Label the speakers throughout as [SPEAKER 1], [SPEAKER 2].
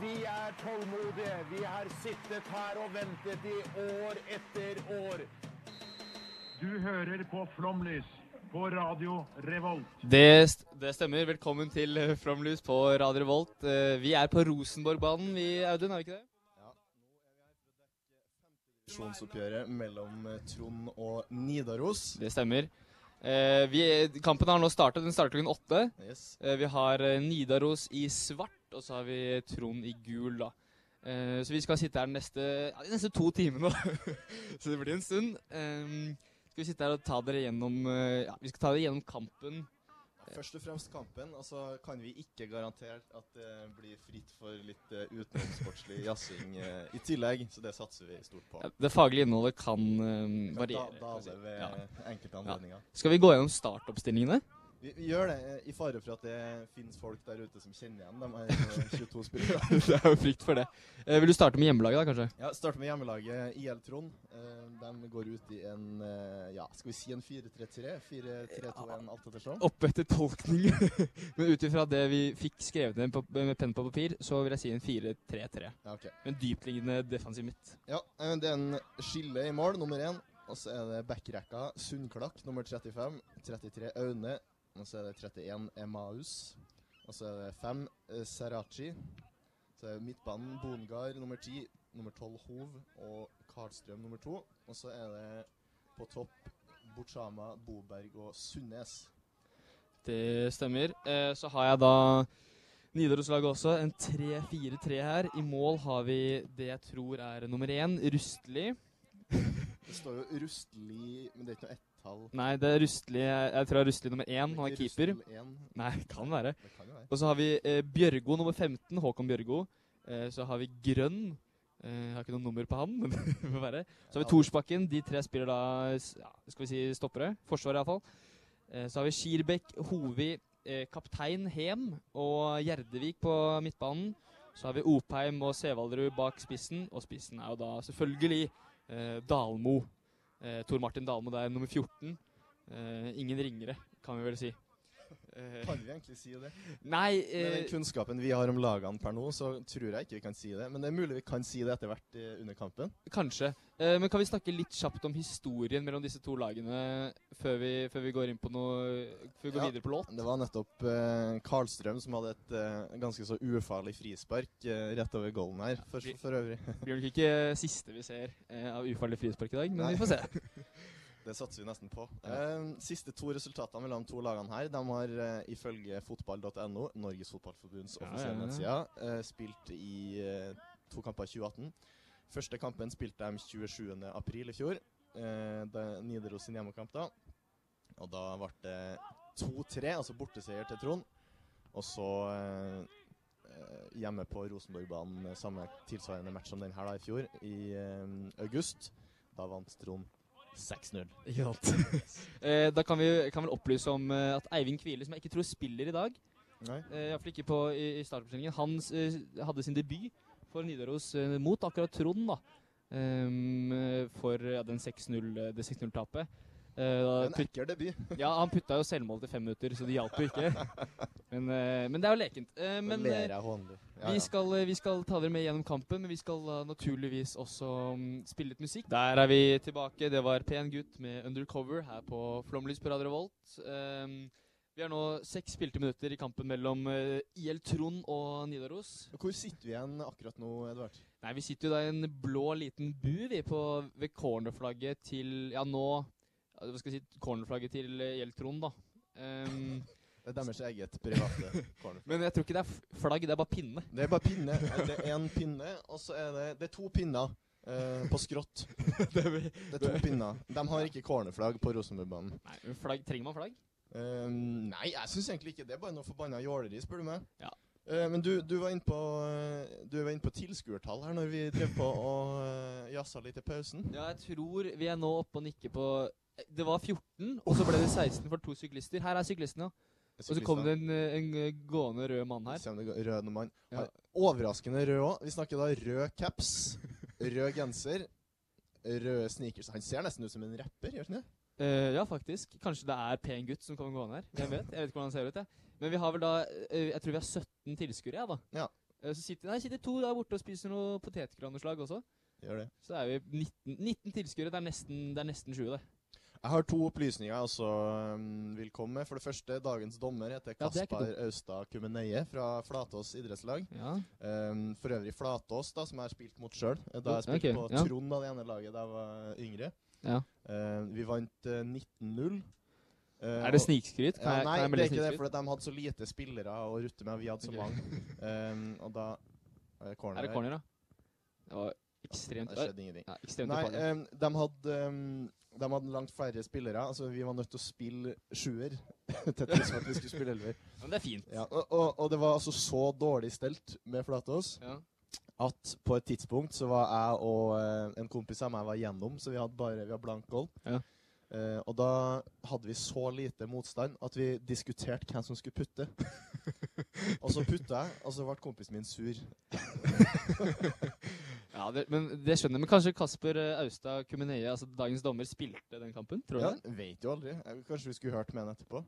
[SPEAKER 1] Vi er tålmodige. Vi har sittet her og ventet i år etter år.
[SPEAKER 2] Du hører på Flomlys på Radio Revolt.
[SPEAKER 3] Det, st det stemmer. Velkommen til eh, Flomlys på Radio Revolt. Eh, Vi er på Rosenborgbanen, vi, Audun, er vi ikke det?
[SPEAKER 4] divisjonsoppgjøret mellom eh, Trond og Nidaros.
[SPEAKER 3] Det stemmer. Eh, Vi, kampen har nå startet. Den starter klokken åtte.
[SPEAKER 4] Yes.
[SPEAKER 3] Eh, Vi har eh, Nidaros i svart, og så har vi Trond i gul, da. Eh, Så vi skal sitte her de neste, ja, de neste to timene, da. så det blir en stund. Eh, Skal vi sitte her og ta dere gjennom eh, Ja, vi skal ta dere gjennom kampen.
[SPEAKER 4] Først og fremst kampen, og så kan vi ikke garantere at det blir fritt for litt eh, utenomsportslig jazzing eh, i tillegg, så det satser vi stort på.
[SPEAKER 3] Ja, Det faglige innholdet kan eh,
[SPEAKER 4] Da,
[SPEAKER 3] variere.
[SPEAKER 4] da eh,
[SPEAKER 3] kan vi
[SPEAKER 4] er
[SPEAKER 3] si.
[SPEAKER 4] det ved
[SPEAKER 3] Ja.
[SPEAKER 4] enkelte anledninger.
[SPEAKER 3] Skal vi gå gjennom startoppstillingene?
[SPEAKER 4] Vi, vi gjør det eh, i fare for at det finnes folk der ute som kjenner igjen de her, eh, 22 spillerne.
[SPEAKER 3] det er jo frykt for det. Eh, vil du starte med hjemmelaget, da, kanskje?
[SPEAKER 4] Ja, Starter med hjemmelaget IL Trond. Eh, De går ut i en eh, ja, skal vi si en 4-3-3? 4-3-2-1, alt ettersom.
[SPEAKER 3] Opp etter tolkning. Men ut ifra det vi fikk skrevet ned på, med penn på papir, så vil jeg si en 4-3-3.
[SPEAKER 4] Ja, ok.
[SPEAKER 3] Med dypliggende defensiv midt.
[SPEAKER 4] Ja, eh, det er en skille i mål, nummer én. Og så er det backrekka Sundklakk, nummer 35. 33 Aune. Og så er det 31 Emaus. Og så er det 5 eh, Serachi. Så er det midtbanen Bongar nummer 10. Nummer 12 Hov og Karlstrøm nummer 2. Og så er det på topp Buchama, Boberg og Sundnes.
[SPEAKER 3] Det stemmer. Eh, så har jeg da Nidaros-laget også. En 3-4-3 her. I mål har vi det jeg tror er nummer én, Rustli.
[SPEAKER 4] Det står jo Rustli, men det er ikke noe ett-tall.
[SPEAKER 3] Nei, det er Rustli Jeg, jeg tror det er Rustli nummer én. Han er
[SPEAKER 4] Ikke
[SPEAKER 3] keeper.
[SPEAKER 4] Rustel 1.
[SPEAKER 3] Nei, kan være.
[SPEAKER 4] Det kan jo være.
[SPEAKER 3] Og så har vi eh, Bjørgo nummer 15, Håkon Bjørgo. Eh, så har vi Grønn. Eh, jeg har ikke noe nummer på han, men det får være. Så har vi Torsbakken. De tre spiller da s- ja, skal vi si stoppere. Forsvaret, iallfall. Eh, så har vi Skirbekk, Hovi, eh, kaptein Hem og Gjerdevik på midtbanen. Så har vi Opheim og Sevaldrud bak spissen, og spissen er jo da selvfølgelig eh, Dalmo. Eh, Tor Martin Dalmo der, nummer 14. Eh, ingen ringere, kan vi vel si. Eh,
[SPEAKER 4] Kan vi egentlig si det?
[SPEAKER 3] nei
[SPEAKER 4] Med den
[SPEAKER 3] eh,
[SPEAKER 4] kunnskapen vi har om lagene per nå, så tror jeg ikke vi kan si det. Men det er mulig vi kan si det etter hvert eh, under kampen.
[SPEAKER 3] Kanskje. Eh, men kan vi snakke litt kjapt om historien mellom disse to lagene før vi, før vi går inn på noe Før vi går
[SPEAKER 4] Ja.
[SPEAKER 3] videre på låt?
[SPEAKER 4] Det var nettopp eh, Karlstrøm som hadde et eh, ganske så ufarlig frispark eh, rett over goalen her, for,
[SPEAKER 3] vi-
[SPEAKER 4] for øvrig.
[SPEAKER 3] Det blir nok ikke siste vi ser eh, av ufarlig frispark i dag, men
[SPEAKER 4] Nei.
[SPEAKER 3] vi får se.
[SPEAKER 4] Det satser vi nesten på. Eh, siste to resultatene mellom to lagene her, de har eh, ifølge fotball.no, Norges Fotballforbunds
[SPEAKER 3] Ja,
[SPEAKER 4] offisielle
[SPEAKER 3] ja,
[SPEAKER 4] nettside, eh, spilt i eh, to kamper i 2018. Første kampen spilte de 27. april i fjor. Eh, det er Nidaros sin hjemmekamp da. Og da ble det 2-3, altså borteseier til Trond. Og så eh, eh, hjemme på Rosenborgbanen, eh, samme tilsvarende match som den her da i fjor, i eh, august. Da vant Trond 6-0.
[SPEAKER 3] Ikke sant. eh, da kan vi kan vel opplyse om eh, at Eivind Kvile, som jeg ikke tror spiller i dag,
[SPEAKER 4] Nei.
[SPEAKER 3] eh, iallfall ikke på, i, i startoppstillingen, han eh, hadde sin debut for Nidaros eh, mot akkurat Trond, da. Ehm, for ja, den 6-0 det 6-0-tapet. Eh, da
[SPEAKER 4] En
[SPEAKER 3] put-
[SPEAKER 4] ekkel debut.
[SPEAKER 3] Ja, han putta jo selvmål til fem minutter, så det hjalp jo ikke. Men, eh, men det er jo lekent. Eh, men eh,
[SPEAKER 4] jeg hånlig.
[SPEAKER 3] vi, skal, eh, vi skal ta dere med gjennom kampen, men vi skal eh, naturligvis også mm, spille litt musikk. Der er vi tilbake. Det var Pen gutt med Undercover her på Flomlys på Radio Revolt. Eh, vi har nå seks spilte minutter i kampen mellom eh, IL Trond og Nidaros.
[SPEAKER 4] Hvor sitter vi igjen akkurat nå, Edvard?
[SPEAKER 3] Nei, vi sitter jo da i en blå liten bu, vi, på, ved cornerflagget til Ja, nå ja, Hva skal jeg si? Cornerflagget til eh, IL Trond, da. Um,
[SPEAKER 4] Det er deres eget private corner.
[SPEAKER 3] Men jeg tror ikke det er f- flagg, det er bare pinne.
[SPEAKER 4] Det er bare pinne. Eh, Det er en pinne, og så er det Det er to pinner eh, på skrått. Det er to pinner. De har ikke cornerflagg på Rosenborgbanen.
[SPEAKER 3] Nei, men flagg, Trenger man flagg?
[SPEAKER 4] Eh, nei, jeg syns egentlig ikke det. er Bare noe forbanna jåleri, spør du meg.
[SPEAKER 3] Ja.
[SPEAKER 4] Eh, men du, du var inne på, eh, du var inne på tilskuertall her når vi drev på og eh, jazza litt i pausen.
[SPEAKER 3] Ja, jeg tror vi er nå oppe og nikker på Det var 14, og så ble det 16 for to syklister. Her er syklistene, ja. Og så kom det en, eh, en eh, gående rød mann her.
[SPEAKER 4] Kommer det rød mann.
[SPEAKER 3] Ja.
[SPEAKER 4] Har- Overraskende rød òg. Vi snakker da rød caps, rød genser, røde sneakers. Han ser nesten ut som en rapper, gjør sånn, han ikke?
[SPEAKER 3] Eh, ja, faktisk. Kanskje det er pen gutt som kommer gående her. Hvem vet? Jeg vet ikke hvordan han ser ut, jeg. Men vi har vel da eh, Jeg tror vi har 17 tilskuere, jeg, da.
[SPEAKER 4] Ja.
[SPEAKER 3] Eh, så sitter, nei, sitter to der borte og spiser noe potetgranutslag også.
[SPEAKER 4] Gjør det.
[SPEAKER 3] Så er vi 19, 19 tilskuere. Det er nesten, det er nesten 20, det.
[SPEAKER 4] Jeg har to opplysninger jeg også um, vil komme med. For det første, dagens dommer heter
[SPEAKER 3] Ja, det er ikke
[SPEAKER 4] Kaspar Austad Kumeneie fra Flatås idrettslag.
[SPEAKER 3] Ja.
[SPEAKER 4] Um, for øvrig Flatås, da, som jeg har spilt mot sjøl. Da jeg
[SPEAKER 3] Ok,
[SPEAKER 4] spilte på
[SPEAKER 3] ja.
[SPEAKER 4] Trond av det ene laget da jeg var yngre.
[SPEAKER 3] Ja.
[SPEAKER 4] Um, vi vant eh, 19-0. Eh,
[SPEAKER 3] Er det
[SPEAKER 4] og-
[SPEAKER 3] snikskryt?
[SPEAKER 4] Ja,
[SPEAKER 3] Kan jeg,
[SPEAKER 4] nei,
[SPEAKER 3] kan jeg
[SPEAKER 4] det
[SPEAKER 3] melde
[SPEAKER 4] er ikke det,
[SPEAKER 3] snikskryt?
[SPEAKER 4] for at de hadde så lite spillere å rutte med. Vi hadde så
[SPEAKER 3] Ok.
[SPEAKER 4] mange. Um, og da er det corner
[SPEAKER 3] Er
[SPEAKER 4] her.
[SPEAKER 3] det corner, da? Det var ekstremt
[SPEAKER 4] Det skjedde ingenting.
[SPEAKER 3] ja, ekstremt
[SPEAKER 4] Nei,
[SPEAKER 3] ufarlig.
[SPEAKER 4] em, de, hadde, em, de hadde langt færre spillere. Altså, vi var nødt til å spille sjuer til tross for at vi skulle spille elver.
[SPEAKER 3] Men det er fint.
[SPEAKER 4] Ja, og, og, og det var altså så dårlig stelt med Flatås
[SPEAKER 3] Ja.
[SPEAKER 4] at på et tidspunkt så var jeg og eh, en kompis av meg var gjennom, så vi hadde bare vi hadde blank gold.
[SPEAKER 3] Ja.
[SPEAKER 4] Eh, og da hadde vi så lite motstand at vi diskuterte hvem som skulle putte. og så putta jeg, og så ble kompisen min sur.
[SPEAKER 3] Ja, det, men det skjønner jeg. Men kanskje Kasper eh, Austad Kumineie, altså dagens dommer, spilte den kampen? tror du
[SPEAKER 4] Ja,
[SPEAKER 3] det?
[SPEAKER 4] Vet jo aldri. Jeg- Kanskje vi skulle hørt med han etterpå.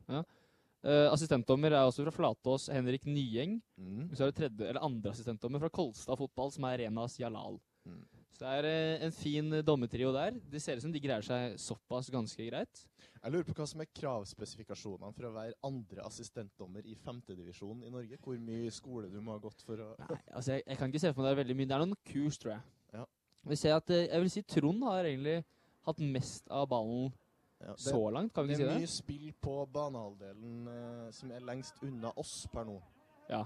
[SPEAKER 3] Eh, assistentdommer er også fra Flatås, Henrik Nyeng.
[SPEAKER 4] Mm.
[SPEAKER 3] Så er det tredje, eller andre assistentdommer fra Kolstad fotball, som er Renas Jalal.
[SPEAKER 4] Mm.
[SPEAKER 3] Så det er eh, en fin eh, dommetrio der. Det ser ut som de greier seg såpass ganske greit.
[SPEAKER 4] Jeg lurer på hva som er kravspesifikasjonene for å være andre assistentdommer i femtedivisjon i Norge. Hvor mye skole du må ha gått for å
[SPEAKER 3] Nei, altså jeg, jeg kan ikke se for meg det er veldig mye. Det er noen kurs, tror jeg.
[SPEAKER 4] Ja.
[SPEAKER 3] Vi ser at, eh, jeg vil si Trond har egentlig hatt mest av ballen
[SPEAKER 4] ja, det,
[SPEAKER 3] så langt, kan vi
[SPEAKER 4] det
[SPEAKER 3] ikke si
[SPEAKER 4] er
[SPEAKER 3] det?
[SPEAKER 4] mye spill på banehalvdelen eh, som er lengst unna oss per nå.
[SPEAKER 3] Ja.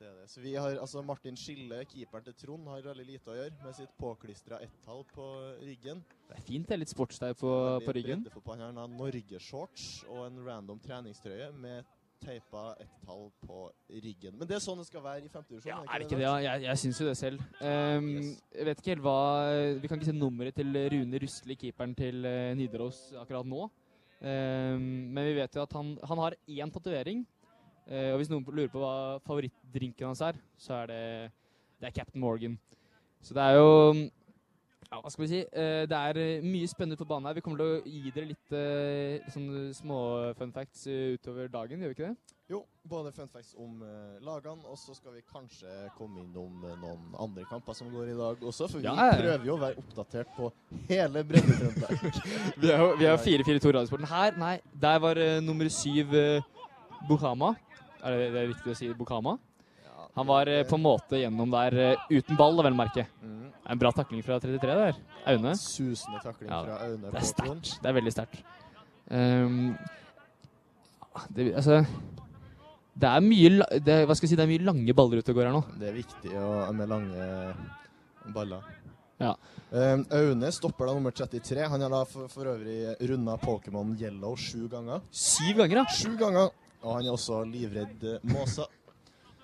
[SPEAKER 4] Det er det. Så vi har, altså Martin Skille, keeperen til Trond, har veldig lite å gjøre med sitt påklistra ett-tall på ryggen.
[SPEAKER 3] Det er fint det er litt sportsdeig på,
[SPEAKER 4] Veldig
[SPEAKER 3] på ryggen.
[SPEAKER 4] breddefotball. Han har norgesshorts og en random treningstrøye med teipa ett-tall på ryggen. Men det er sånn det skal være i femtedivisjon.
[SPEAKER 3] Ja, er det ikke det? Ja? Jeg, jeg syns jo det selv. Ehm,
[SPEAKER 4] Yes.
[SPEAKER 3] Jeg vet ikke helt hva Vi kan ikke se nummeret til Rune Rustli, keeperen til eh, Nidaros, akkurat nå. Ehm, men vi vet jo at han, han har én tatovering. Eh, og hvis noen lurer på hva favorittdrinken hans er, så er det, det er Captain Morgan. Så det er jo ja, Hva skal vi si? Eh, det er eh, mye spennende på banen her. Vi kommer til å gi dere litt eh, sånne små fun facts eh, utover dagen, gjør vi ikke det?
[SPEAKER 4] Jo, både fun facts om eh, lagene, og så skal vi kanskje komme innom eh, noen andre kamper som går i dag også. For
[SPEAKER 3] Ja,
[SPEAKER 4] vi
[SPEAKER 3] ja, ja.
[SPEAKER 4] prøver jo å være oppdatert på hele Bredde-Trøndelag.
[SPEAKER 3] Vi er jo vi er jo 4-4-2 Radiosporten. Her, nei, der var eh, nummer syv eh, Bukhama. Er det, det er riktig å si Bukhama? Han var eh, på en måte gjennom der eh, uten ball, da vel merke.
[SPEAKER 4] mm,
[SPEAKER 3] Det er En bra takling fra 33 der. Aune.
[SPEAKER 4] Susende takling
[SPEAKER 3] Ja,
[SPEAKER 4] fra Aune
[SPEAKER 3] Det er
[SPEAKER 4] Håkon.
[SPEAKER 3] sterkt. Det er veldig sterkt. Ehm, det, altså Det er mye la- det, er- Hva skal jeg si, det er mye lange baller ute og går her nå.
[SPEAKER 4] Det er viktig å, med lange baller.
[SPEAKER 3] Ja.
[SPEAKER 4] Eh, Aune stopper da nummer 33. Han har da for, for øvrig runda Pokémon Yellow sju ganger.
[SPEAKER 3] Syv ganger, da!
[SPEAKER 4] Sju ganger! Og han er også livredd eh, måser.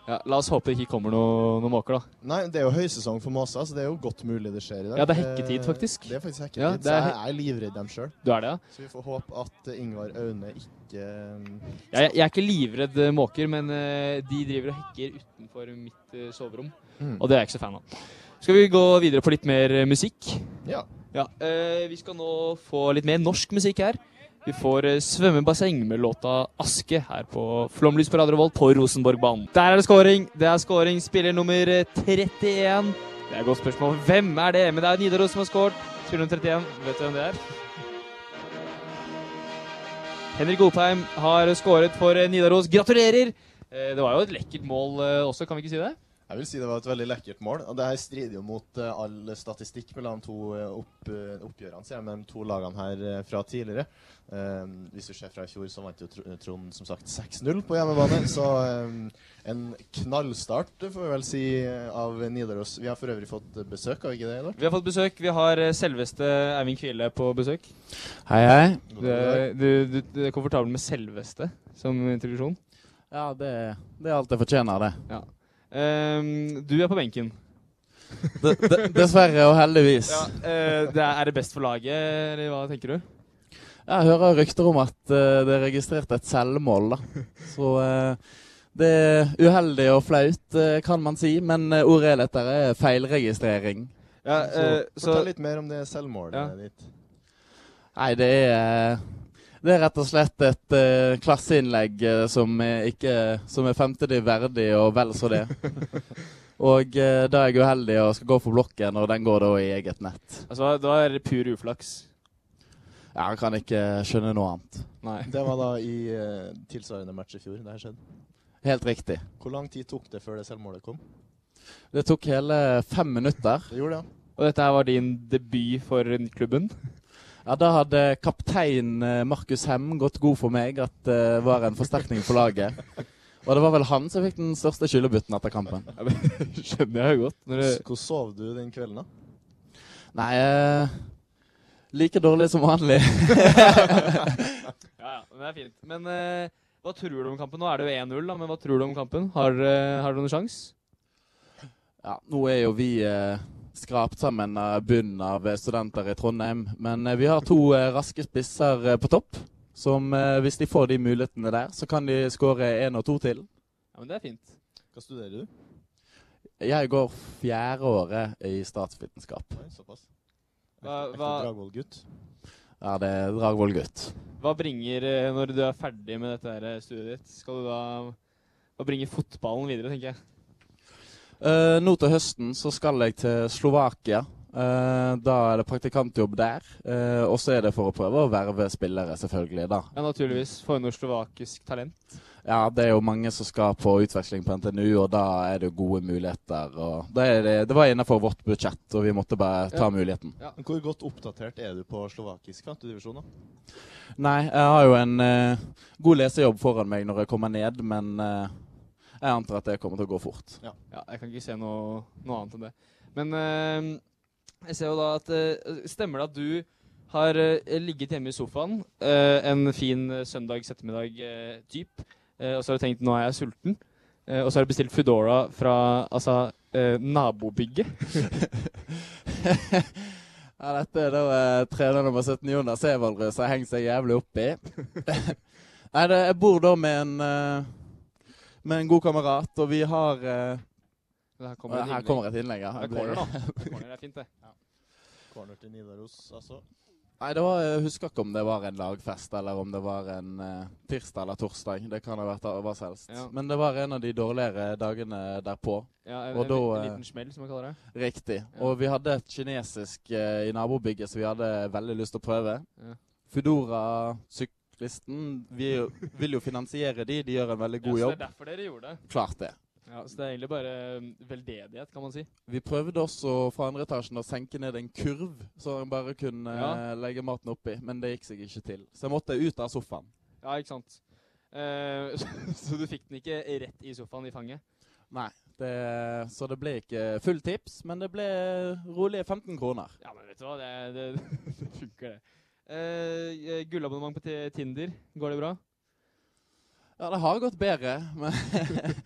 [SPEAKER 3] Ja, la oss håpe det ikke kommer noen noe måker, da.
[SPEAKER 4] Nei, det er jo høysesong for måsa, så det er jo godt mulig det skjer i dag.
[SPEAKER 3] Ja, det er hekketid,
[SPEAKER 4] Eh,
[SPEAKER 3] faktisk.
[SPEAKER 4] Det er faktisk hekketid,
[SPEAKER 3] Ja, det er
[SPEAKER 4] så jeg jeg er livredd dem sjøl.
[SPEAKER 3] Du er det, ja?
[SPEAKER 4] Så vi får håpe at eh, Ingvar Aune ikke eh,
[SPEAKER 3] Ja, jeg, jeg er ikke livredd eh, måker, men eh, de driver og hekker utenfor mitt eh, soverom.
[SPEAKER 4] Mm.
[SPEAKER 3] Og det er jeg ikke så fan av. Skal vi gå videre på litt mer eh, musikk?
[SPEAKER 4] Ja.
[SPEAKER 3] Ja, eh, Vi skal nå få litt mer norsk musikk her. Vi får eh, svømmebasseng med låta 'Aske' her på Flomlys på Radio Volt på Rosenborgbanen. Der er det scoring! Det er scoring, spiller nummer eh, 31. Det er et godt spørsmål. Hvem er det? Men det er Nidaros som har scoret. Spiller nummer 31. Vet du hvem det er? Henrik Opheim har skåret for eh, Nidaros. Gratulerer! Eh, Det var jo et lekkert mål eh, også, kan vi ikke si det?
[SPEAKER 4] Jeg vil si det var et veldig lekkert mål. Og det her strider jo mot eh, all statistikk mellom de to eh, opp, eh, oppgjørene, sier jeg, mellom de to lagene her eh, fra tidligere. Eh, hvis du ser fra i fjor, så vant jo Tr- Trond som sagt 6-0 på hjemmebane. Så eh, en knallstart, får vi vel si, eh, av Nidaros. Vi har for øvrig fått eh, besøk, har vi ikke det, Edvard?
[SPEAKER 3] Vi har fått besøk. Vi har eh, selveste Eivind Kvile på besøk.
[SPEAKER 5] Hei, hei.
[SPEAKER 4] God
[SPEAKER 3] Du,
[SPEAKER 4] dag.
[SPEAKER 3] du, du, du er komfortabel med 'selveste' som introduksjon.
[SPEAKER 5] Ja, det, det er alt jeg fortjener, det.
[SPEAKER 3] Ehm, du er på benken.
[SPEAKER 5] D- d- Dessverre og heldigvis.
[SPEAKER 3] Eh, det er, er det best for laget, eller hva tenker du?
[SPEAKER 5] Jeg hører rykter om at eh, det er registrert et selvmål, da. Så eh, det er uheldig og flaut, eh, kan man si, men eh, ordet jeg leter er feilregistrering.
[SPEAKER 3] Ja, eh,
[SPEAKER 4] Så fortell litt mer om det selvmålet
[SPEAKER 3] Ja.
[SPEAKER 4] ditt.
[SPEAKER 5] Nei, det er eh, Det er rett og slett et eh, klasseinnlegg eh, som er ikke Som er femtediv verdig og vel så det. Og eh, da er jeg uheldig og skal gå for blokken, og den går da i eget nett.
[SPEAKER 3] altså, da er det pur uflaks.
[SPEAKER 5] Ja, jeg kan ikke skjønne noe annet.
[SPEAKER 3] Nei.
[SPEAKER 4] Det var da i eh, tilsvarende match i fjor. det her skjedde.
[SPEAKER 5] Helt riktig.
[SPEAKER 4] Hvor lang tid tok det før det selvmålet kom?
[SPEAKER 5] Det tok hele fem minutter.
[SPEAKER 4] Det gjorde det.
[SPEAKER 3] Og dette her var din debut for klubben.
[SPEAKER 5] Ja, Da hadde kaptein eh, Markus Hem gått god for meg at det var en forsterkning for laget. Og det var vel han som fikk den største skyllebøtten etter kampen.
[SPEAKER 3] Skjønner jeg jo godt. Når
[SPEAKER 4] ja.
[SPEAKER 3] det,
[SPEAKER 4] S- Hvordan sov du den kvelden, da?
[SPEAKER 5] Nei eh, Like dårlig som vanlig.
[SPEAKER 3] ja, ja, men det er fint. Men eh, hva tror du om kampen? Nå er det jo 1-0, da, men hva tror du om kampen? Har, eh, har dere noen sjanse?
[SPEAKER 5] Ja, nå er jo vi eh, skrapt sammen av bunnen av eh, studenter i Trondheim. Men eh, vi har to eh, raske spisser eh, på topp. Som eh, hvis de får de mulighetene der, så kan de skåre én og to til.
[SPEAKER 3] Ja, men det er fint.
[SPEAKER 4] Hva studerer du?
[SPEAKER 5] Jeg går fjerdeåret i statsvitenskap.
[SPEAKER 4] Oi, såpass.
[SPEAKER 3] Hva-
[SPEAKER 4] Ekte
[SPEAKER 3] hva-
[SPEAKER 4] Dragvoll-gutt.
[SPEAKER 5] Ja, det er Dragvoll-gutt.
[SPEAKER 3] Hva bringer, eh, når du er ferdig med dette her eh, studiet ditt, skal du da Hva bringer fotballen videre, tenker jeg?
[SPEAKER 5] Eh, nå til høsten så skal jeg til Slovakia. Eh, da er det praktikantjobb der. Eh, og så er det for å prøve å verve spillere, selvfølgelig. da.
[SPEAKER 3] Ja, naturligvis. Få inn noe slovakisk talent.
[SPEAKER 5] Ja, Det er jo mange som skal på utveksling på NTNU, og da er det jo gode muligheter. Og da er det, det var innenfor vårt budsjett, og vi måtte bare ta
[SPEAKER 3] Ja.
[SPEAKER 5] muligheten.
[SPEAKER 4] Men Hvor godt oppdatert er du på slovakisk femtedivisjon? da?
[SPEAKER 5] Nei, jeg har jo en eh, god lesejobb foran meg når jeg kommer ned, men eh, jeg antar at det kommer til å gå fort.
[SPEAKER 3] Ja, jeg kan ikke se noe, noe annet enn det. Men eh, jeg ser jo da at eh, Stemmer det at du har eh, ligget hjemme i sofaen eh, en fin eh, søndags ettermiddag eh, typ, eh, og så har du tenkt 'nå er jeg sulten', eh, og så har du bestilt Foodora fra altså, eh, nabobygget?
[SPEAKER 5] Ja, dette er da eh, trener nummer 17, Jonas Evalrud, som har hengt seg jævlig opp i. Nei, det, jeg bor da med en, eh, med en god kamerat, og vi har eh,
[SPEAKER 3] Det Her
[SPEAKER 5] og
[SPEAKER 3] kommer,
[SPEAKER 5] Her kommer et innlegg. ja. Jeg
[SPEAKER 3] det er
[SPEAKER 5] blir-
[SPEAKER 3] corner, da. Det er corner, det er fint, det.
[SPEAKER 4] Corner til Nidaros, altså.
[SPEAKER 5] Nei, det var, jeg husker ikke om det var en lagfest, eller om det var en eh, tirsdag eller torsdag. Det kan ha vært hva som helst.
[SPEAKER 3] Ja.
[SPEAKER 5] Men det var en av de dårligere dagene derpå.
[SPEAKER 3] Ja, en,
[SPEAKER 5] Og
[SPEAKER 3] en,
[SPEAKER 5] da,
[SPEAKER 3] liten-
[SPEAKER 5] eh,
[SPEAKER 3] en liten smell, som jeg kaller det.
[SPEAKER 5] Riktig.
[SPEAKER 3] Ja.
[SPEAKER 5] Og vi hadde et kinesisk eh, i nabobygget som vi hadde veldig lyst til å prøve.
[SPEAKER 3] Ja.
[SPEAKER 5] Foodora-syklisten vi jo- vil jo finansiere de, de gjør en veldig god
[SPEAKER 3] ja, så
[SPEAKER 5] jobb.
[SPEAKER 3] det er derfor dere gjorde det.
[SPEAKER 5] Klart det.
[SPEAKER 3] Ja, så det er egentlig bare eh, veldedighet, kan man si.
[SPEAKER 5] Vi prøvde også fra andre etasjen å senke ned en kurv, så en bare kunne
[SPEAKER 3] Ja.
[SPEAKER 5] eh, legge maten oppi, men det gikk seg ikke til. Så jeg måtte ut av sofaen.
[SPEAKER 3] Ja, ikke sant. Eh, så, så du fikk den ikke rett i sofaen i fanget?
[SPEAKER 5] Nei. Det, så det ble ikke full tips, men det ble rolige 15 kroner.
[SPEAKER 3] Ja, men vet du hva, det, det, det funker, det. Eh, gullabonnement på Ti- Tinder, går det bra?
[SPEAKER 5] Ja, det har gått bedre, men,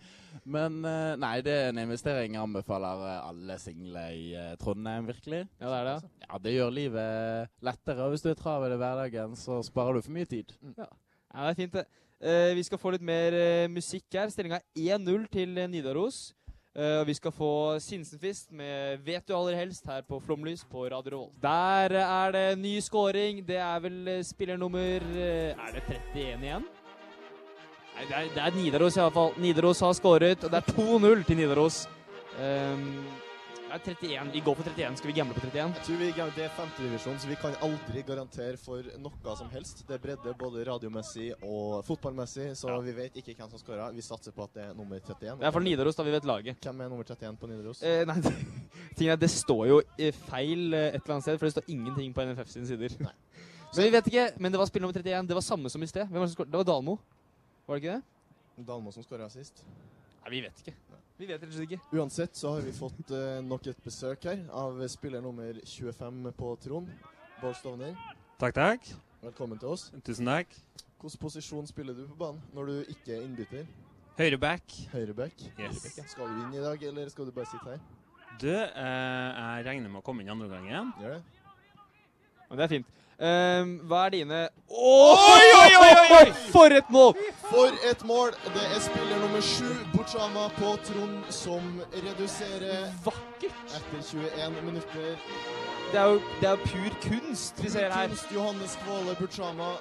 [SPEAKER 5] men eh, Nei, det er en investering jeg anbefaler eh, alle single i eh, Trondheim, virkelig.
[SPEAKER 3] Ja, det er det. ja.
[SPEAKER 5] Ja, det gjør livet lettere. og Hvis du er travel i hverdagen, så sparer du for mye tid.
[SPEAKER 3] Mm. Ja, det er fint, det. Eh, vi skal få litt mer eh, musikk her. Stillinga er 1-0 til eh, Nidaros. Eh, og vi skal få Sinsenfist med 'Vet du aller helst' her på Flomlys på Radio Revolt. Der eh, er det ny scoring. Det er vel eh, spillernummer eh, Er det 31 igjen? Nei, det er, det er Nidaros i alle fall. Nidaros har skåret, og det er 2-0 til Nidaros. Ehm, det er 31. Vi går for 31. Skal vi gamble på 31?
[SPEAKER 4] Jeg tror vi, Det er femtedivisjon, så vi kan aldri garantere for noe som helst. Det er bredde både radiomessig og fotballmessig, så vi vet ikke hvem som skåra. Vi satser på at det er nummer 31.
[SPEAKER 3] Det er for Nidaros, da vi vet laget.
[SPEAKER 4] Hvem er nummer 31 på Nidaros?
[SPEAKER 3] Eh, nei, det, tingen er, det står jo eh, feil eh, et eller annet sted, for det står ingenting på NFF sine sider.
[SPEAKER 4] Nei.
[SPEAKER 3] Men vi vet ikke. Men det var spiller nummer 31. Det var samme som i sted. Hvem var det, som skåret? det var Dalmo. Var det ikke det?
[SPEAKER 4] Dalmo som skåra sist.
[SPEAKER 3] Nei, vi vet ikke. Vi vet rett og slett ikke.
[SPEAKER 4] Uansett så har vi fått eh, nok et besøk her av spiller nummer 25 på Trond. Bård Stovner,
[SPEAKER 6] Takk, takk.
[SPEAKER 4] velkommen til oss.
[SPEAKER 6] Tusen takk.
[SPEAKER 4] Hvilken posisjon spiller du på banen når du ikke er innbytter?
[SPEAKER 6] Høyreback.
[SPEAKER 4] Høyreback?
[SPEAKER 6] Yes.
[SPEAKER 4] Skal du inn i dag, eller skal du bare sitte her?
[SPEAKER 6] Du, eh, jeg regner med å komme inn andre gangen.
[SPEAKER 4] Gjør det?
[SPEAKER 3] Men det er fint. Ehm, hva er dine
[SPEAKER 4] Oi, oi, oi, oi, oi!
[SPEAKER 3] For et mål!
[SPEAKER 4] For et mål! Det er spiller nummer sju, Buchama på Trond, som reduserer
[SPEAKER 3] Vakkert!
[SPEAKER 4] etter 21 minutter.
[SPEAKER 3] Det er jo, det er jo pur kunst vi ser her.
[SPEAKER 4] Kunst Johannes Kvåle Buchama.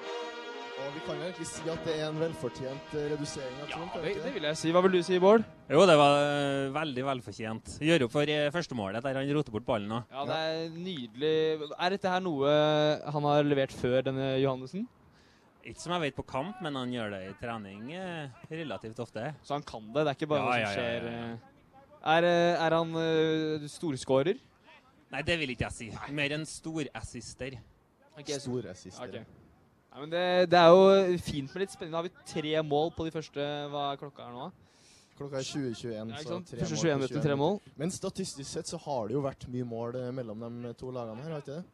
[SPEAKER 4] Og vi kan jo egentlig si at det er en velfortjent eh, redusering av Trond. kan vi
[SPEAKER 3] Det,
[SPEAKER 4] ikke
[SPEAKER 3] det
[SPEAKER 4] det?
[SPEAKER 3] vil jeg si. Hva vil du si, Bård?
[SPEAKER 6] Jo, det var eh, veldig velfortjent. Gjør opp for eh, førstemålet der han roter bort ballen. da.
[SPEAKER 3] Ja, det er nydelig. Er dette her noe eh, han har levert før denne Johannessen?
[SPEAKER 6] Ikke som jeg vet på kamp, men han gjør det i trening eh, relativt ofte.
[SPEAKER 3] Så han kan det? Det er ikke bare
[SPEAKER 6] Ja,
[SPEAKER 3] noe
[SPEAKER 6] ja, ja,
[SPEAKER 3] som
[SPEAKER 6] ja,
[SPEAKER 3] skjer
[SPEAKER 6] ja.
[SPEAKER 3] eh. Er, eh, er han eh, storskårer?
[SPEAKER 6] Nei, det vil ikke jeg si. Mer en storassister.
[SPEAKER 4] Stor assist.
[SPEAKER 3] Ok. Nei, men det, det er jo fint med litt spenning. Da har vi tre mål på de første Hva er klokka her nå? da?
[SPEAKER 4] Klokka er 20.21,
[SPEAKER 3] Ja, ikke
[SPEAKER 4] så
[SPEAKER 3] sant?
[SPEAKER 4] tre
[SPEAKER 3] Første
[SPEAKER 4] mål.
[SPEAKER 3] 21
[SPEAKER 4] på
[SPEAKER 3] minutter, tre mål.
[SPEAKER 4] Men statistisk sett så har det jo vært mye mål eh, mellom de to lagene her, har ikke det?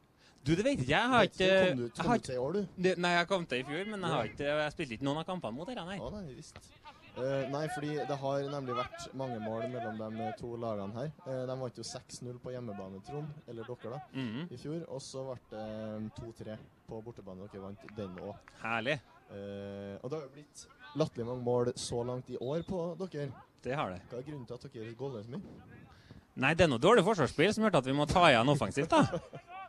[SPEAKER 6] Du, det vet ikke jeg. Jeg har ikke
[SPEAKER 4] Det kom du,
[SPEAKER 6] jeg
[SPEAKER 4] kom
[SPEAKER 6] har
[SPEAKER 4] du til i år, du?
[SPEAKER 6] ikke- det- Nei, jeg kom til i fjor, men jeg, har ikke, jeg spilte ikke noen av kampene mot dere, nei.
[SPEAKER 4] Ja, nei, visst. Eh, nei, fordi det har nemlig vært mange mål mellom de to lagene her. Eh, de vant jo 6-0 på hjemmebane, Trond, eller dere, da,
[SPEAKER 6] Mhm.
[SPEAKER 4] i fjor. Og så ble det eh, 2-3 på bortebane. Dere vant den òg.
[SPEAKER 6] Herlig.
[SPEAKER 4] Eh, og det har jo blitt latterlig mange mål så langt i år på dere.
[SPEAKER 6] Det har det.
[SPEAKER 4] Hva er grunnen til at dere goller så mye?
[SPEAKER 6] Nei, det er noe dårlig forsvarsspill som gjør at vi må ta igjen offensivt, da.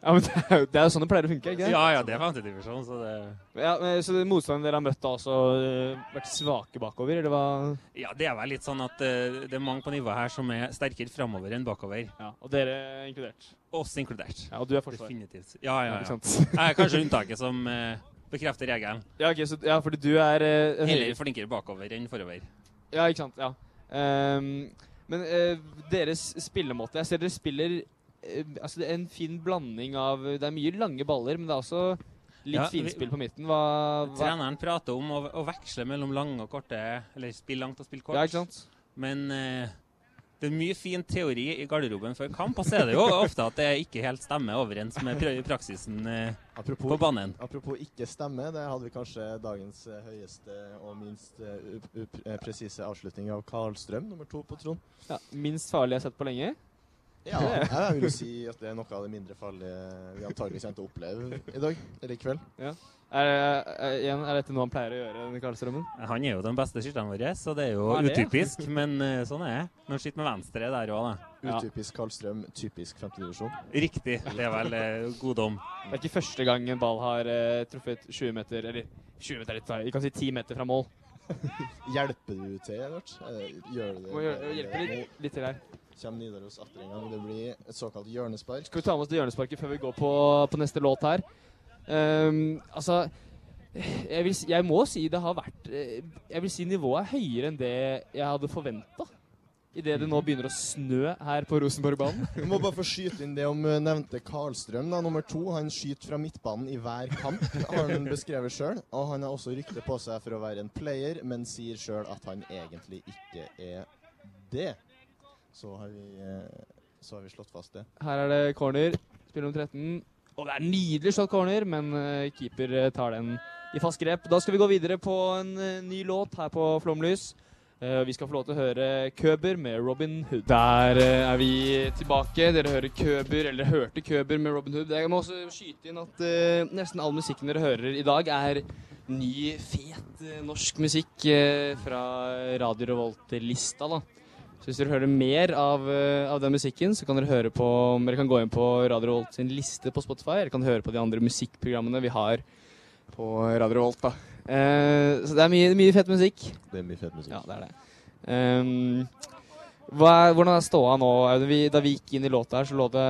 [SPEAKER 3] Ja, men det er, jo, det er jo sånn det pleier å funke. ikke det?
[SPEAKER 6] Ja, ja, det er femtedivisjon, så det
[SPEAKER 3] Ja, men, så motstanderen dere har møtt, har også eh, vært svake bakover? eller hva?
[SPEAKER 6] Ja, det er vel litt sånn at eh, det er mange på nivået her som er sterkere framover enn bakover.
[SPEAKER 3] Ja, Og dere inkludert?
[SPEAKER 6] Oss inkludert.
[SPEAKER 3] Ja, Og du er forsvar.
[SPEAKER 6] Definitivt. Ja, ja,
[SPEAKER 3] Ikke
[SPEAKER 6] ja.
[SPEAKER 3] sant?
[SPEAKER 6] Jeg er kanskje unntaket som eh, bekrefter regelen.
[SPEAKER 3] Ja, ok, så, ja, fordi du er eh, høyre...
[SPEAKER 6] Heller flinkere bakover enn forover.
[SPEAKER 3] Ja, ikke sant. Ja. Ehm, men eh, deres spillemåte Jeg ser dere spiller eh, Altså, det er en fin blanding av Det er mye lange baller, men det er også litt
[SPEAKER 6] Ja, vi-
[SPEAKER 3] finspill på midten. Hva, hva
[SPEAKER 6] Treneren prater om å, å veksle mellom lange og korte, eller spille langt og spille kort.
[SPEAKER 3] Ja, ikke sant?
[SPEAKER 6] Men eh, det er mye fin teori i garderoben før kamp, og så er det jo ofte at det ikke helt stemmer overens med pra- praksisen eh,
[SPEAKER 4] Apropos,
[SPEAKER 6] på banen.
[SPEAKER 4] apropos ikke stemme, det hadde vi kanskje dagens eh, høyeste og minst eh, up- up- eh, presise avslutning av Karlstrøm, nummer to på Trond.
[SPEAKER 3] Ja, minst farlig jeg har sett på lenge.
[SPEAKER 4] Ja, jeg vil jo si at det er noe av det mindre farlige vi antagelig kommer til å oppleve i dag. Eller i kveld.
[SPEAKER 3] Er, er, igjen, er dette noe han pleier å gjøre, denne Karlstrømmen?
[SPEAKER 6] Han er jo den beste skytteren vår, så det er jo
[SPEAKER 3] Ja, det er.
[SPEAKER 6] utypisk. Men eh, sånn er det. Når han skyter med venstre der òg, da.
[SPEAKER 3] Ja.
[SPEAKER 4] Utypisk Karlstrøm, typisk femtedivisjon.
[SPEAKER 6] Riktig. Det er vel eh, goddom.
[SPEAKER 3] Det er ikke første gang en ball har eh, truffet 20 meter Eller 20 meter er litt feil. Vi kan si 10 meter fra mål.
[SPEAKER 4] Hjelper du til, Edvard? Eh, Gjør du det?
[SPEAKER 3] Må gjøre- hjelpe litt, litt til her.
[SPEAKER 4] Nå kommer Nidaros atter en gang. Det blir et såkalt hjørnespark.
[SPEAKER 3] Skal vi ta med oss det hjørnesparket før vi går på, på neste låt her? Ehm, altså jeg, vil, si- jeg må si det har vært eh, Jeg vil si nivået er høyere enn det jeg hadde forventa. Idet det nå begynner å snø her på Rosenborgbanen.
[SPEAKER 4] Mhm. Vi må bare få skyte inn det om eh, nevnte Karlstrøm, da, nummer to. Han skyter fra midtbanen i hver kamp, har han beskrevet sjøl. Og han har også rykte på seg for å være en player, men sier sjøl at han egentlig ikke er det. Så har vi, eh, så har vi slått fast det.
[SPEAKER 3] Her er det corner. Spiller om 13. Og det er nydelig slått corner, men eh, keeper eh, tar den i fast grep. Da skal vi gå videre på en eh, ny låt her på Flomlys. Eh, vi skal få lov til å høre Køber med Robin Hood. Der eh, er vi tilbake. Dere hører Køber, eller hørte Køber med Robin Hood. Jeg må også skyte inn at eh, nesten all musikken dere hører i dag, er ny, fet eh, norsk musikk eh, fra Radio Revolt-lista, da. Så hvis dere hører mer av, eh, av den musikken, så kan dere høre på Dere kan gå inn på Radio Revolt sin liste på Spotify, eller kan høre på de andre musikkprogrammene vi har på Radio Revolt, da. Eh, så det er mye, mye fet musikk.
[SPEAKER 4] Det blir fet musikk.
[SPEAKER 3] Ja, det er det. Ehm, hva er, hvordan er ståa nå? Audun? Vi, da vi gikk inn i låta her, så lå det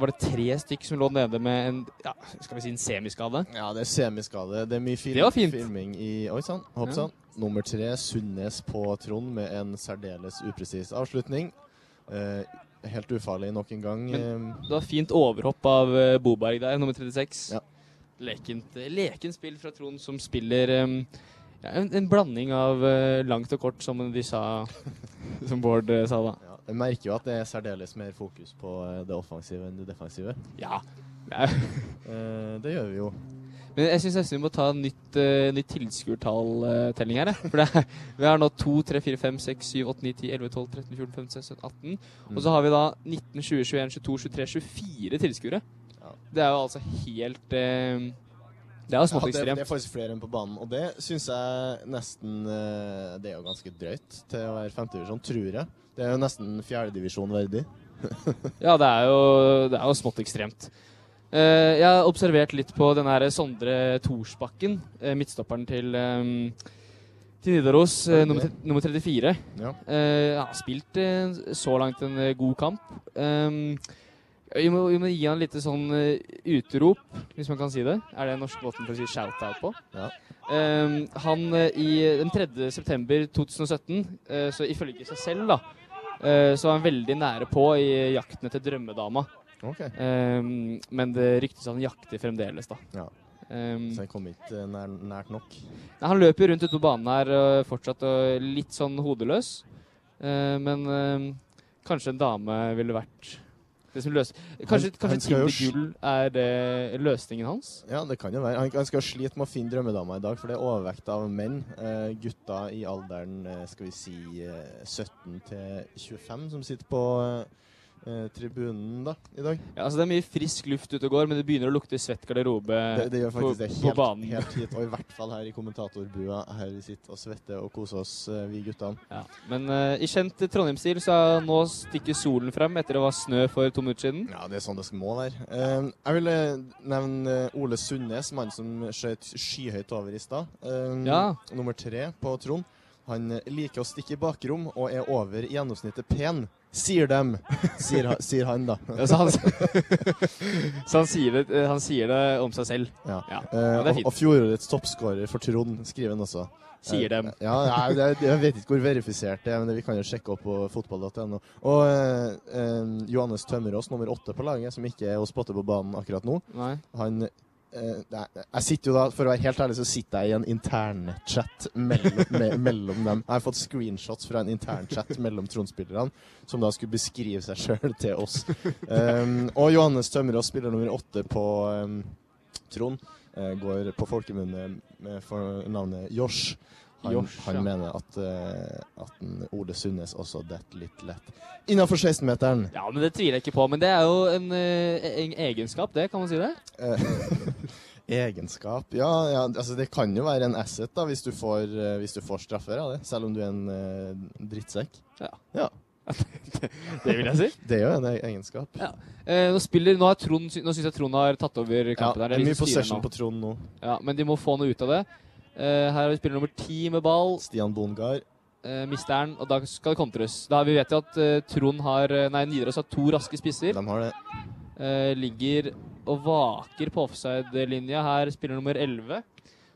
[SPEAKER 3] var det tre stykk som lå nede med en ja, skal vi si en semiskade?
[SPEAKER 4] Ja, det er semiskade. Det er mye film,
[SPEAKER 3] Det var fint.
[SPEAKER 4] filming i Oi sann, hopp
[SPEAKER 3] Ja.
[SPEAKER 4] sann. Nummer tre, Sundnes på Trond med en særdeles upresis avslutning. Eh, helt ufarlig nok en gang. Eh,
[SPEAKER 3] Det var fint overhopp av eh, Boberg der, nummer 36.
[SPEAKER 4] Ja.
[SPEAKER 3] Lekent, eh, lekent spill fra Trond, som spiller eh, ja, en, en blanding av eh, langt og kort, som de sa Som Bård eh, sa da.
[SPEAKER 4] ja, jeg merker jo at det er særdeles mer fokus på eh, det offensive enn det defensive.
[SPEAKER 3] Ja. det er-
[SPEAKER 4] Eh, det gjør vi jo.
[SPEAKER 3] Men jeg syns nesten vi må ta en nytt, uh, nytt tilskuertalltelling her. jeg. For det er, vi har nå 2, 3, 4, 5, 6, 7, 8, 9, 10, 11, 12, 13, 14, 15, 16, 17,
[SPEAKER 4] Mm.
[SPEAKER 3] 18. Og så har vi da 19, 20, 21, 22, 23, 24 tilskuere. Det er jo altså helt eh, Det er jo
[SPEAKER 4] Ja,
[SPEAKER 3] smått
[SPEAKER 4] det, det
[SPEAKER 3] ekstremt.
[SPEAKER 4] er faktisk flere enn på banen, og det syns jeg nesten eh, Det er jo ganske drøyt til å være femtedivisjon, tror jeg. Det er jo nesten fjerdedivisjon verdig.
[SPEAKER 3] Ja, det er jo, det er jo smått ekstremt. Eh, jeg har observert litt på den her Sondre Thorsbakken, eh, midtstopperen til, eh, til Nidaros, eh, nummer, tre- nummer 34.
[SPEAKER 4] Ja.
[SPEAKER 3] Eh, han har spilt eh, så langt en eh, god kamp. Ehm, vi, må, vi må gi han litt sånn eh, utrop, hvis man kan si det. Er det den norske måten for å si shout-out på?
[SPEAKER 4] Ja.
[SPEAKER 3] Ehm, han eh, i den 3. september 2017, eh, så ifølge seg selv, da, eh, så var han veldig nære på i eh, jakten etter drømmedama.
[SPEAKER 4] Ok.
[SPEAKER 3] Ehm, men det ryktes at han jakter fremdeles, da.
[SPEAKER 4] Ja.
[SPEAKER 3] Ehm,
[SPEAKER 4] Så jeg kom ikke eh, nær, nært nok.
[SPEAKER 3] Nei, han løper rundt ute på banen her øh, fortsatt og litt sånn hodeløs. Eh, men eh, kanskje en dame ville vært det som løser Kanskje,
[SPEAKER 4] Han- han
[SPEAKER 3] kanskje
[SPEAKER 4] skal jo
[SPEAKER 3] Tinder Gull er det løsningen hans?
[SPEAKER 4] Ja, det kan jo være. Han, han skal slite med å finne drømmedama i dag, for det er overvekt av menn. Eh, gutter i alderen eh, skal vi si eh, 17 til 25 som sitter på eh, tribunen da, i dag.
[SPEAKER 3] Ja, altså Det er mye frisk luft ute og går, men det begynner å lukte svett garderobe
[SPEAKER 4] Det, det gjør
[SPEAKER 3] Eh, på,
[SPEAKER 4] faktisk det
[SPEAKER 3] på
[SPEAKER 4] helt,
[SPEAKER 3] banen.
[SPEAKER 4] helt hit, og i hvert fall her i kommentatorbua, her vi sitter og svetter og koser oss, eh, vi guttene.
[SPEAKER 3] Ja. Men eh, i kjent Trondheimsstil så er- nå stikker solen frem etter det var snø for to minutter siden.
[SPEAKER 4] Ja, det er sånn det skal må være. Eh, jeg vil eh, nevne eh, Ole Sundnes, mannen som skjøt skyhøyt over i stad. Eh,
[SPEAKER 3] Ja.
[SPEAKER 4] Nummer tre på Trond. Han eh, liker å stikke i bakrom og er over i gjennomsnittet pen, sier dem. Sier, ha, sier han, da.
[SPEAKER 3] Ja, så han, så han, sier det, eh, han sier det om seg selv.
[SPEAKER 4] Ja.
[SPEAKER 3] Ja.
[SPEAKER 4] Eh,
[SPEAKER 3] det er
[SPEAKER 4] og,
[SPEAKER 3] fint.
[SPEAKER 4] og fjorårets toppskårer for Trond, skriver han også.
[SPEAKER 3] Sier dem.
[SPEAKER 4] Eh, Ja, nei, det, det- jeg vet ikke hvor verifisert det er, men det, vi kan jo sjekke opp på fotball.no. Og eh, eh, Johannes Tømmerås, nummer åtte på laget, som ikke er å spotte på banen akkurat nå.
[SPEAKER 3] Nei.
[SPEAKER 4] Han eh, nei, Jeg sitter jo da, for å være helt ærlig, så sitter jeg i en internchat mellom, me, mellom dem. Jeg har fått screenshots fra en internchat mellom Trond-spillerne, som da skulle beskrive seg sjøl til oss. Um, og Johannes Tømmerås, spiller nummer åtte på um, Trond, eh, går på folkemunne med for navnet Josh. Han,
[SPEAKER 3] Josh,
[SPEAKER 4] han
[SPEAKER 3] ja.
[SPEAKER 4] mener at, eh, at en Ole Sundnes også detter litt lett. Innafor 16-meteren.
[SPEAKER 3] Ja, men Det tviler jeg ikke på. Men det er jo en, eh, en egenskap, det. Kan man si det?
[SPEAKER 4] Eh, Egenskap ja, ja, altså det kan jo være en asset da hvis du får, eh, hvis du får straffer av det, selv om du er en eh, drittsekk.
[SPEAKER 3] Det vil jeg si.
[SPEAKER 4] Det er jo en e- egenskap.
[SPEAKER 3] Eh, nå spiller, nå, har Trond, sy- nå syns jeg Trond har tatt over
[SPEAKER 4] Ja,
[SPEAKER 3] kampen. her.
[SPEAKER 4] det er
[SPEAKER 3] Det er de
[SPEAKER 4] mye
[SPEAKER 3] som styrer
[SPEAKER 4] possession
[SPEAKER 3] nå.
[SPEAKER 4] på Trond nå.
[SPEAKER 3] Ja, Men de må få noe ut av det. Eh, her har vi spiller nummer ti med ball.
[SPEAKER 4] Stian Bongard.
[SPEAKER 3] Uh, mister den, og da skal det kontres. Da Vi vet jo at eh, Trond har eh, Nei, Nidaros har to raske spisser.
[SPEAKER 4] De har det.
[SPEAKER 3] Eh, ligger og vaker på offside-linja. Her spiller nummer elleve.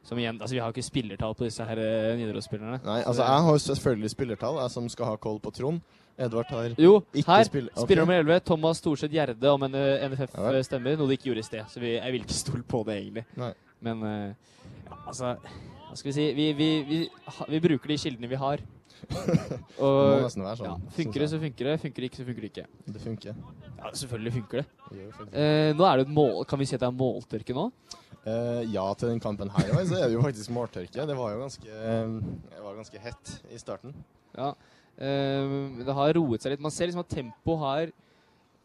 [SPEAKER 3] Som igjen, altså Vi har jo ikke spillertall på disse her eh, Nidaros-spillerne.
[SPEAKER 4] Nei, altså jeg har jo selvfølgelig spillertall, jeg som skal ha koll på Trond. Edvard har
[SPEAKER 3] Jo,
[SPEAKER 4] ikke
[SPEAKER 3] her
[SPEAKER 4] spill- ok.
[SPEAKER 3] Spiller nummer 11, Thomas Thorseth Gjerde, om en NFF
[SPEAKER 4] Ja vel.
[SPEAKER 3] eh, stemmer. Noe de ikke gjorde i sted, så vi, jeg vil ikke stole på det, egentlig.
[SPEAKER 4] Nei.
[SPEAKER 3] Men eh, ja, altså Hva skal vi si? Vi, vi, vi, ha- vi bruker de kildene vi har.
[SPEAKER 4] Det må
[SPEAKER 3] Og
[SPEAKER 4] nesten være
[SPEAKER 3] ja,
[SPEAKER 4] sånn.
[SPEAKER 3] funker det, så funker det. Funker det ikke, så funker det ikke.
[SPEAKER 4] så Det funker.
[SPEAKER 3] Ja, Selvfølgelig funker det.
[SPEAKER 4] Det gjør jo faktisk det.
[SPEAKER 3] Eh, nå er det et mål Kan vi si at det er måltørke nå?
[SPEAKER 4] Eh, ja, til den kampen her også, så er det jo faktisk måltørke. Det var jo ganske, eh, det var ganske hett i starten.
[SPEAKER 3] Ja. Eh, det har roet seg litt. Man ser liksom at tempoet har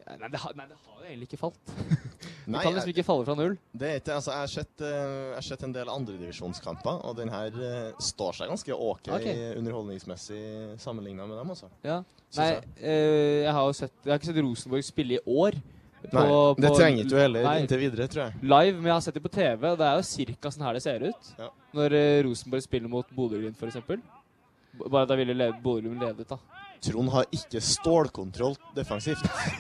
[SPEAKER 3] ja, nei det, har, nei, det har jo egentlig ikke falt. Det
[SPEAKER 4] Nei,
[SPEAKER 3] kan liksom
[SPEAKER 4] jeg-
[SPEAKER 3] ikke falle fra null.
[SPEAKER 4] Det er ikke, altså Jeg har sett, eh, jeg har sett en del andredivisjonskamper, og den her eh, står seg ganske ok,
[SPEAKER 3] Ok.
[SPEAKER 4] underholdningsmessig sammenligna med dem, altså.
[SPEAKER 3] Ja.
[SPEAKER 4] Synes
[SPEAKER 3] Nei,
[SPEAKER 4] jeg.
[SPEAKER 3] eh, jeg har jo sett Jeg har ikke sett Rosenborg spille i år. på-
[SPEAKER 4] Nei, det
[SPEAKER 3] på-
[SPEAKER 4] trenger ikke du heller
[SPEAKER 3] Nei.
[SPEAKER 4] inntil videre, tror jeg.
[SPEAKER 3] Live, men jeg har sett det på TV, og det er jo ca. sånn her det ser ut.
[SPEAKER 4] Ja.
[SPEAKER 3] Når eh, Rosenborg spiller mot Bodø-Glimt, f.eks. Bare da ville le- Bodø-Glimt ledet, da.
[SPEAKER 4] Trond har ikke stålkontroll defensivt.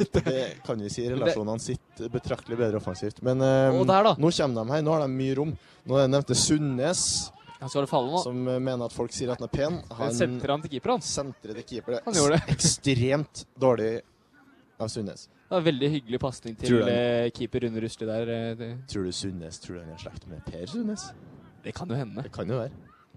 [SPEAKER 4] Det kan vi si. Relasjonene sitter betraktelig bedre offensivt. Men eh,
[SPEAKER 3] Og der, da.
[SPEAKER 4] nå kommer de her. Nå har de mye rom. Nå er det nevnte Sundnes,
[SPEAKER 3] Han skal det falle nå.
[SPEAKER 4] som eh, mener at folk sier at han er pen.
[SPEAKER 3] Han
[SPEAKER 4] Han
[SPEAKER 3] sentrer han til keeper, hans.
[SPEAKER 4] sentrer til keeper.
[SPEAKER 3] Han gjorde
[SPEAKER 4] det. er Ekstremt dårlig av Sundnes.
[SPEAKER 3] Det var en veldig hyggelig pasning til
[SPEAKER 4] Tror jeg.
[SPEAKER 3] eh, keeper Rune Rusli der. eh, Det,
[SPEAKER 4] Tror du Sundnes tror du han er i slekt med Per Sundnes?
[SPEAKER 3] det kan jo hende.
[SPEAKER 4] Det kan jo være.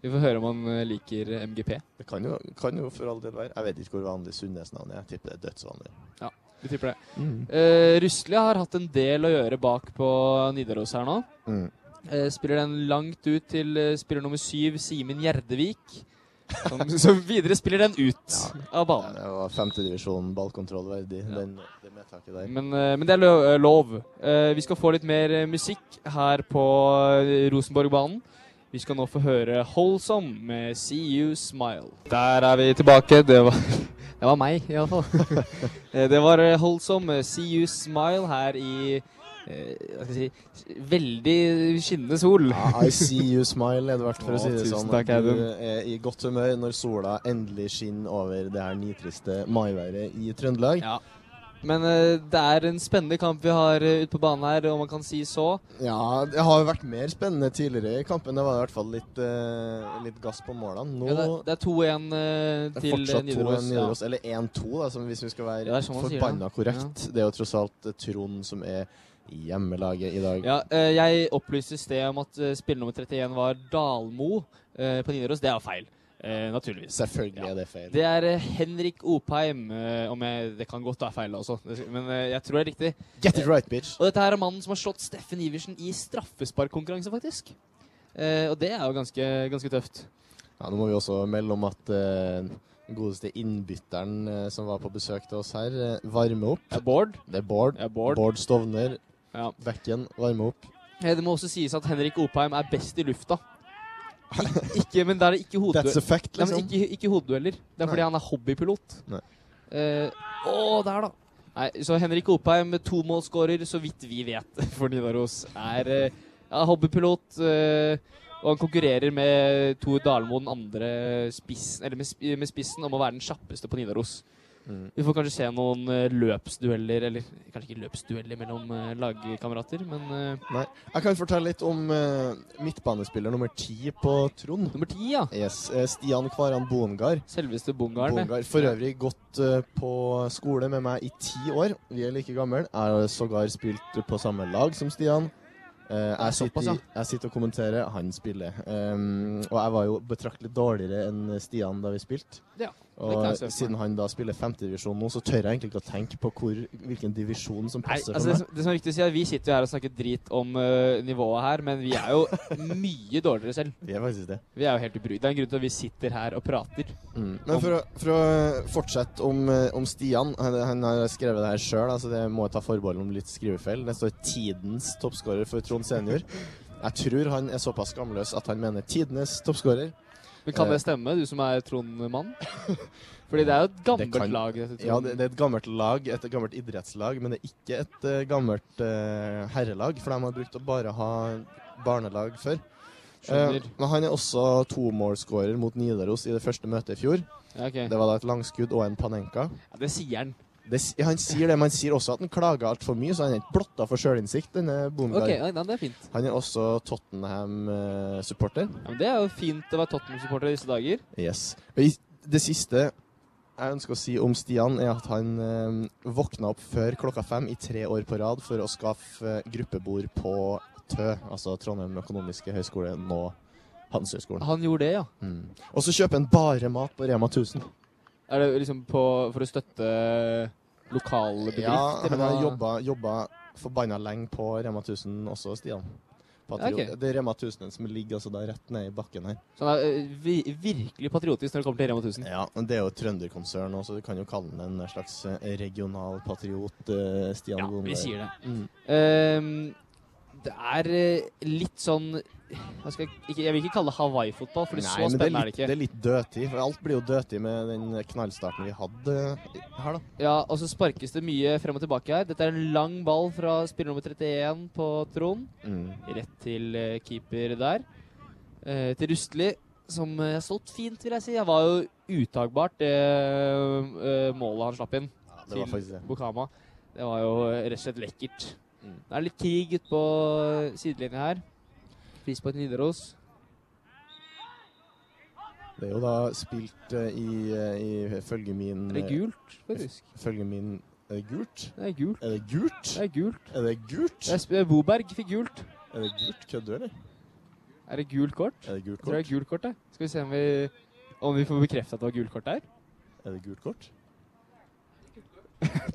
[SPEAKER 3] Vi får høre om han eh, liker eh, MGP.
[SPEAKER 4] Det kan jo, kan jo for all del være. Jeg vet ikke hvor vanlig Sundnes-navn er. Jeg tipper det er dødsvanlig.
[SPEAKER 3] Vi tipper
[SPEAKER 4] Mm.
[SPEAKER 3] det. Eh, Rusli har hatt en del å gjøre bak på Nidaros her nå.
[SPEAKER 4] Mm.
[SPEAKER 3] Eh, spiller den langt ut til eh, spiller nummer syv, Simen Gjerdevik. Som, som videre spiller den ut
[SPEAKER 4] Ja,
[SPEAKER 3] av banen.
[SPEAKER 4] det var femtedivisjon ballkontroll verdig,
[SPEAKER 3] Ja.
[SPEAKER 4] den, det medtaket der.
[SPEAKER 3] Men, eh, men det er lov. lov. Eh, vi skal få litt mer eh, musikk her på eh, Rosenborgbanen. Vi skal nå få høre Holsom med See You Smile. Der er vi tilbake. Det var, det var meg, iallfall. det var eh, Holsom med See You Smile her i eh, hva skal jeg si, veldig skinnende sol.
[SPEAKER 4] Ja, I see you smile, Edvard, for å
[SPEAKER 3] Å,
[SPEAKER 4] si det
[SPEAKER 3] tusen
[SPEAKER 4] sånn.
[SPEAKER 3] takk,
[SPEAKER 4] du
[SPEAKER 3] Audun.
[SPEAKER 4] er i godt humør når sola endelig skinner over det her nitriste maiværet i Trøndelag.
[SPEAKER 3] Ja. Men eh, det er en spennende kamp vi har eh, ute på banen her, om man kan si så.
[SPEAKER 4] Ja, det har jo vært mer spennende tidligere i kampen. Det var i hvert fall litt, eh, litt gass på målene. Nå
[SPEAKER 3] Ja, det, det er 2-1 eh,
[SPEAKER 4] det er
[SPEAKER 3] til eh,
[SPEAKER 4] fortsatt 2-1
[SPEAKER 3] Nidaros. ja.
[SPEAKER 4] Nidaros. Eller 1-2, da, som hvis vi skal
[SPEAKER 3] Ja,
[SPEAKER 4] være
[SPEAKER 3] det er sånn man sier det.
[SPEAKER 4] forbanna korrekt. Det er jo tross alt eh, Trond som er hjemmelaget i dag.
[SPEAKER 3] Ja, eh, jeg opplyste i sted om at eh, spiller nummer 31 var Dalmo eh, på Nidaros. Det er feil, eh, naturligvis.
[SPEAKER 4] Selvfølgelig
[SPEAKER 3] Ja.
[SPEAKER 4] er det feil.
[SPEAKER 3] Det er eh, Henrik Opheim. eh, om jeg, det kan godt være feil også, det- men eh, jeg tror det er riktig.
[SPEAKER 4] Get it right, bitch!
[SPEAKER 3] Og dette her er mannen som har slått Steffen Iversen i straffesparkkonkurranse, faktisk. Eh, og det er jo ganske, ganske tøft.
[SPEAKER 4] Ja, nå må vi også melde om at eh, den godeste innbytteren eh, som var på besøk til oss her, eh, varmer opp.
[SPEAKER 3] Det er Bård.
[SPEAKER 4] Det er Bård.
[SPEAKER 3] Det er Bård.
[SPEAKER 4] Bård Stovner.
[SPEAKER 3] Ja.
[SPEAKER 4] Bekken varmer opp.
[SPEAKER 3] Eh, Det må også sies at Henrik Opheim er best i lufta. Ik ikke, men da er det ikke
[SPEAKER 4] That's
[SPEAKER 3] hodedueller.
[SPEAKER 4] a fact,
[SPEAKER 3] Nei, men
[SPEAKER 4] liksom.
[SPEAKER 3] ikke, ikke hodedueller. Det er fordi
[SPEAKER 4] Nei.
[SPEAKER 3] han er hobbypilot.
[SPEAKER 4] Nei.
[SPEAKER 3] Eh, Å, der, da. Nei, så Henrik Opheim, tomålsskårer, så vidt vi vet, for Nidaros, er eh, ja, hobbypilot. eh, og han konkurrerer med Tor Dalmo, den andre spissen, eller med, sp- med spissen, om å være den kjappeste på Nidaros.
[SPEAKER 4] Mm.
[SPEAKER 3] Vi får kanskje se noen eh, løpsdueller, eller kanskje ikke løpsdueller mellom eh, lagkamerater, men eh,
[SPEAKER 4] Jeg kan fortelle litt om eh, midtbanespiller nummer ti på Trond.
[SPEAKER 3] nummer ti, ja.
[SPEAKER 4] Yes, eh, Stian Kvaran Bongar.
[SPEAKER 3] Selveste bongaren. det.
[SPEAKER 4] Bongar for øvrig gått eh, på skole med meg i ti år. Vi er like gamle. Jeg har sågar spilt på samme lag som Stian. Eh, jeg, sitter,
[SPEAKER 3] såpass, ja.
[SPEAKER 4] i- jeg sitter og kommenterer, han spiller. Um, og jeg var jo betraktelig dårligere enn Stian da vi spilte.
[SPEAKER 3] Ja, kan jeg
[SPEAKER 4] og
[SPEAKER 3] se for meg.
[SPEAKER 4] siden han da spiller femtedivisjon nå, så tør jeg egentlig ikke å tenke på hvor, hvilken divisjon som
[SPEAKER 3] Nei,
[SPEAKER 4] passer
[SPEAKER 3] altså det,
[SPEAKER 4] for meg.
[SPEAKER 3] som, det som er viktig å si er at Vi sitter jo her og snakker drit om øh, nivået her, men vi er jo mye dårligere selv.
[SPEAKER 4] Det er faktisk det.
[SPEAKER 3] Vi er jo helt ubrukt. Det er en grunn til at vi sitter her og prater.
[SPEAKER 4] Mm. Men for å, for å fortsette om, eh, om Stian Han, han har skrevet det her sjøl, altså det må jeg ta forbehold om litt skrivefeil. Det står 'Tidens toppskårer for Trond senior'. Jeg tror han er såpass skamløs at han mener 'tidenes toppskårer'.
[SPEAKER 3] Men Kan
[SPEAKER 4] Eh.
[SPEAKER 3] det stemme, du som er Trond-mann? Fordi det er jo et gammelt
[SPEAKER 4] Eh, kan-
[SPEAKER 3] lag. Dette, Trond.
[SPEAKER 4] Ja, det, det er et gammelt lag, et gammelt idrettslag, men det er ikke et eh, gammelt eh, herrelag, for de har brukt å bare ha barnelag før. Eh,
[SPEAKER 3] Skjønner.
[SPEAKER 4] men han er også tomålsskårer mot Nidaros i det første møtet i fjor.
[SPEAKER 3] Ja, ok.
[SPEAKER 4] Det var da et langskudd og en panenka.
[SPEAKER 3] ja, det sier han.
[SPEAKER 4] Det, s- han sier det, men han sier også at han klager altfor mye, så han er ikke blotta for sjølinnsikt, denne Bondegard.
[SPEAKER 3] Ok, ja, nei, det er fint.
[SPEAKER 4] Han er også eh, Tottenham-supporter.
[SPEAKER 3] Ja, men det er jo fint å være Tottenham-supporter i disse dager.
[SPEAKER 4] Yes. Og i- det siste jeg ønsker å si om Stian, er at han eh, våkna opp før klokka fem i tre år på rad for å skaffe eh, gruppebord på Tø, altså Trondheim økonomiske høgskole, nå Handelshøgskolen.
[SPEAKER 3] Han gjorde det, ja.
[SPEAKER 4] Mm. Og så kjøper han bare mat på Rema 1000.
[SPEAKER 3] Er det liksom på, for å støtte lokale bedrift?
[SPEAKER 4] Ja,
[SPEAKER 3] eller
[SPEAKER 4] han har
[SPEAKER 3] hva?
[SPEAKER 4] jobba, jobba forbanna lenge på Rema 1000 også, Stian. Patriot.
[SPEAKER 3] Ja, ok.
[SPEAKER 4] Det er Rema 1000 som ligger altså da rett nede i bakken her.
[SPEAKER 3] Så han er øh, vi, virkelig patriotisk når det kommer til Rema 1000.
[SPEAKER 4] Ja, men Det er jo et trønderkonsern, også, så du kan jo kalle den en slags eh, regional patriot. eh, Stian
[SPEAKER 3] Ja,
[SPEAKER 4] Bonberg.
[SPEAKER 3] vi sier det.
[SPEAKER 4] Mm.
[SPEAKER 3] Ehm, det er eh, litt sånn hva skal jeg, ikke, jeg vil ikke kalle det Hawaii-fotball, for
[SPEAKER 4] Nei,
[SPEAKER 3] så
[SPEAKER 4] men det er,
[SPEAKER 3] spennende er,
[SPEAKER 4] litt, det
[SPEAKER 3] det ikke.
[SPEAKER 4] er litt dødtid. For alt blir jo dødtid med den knallstarten vi hadde eh, her, da.
[SPEAKER 3] Ja, og så sparkes det mye frem og tilbake her. Dette er en lang ball fra spiller nummer 31 på Trond.
[SPEAKER 4] Mm.
[SPEAKER 3] Rett til eh, keeper der. Eh, til Rustli, som eh, har stått fint, vil jeg si. Det var jo utagbart, det eh, målet han slapp inn.
[SPEAKER 4] Ja, det var
[SPEAKER 3] til
[SPEAKER 4] faktisk det.
[SPEAKER 3] Bukama. Det var jo eh, rett og slett lekkert.
[SPEAKER 4] Mm.
[SPEAKER 3] Det er litt krig ute på eh, sidelinja her. Frispark til Nidaros.
[SPEAKER 4] Det er jo da spilt eh, i, eh, i følge min
[SPEAKER 3] Er det gult, faktisk?
[SPEAKER 4] eh, Følge min Er det gult?
[SPEAKER 3] Det er gult.
[SPEAKER 4] Er det gult?
[SPEAKER 3] Det er gult.
[SPEAKER 4] Er det gult?
[SPEAKER 3] Det er sp- Boberg fikk gult.
[SPEAKER 4] Er det gult? Kødder du, eller?
[SPEAKER 3] Er det gult kort?
[SPEAKER 4] Er det gult
[SPEAKER 3] Jeg tror det
[SPEAKER 4] kort?
[SPEAKER 3] er gult kort, det. Skal vi se om vi, om vi får bekreftet at det var gult kort der?
[SPEAKER 4] Er det gult kort?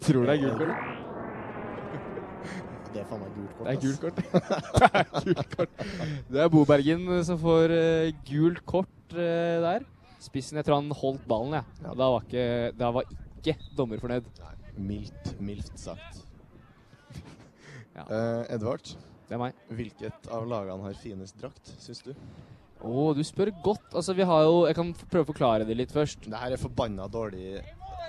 [SPEAKER 3] Tror det er gult kort.
[SPEAKER 4] Det er faen meg gult kort.
[SPEAKER 3] Det er
[SPEAKER 4] ass.
[SPEAKER 3] gult kort. det er gult kort. Det er Bobergen eh, som får eh, gult kort eh, der. Spissen, jeg tror han holdt ballen, jeg.
[SPEAKER 4] Ja.
[SPEAKER 3] Og Da var ikke, da var ikke dommer fornøyd.
[SPEAKER 4] Nei, mildt, mildt sagt.
[SPEAKER 3] Ja.
[SPEAKER 4] Eh, Edvard,
[SPEAKER 3] Det er meg.
[SPEAKER 4] hvilket av lagene har finest drakt, syns du?
[SPEAKER 3] Å, du spør godt. Altså, vi har jo Jeg kan f- prøve å forklare det litt først.
[SPEAKER 4] Det her er forbanna dårlig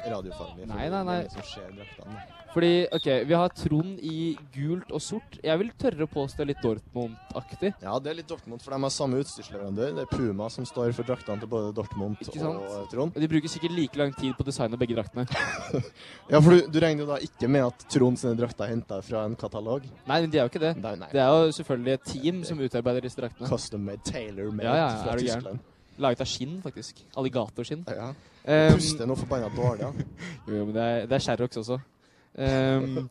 [SPEAKER 4] radiofaglig. for
[SPEAKER 3] Nei, nei, nei.
[SPEAKER 4] det er ingen Som ser draktene.
[SPEAKER 3] Fordi, OK, vi har Trond i gult og sort. Jeg vil tørre å påstå litt Dortmund-aktig.
[SPEAKER 4] Ja, det er litt Dortmund, for de har samme utstyrsleverandør. Det er Puma som står for draktene til både Dortmund
[SPEAKER 3] Ikke sant?
[SPEAKER 4] og Trond.
[SPEAKER 3] De bruker sikkert like lang tid på å designe begge draktene.
[SPEAKER 4] Ja, for du, du regner jo da ikke med at Trond sine drakter er henta fra en katalog?
[SPEAKER 3] Nei, men de er jo ikke det.
[SPEAKER 4] Nei, nei.
[SPEAKER 3] Det er jo selvfølgelig et team som utarbeider disse draktene.
[SPEAKER 4] Custom made, tailor made
[SPEAKER 3] Ja, ja,
[SPEAKER 4] fra
[SPEAKER 3] er du gæren?
[SPEAKER 4] Tyskland.
[SPEAKER 3] Laget av skinn, faktisk. Alligatorskinn.
[SPEAKER 4] Ja.
[SPEAKER 3] Um,
[SPEAKER 4] Puster noe forbanna dårlig, ja.
[SPEAKER 3] Jo, jo, men det er, det er Sherrox også. Ehm,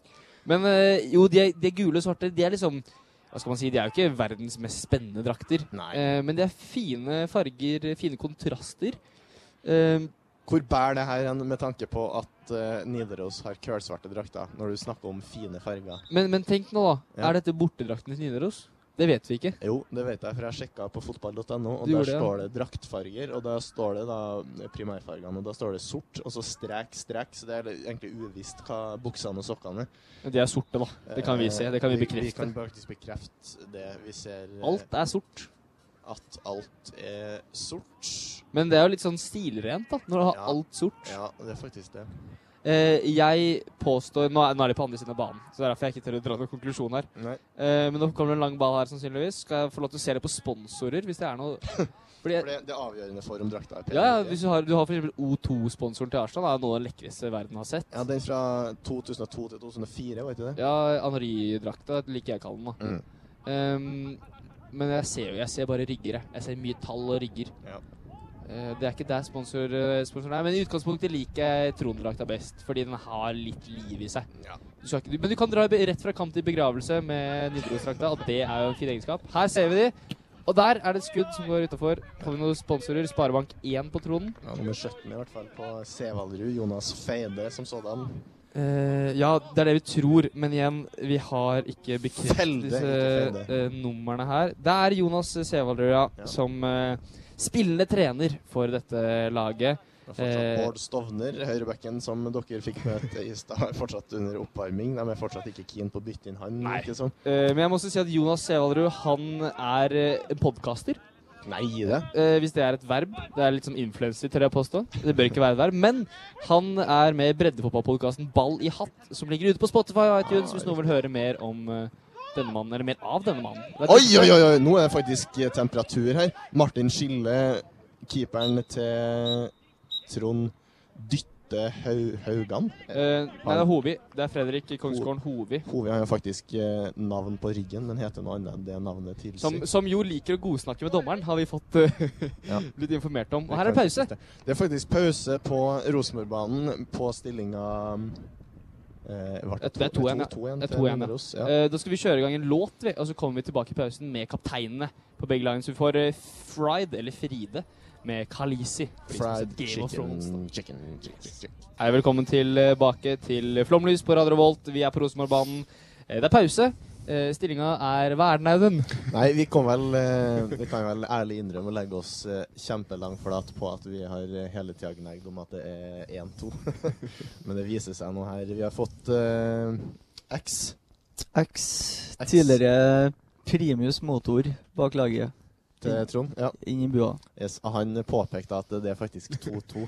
[SPEAKER 3] men eh, jo, de, er- de er gule og svarte, de er liksom Hva skal man si, de er jo ikke verdens mest spennende drakter.
[SPEAKER 4] Nei.
[SPEAKER 3] Eh, men de er fine farger, fine kontraster. Ehm,
[SPEAKER 4] Hvor bærer det her hen med tanke på at eh, Nidaros har kølsvarte drakter, når du snakker om fine farger?
[SPEAKER 3] men, men tenk nå, da.
[SPEAKER 4] Ja.
[SPEAKER 3] Er dette bortedrakten til Nidaros? Det vet vi ikke.
[SPEAKER 4] Jo, det vet jeg, for jeg sjekka på fotball.no, og der
[SPEAKER 3] Du gjorde det, ja.
[SPEAKER 4] står det draktfarger. Og da står det da eh, primærfargene, og da står det sort, og så strek, strek. Så det er egentlig uvisst hva buksene og sokkene er.
[SPEAKER 3] Men de er sorte, da. Det kan vi se. Det kan vi
[SPEAKER 4] Eh, Vi kan
[SPEAKER 3] bekrefte.
[SPEAKER 4] faktisk bekrefte det. Vi ser eh,
[SPEAKER 3] Alt er sort.
[SPEAKER 4] at alt er sort.
[SPEAKER 3] Men det er jo litt sånn stilrent, da, når du har
[SPEAKER 4] Ja.
[SPEAKER 3] alt sort.
[SPEAKER 4] Ja, det er faktisk det.
[SPEAKER 3] Eh, jeg påstår Nå er, nå er de på andre siden av banen, så det er derfor jeg ikke tør å dra noen konklusjon her.
[SPEAKER 4] Nei.
[SPEAKER 3] Eh, men nå kommer det en lang ball her, sannsynligvis. Skal jeg få lov til å se det på sponsorer, hvis det er noe Fordi
[SPEAKER 4] For det, det er avgjørende for om drakta er pen
[SPEAKER 3] ja, ja,
[SPEAKER 4] eller ikke.
[SPEAKER 3] hvis du har, du har for eksempel O2-sponsoren til Arsenal. Det er noe av den lekreste verden har sett.
[SPEAKER 4] Ja, den fra 2002 til 2004, var ikke det? Mm.
[SPEAKER 3] Ja, Anori-drakta liker jeg å kalle den, da. Eh, men jeg ser jo jeg ser bare rigger, jeg. Jeg ser mye tall og rigger.
[SPEAKER 4] Ja.
[SPEAKER 3] Eh, det er ikke der sponsor, eh, sponsoren er, men i utgangspunktet liker jeg Trond-drakta best. Fordi den har litt liv i seg.
[SPEAKER 4] Ja.
[SPEAKER 3] Du skal ikke, du- men du kan dra i be- rett fra kamp til begravelse med Nidaros-drakta, og det er jo en fin egenskap. Her ser vi de. Og der er det et skudd som går utafor. Har vi noen sponsorer? Sparebank 1 på tronen.
[SPEAKER 4] Ja, nummer 17 i hvert fall på Sevaldrud. Jonas Feide som sådan.
[SPEAKER 3] Eh, ja, det er det vi tror, men igjen, vi har ikke bekreftet
[SPEAKER 4] Felde,
[SPEAKER 3] disse
[SPEAKER 4] ikke felde.
[SPEAKER 3] eh, numrene her. Det er Jonas Sevaldrud, ja,
[SPEAKER 4] Ja.
[SPEAKER 3] som eh, spillende trener for dette laget.
[SPEAKER 4] Det er fortsatt
[SPEAKER 3] Eh.
[SPEAKER 4] Bård Stovner, høyrebacken som dere fikk møte i stad, er fortsatt under oppvarming. De er fortsatt ikke keen på å bytte inn han.
[SPEAKER 3] Nei.
[SPEAKER 4] Ikke sånn.
[SPEAKER 3] Eh, men jeg må også si at Jonas Sevaldrud, han er eh, en podkaster.
[SPEAKER 4] Nei, gi det.
[SPEAKER 3] Eh, hvis det er et verb. Det er litt som influenser, tør jeg påstå. Det bør ikke være et verb. Men han er med i breddefotballpodkasten Ball i hatt, som ligger ute på Spotify og iTunes,
[SPEAKER 4] Ah,
[SPEAKER 3] hvis noen vil høre mer om eh, denne mannen, eller mer av denne mannen. Det er-
[SPEAKER 4] Oi, oi, oi! oi. Nå er det faktisk eh, temperatur her. Martin Skille, keeperen til Trond Dytte Hau Haugan.
[SPEAKER 3] Eh, nei, det er Hovi. Det er Fredrik Kongsgården Hovi.
[SPEAKER 4] Hove har jo faktisk eh, navn på ryggen, men heter noe annet enn det navnet tilsier.
[SPEAKER 3] Som, som jo liker å godsnakke med dommeren, har vi fått eh,
[SPEAKER 4] Ja.
[SPEAKER 3] blitt informert om. Og her er pause.
[SPEAKER 4] Det er faktisk pause på Rosenborg-banen på stillinga eh, var
[SPEAKER 3] Det er 2-1, ja. Det
[SPEAKER 4] 2-1
[SPEAKER 3] er 2-1, ja.
[SPEAKER 4] Nidaros, ja.
[SPEAKER 3] Eh, da skal vi kjøre i gang en låt, vi, og så kommer vi tilbake i pausen med kapteinene på begge lagene. Så vi får eh, Fried, eller Fride, med Kalisi. for de som
[SPEAKER 4] Fried
[SPEAKER 3] har sett Game of Thrones, da.
[SPEAKER 4] chicken, chicken, chicken, chicken.
[SPEAKER 3] Hei, velkommen tilbake til Flomlys på Radio Revolt. Vi er på Rosenborgbanen. Eh, Det er pause. Eh, Stillinga er Hva er den, Audun?
[SPEAKER 4] Nei, vi, kom vel, eh, vi kan vel ærlig innrømme å legge oss eh, kjempelangt flat på at vi har eh, hele tida gnagd om at det er 1-2. Men det viser seg nå her. Vi har fått eh, X.
[SPEAKER 7] X,
[SPEAKER 4] X.
[SPEAKER 7] tidligere primus motor bak laget,
[SPEAKER 4] til Trond. Ja.
[SPEAKER 7] inn i bua.
[SPEAKER 4] Yes, han påpekte at det er faktisk 2-2.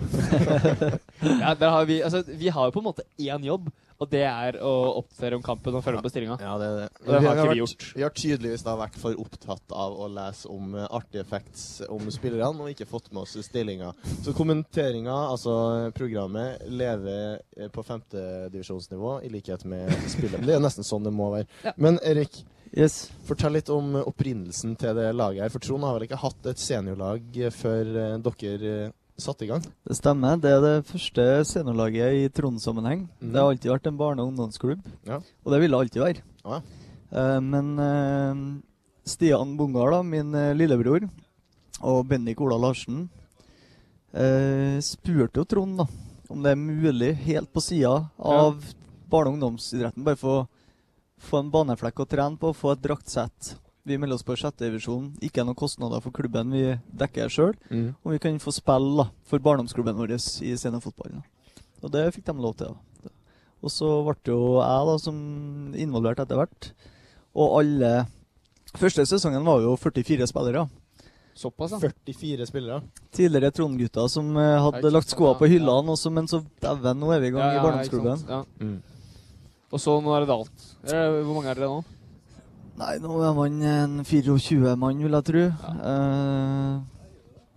[SPEAKER 3] Ja, der har vi, altså, vi har jo på en måte én jobb, og det er å oppdatere om kampen og følge med på stillinga.
[SPEAKER 4] Ja, det er det.
[SPEAKER 3] Og det har ikke
[SPEAKER 4] vært,
[SPEAKER 3] vi gjort.
[SPEAKER 4] vi har tydeligvis da vært for opptatt av å lese om eh, artige facts om spillerne, og ikke fått med oss stillinga. Så kommenteringa, altså eh, programmet, lever eh, på femtedivisjonsnivå, i likhet med spillet. Det er nesten sånn det må være.
[SPEAKER 3] Ja.
[SPEAKER 4] Men Erik,
[SPEAKER 7] Yes.
[SPEAKER 4] fortell litt om eh, opprinnelsen til det laget her. For Trond har vel ikke hatt et seniorlag eh, før eh, dere eh, satte i gang?
[SPEAKER 7] Det stemmer. Det er det første seniorlaget i Trond-sammenheng.
[SPEAKER 4] Mhm.
[SPEAKER 7] Det har alltid vært en barne- og ungdomsklubb,
[SPEAKER 4] Ja.
[SPEAKER 7] og det vil det alltid være.
[SPEAKER 4] Ja.
[SPEAKER 7] Eh, men eh, Stian Bongar, da, min eh, lillebror, og Bendik Ola Larsen eh, spurte jo Trond da, om det er mulig, helt på sida av barne- og ungdomsidretten, bare få Få en baneflekk å trene på, få et draktsett. Vi melder oss på sjette divisjon. Ikke noen kostnader for klubben, vi dekker sjøl.
[SPEAKER 4] Mm.
[SPEAKER 7] Og vi kan få spille da, for barndomsklubben vår i seniorfotballen. da. Og det fikk de lov til. da. Og så ble det jo jeg da, som involvert etter hvert. Og alle Første sesongen var jo 44 spillere.
[SPEAKER 3] Såpass, ja.
[SPEAKER 4] 44 spillere.
[SPEAKER 7] Tidligere Trond-gutter som eh,
[SPEAKER 3] Ja,
[SPEAKER 7] hadde
[SPEAKER 3] ikke
[SPEAKER 7] lagt
[SPEAKER 3] sant,
[SPEAKER 7] skoa
[SPEAKER 3] ja,
[SPEAKER 7] på
[SPEAKER 3] ja.
[SPEAKER 7] hyllene, og så- men så dæven, nå er vi i gang
[SPEAKER 3] Ja,
[SPEAKER 7] i
[SPEAKER 3] ja, ja, ikke
[SPEAKER 7] barndomsklubben.
[SPEAKER 3] sant, Ja.
[SPEAKER 4] Mm.
[SPEAKER 3] Og så nå er det dalt. Eller, Hvor mange er dere nå?
[SPEAKER 7] Nei, nå er man en 24 mann, vil jeg tro. Eh,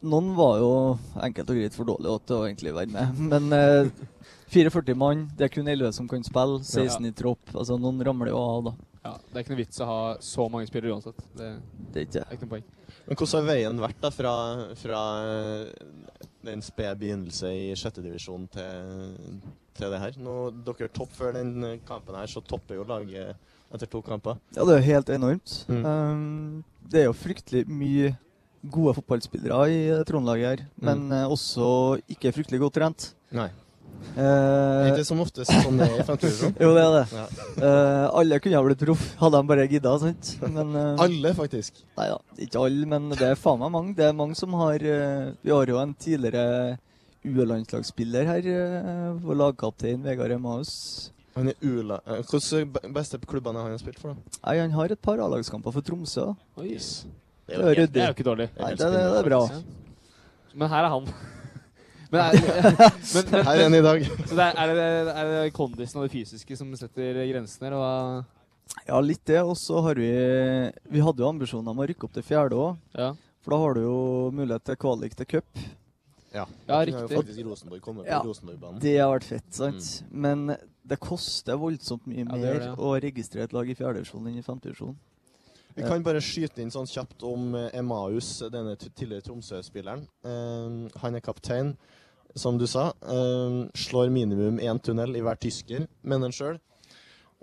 [SPEAKER 7] noen var jo enkelt og greit for dårlige til å egentlig være med, men eh, 44 mann, det er kun 11 som kan spille, 16 i tropp. Altså, noen ramler jo av, da.
[SPEAKER 3] Ja, Det er ikke noe vits å ha så mange spillere uansett. Det
[SPEAKER 7] Det er ikke
[SPEAKER 3] er ikke noe poeng.
[SPEAKER 4] Men hvordan har veien vært da fra, fra den spede begynnelse i sjette divisjon til, til det her? Nå, dere topp før den eh, kampen her, så topper jo laget etter to kamper.
[SPEAKER 7] Ja, det er jo helt enormt.
[SPEAKER 4] Mm.
[SPEAKER 7] Eh, det er jo fryktelig mye gode fotballspillere i eh, Trond-laget her, men eh, også ikke fryktelig godt trent.
[SPEAKER 4] Mm. Nei. Det er
[SPEAKER 7] Eh,
[SPEAKER 4] ikke som oftest sånn det er i femte divisjon.
[SPEAKER 7] jo, det er det.
[SPEAKER 4] Ja.
[SPEAKER 7] Eh, alle kunne ha blitt proff, hadde de bare gidda, sant? Men eh,
[SPEAKER 4] Alle, faktisk.
[SPEAKER 7] Nei da, ikke alle, men det er faen meg mange. Det er mange som har eh, Vi har jo en tidligere U-landslagsspiller her. eh, Vår lagkaptein Vegard Emaus.
[SPEAKER 4] Han er ula... eh, Hvordan be- beste klubbene har han spilt for, da?
[SPEAKER 7] Nei, han har et par A-lagskamper for Tromsø. da.
[SPEAKER 3] Oi.
[SPEAKER 7] Det er jo
[SPEAKER 3] Det er
[SPEAKER 7] ryddig.
[SPEAKER 3] jo ikke dårlig.
[SPEAKER 7] Nei, det, det, det er bra.
[SPEAKER 3] Men her er han. Men er, men, men,
[SPEAKER 4] Her er han i dag.
[SPEAKER 3] så det er, er, det, er det kondisen og det fysiske som setter grensen her? Og hva-
[SPEAKER 7] Ja, litt det. Og så har vi Vi hadde jo ambisjoner om å rykke opp til fjerde òg.
[SPEAKER 3] ja.
[SPEAKER 7] For da har du jo mulighet til kvalik til cup.
[SPEAKER 3] ja,
[SPEAKER 4] Han har jo
[SPEAKER 3] riktig.
[SPEAKER 4] faktisk Rosenborg kommet
[SPEAKER 7] Ja.
[SPEAKER 4] på Rosenborgbanen. Mm.
[SPEAKER 7] Det har vært fett, sant? Men det koster voldsomt mye
[SPEAKER 3] Ja,
[SPEAKER 7] mer
[SPEAKER 3] det gjør det, ja.
[SPEAKER 7] å registrere et lag i fjerdedivisjon enn i femtedivisjon.
[SPEAKER 4] Vi kan bare skyte inn sånn kjapt om eh, Emmaus, denne t- tidligere Tromsø-spilleren. Eh, han er kaptein, som du sa. Eh, slår minimum én tunnel i hver tysker, mener han sjøl.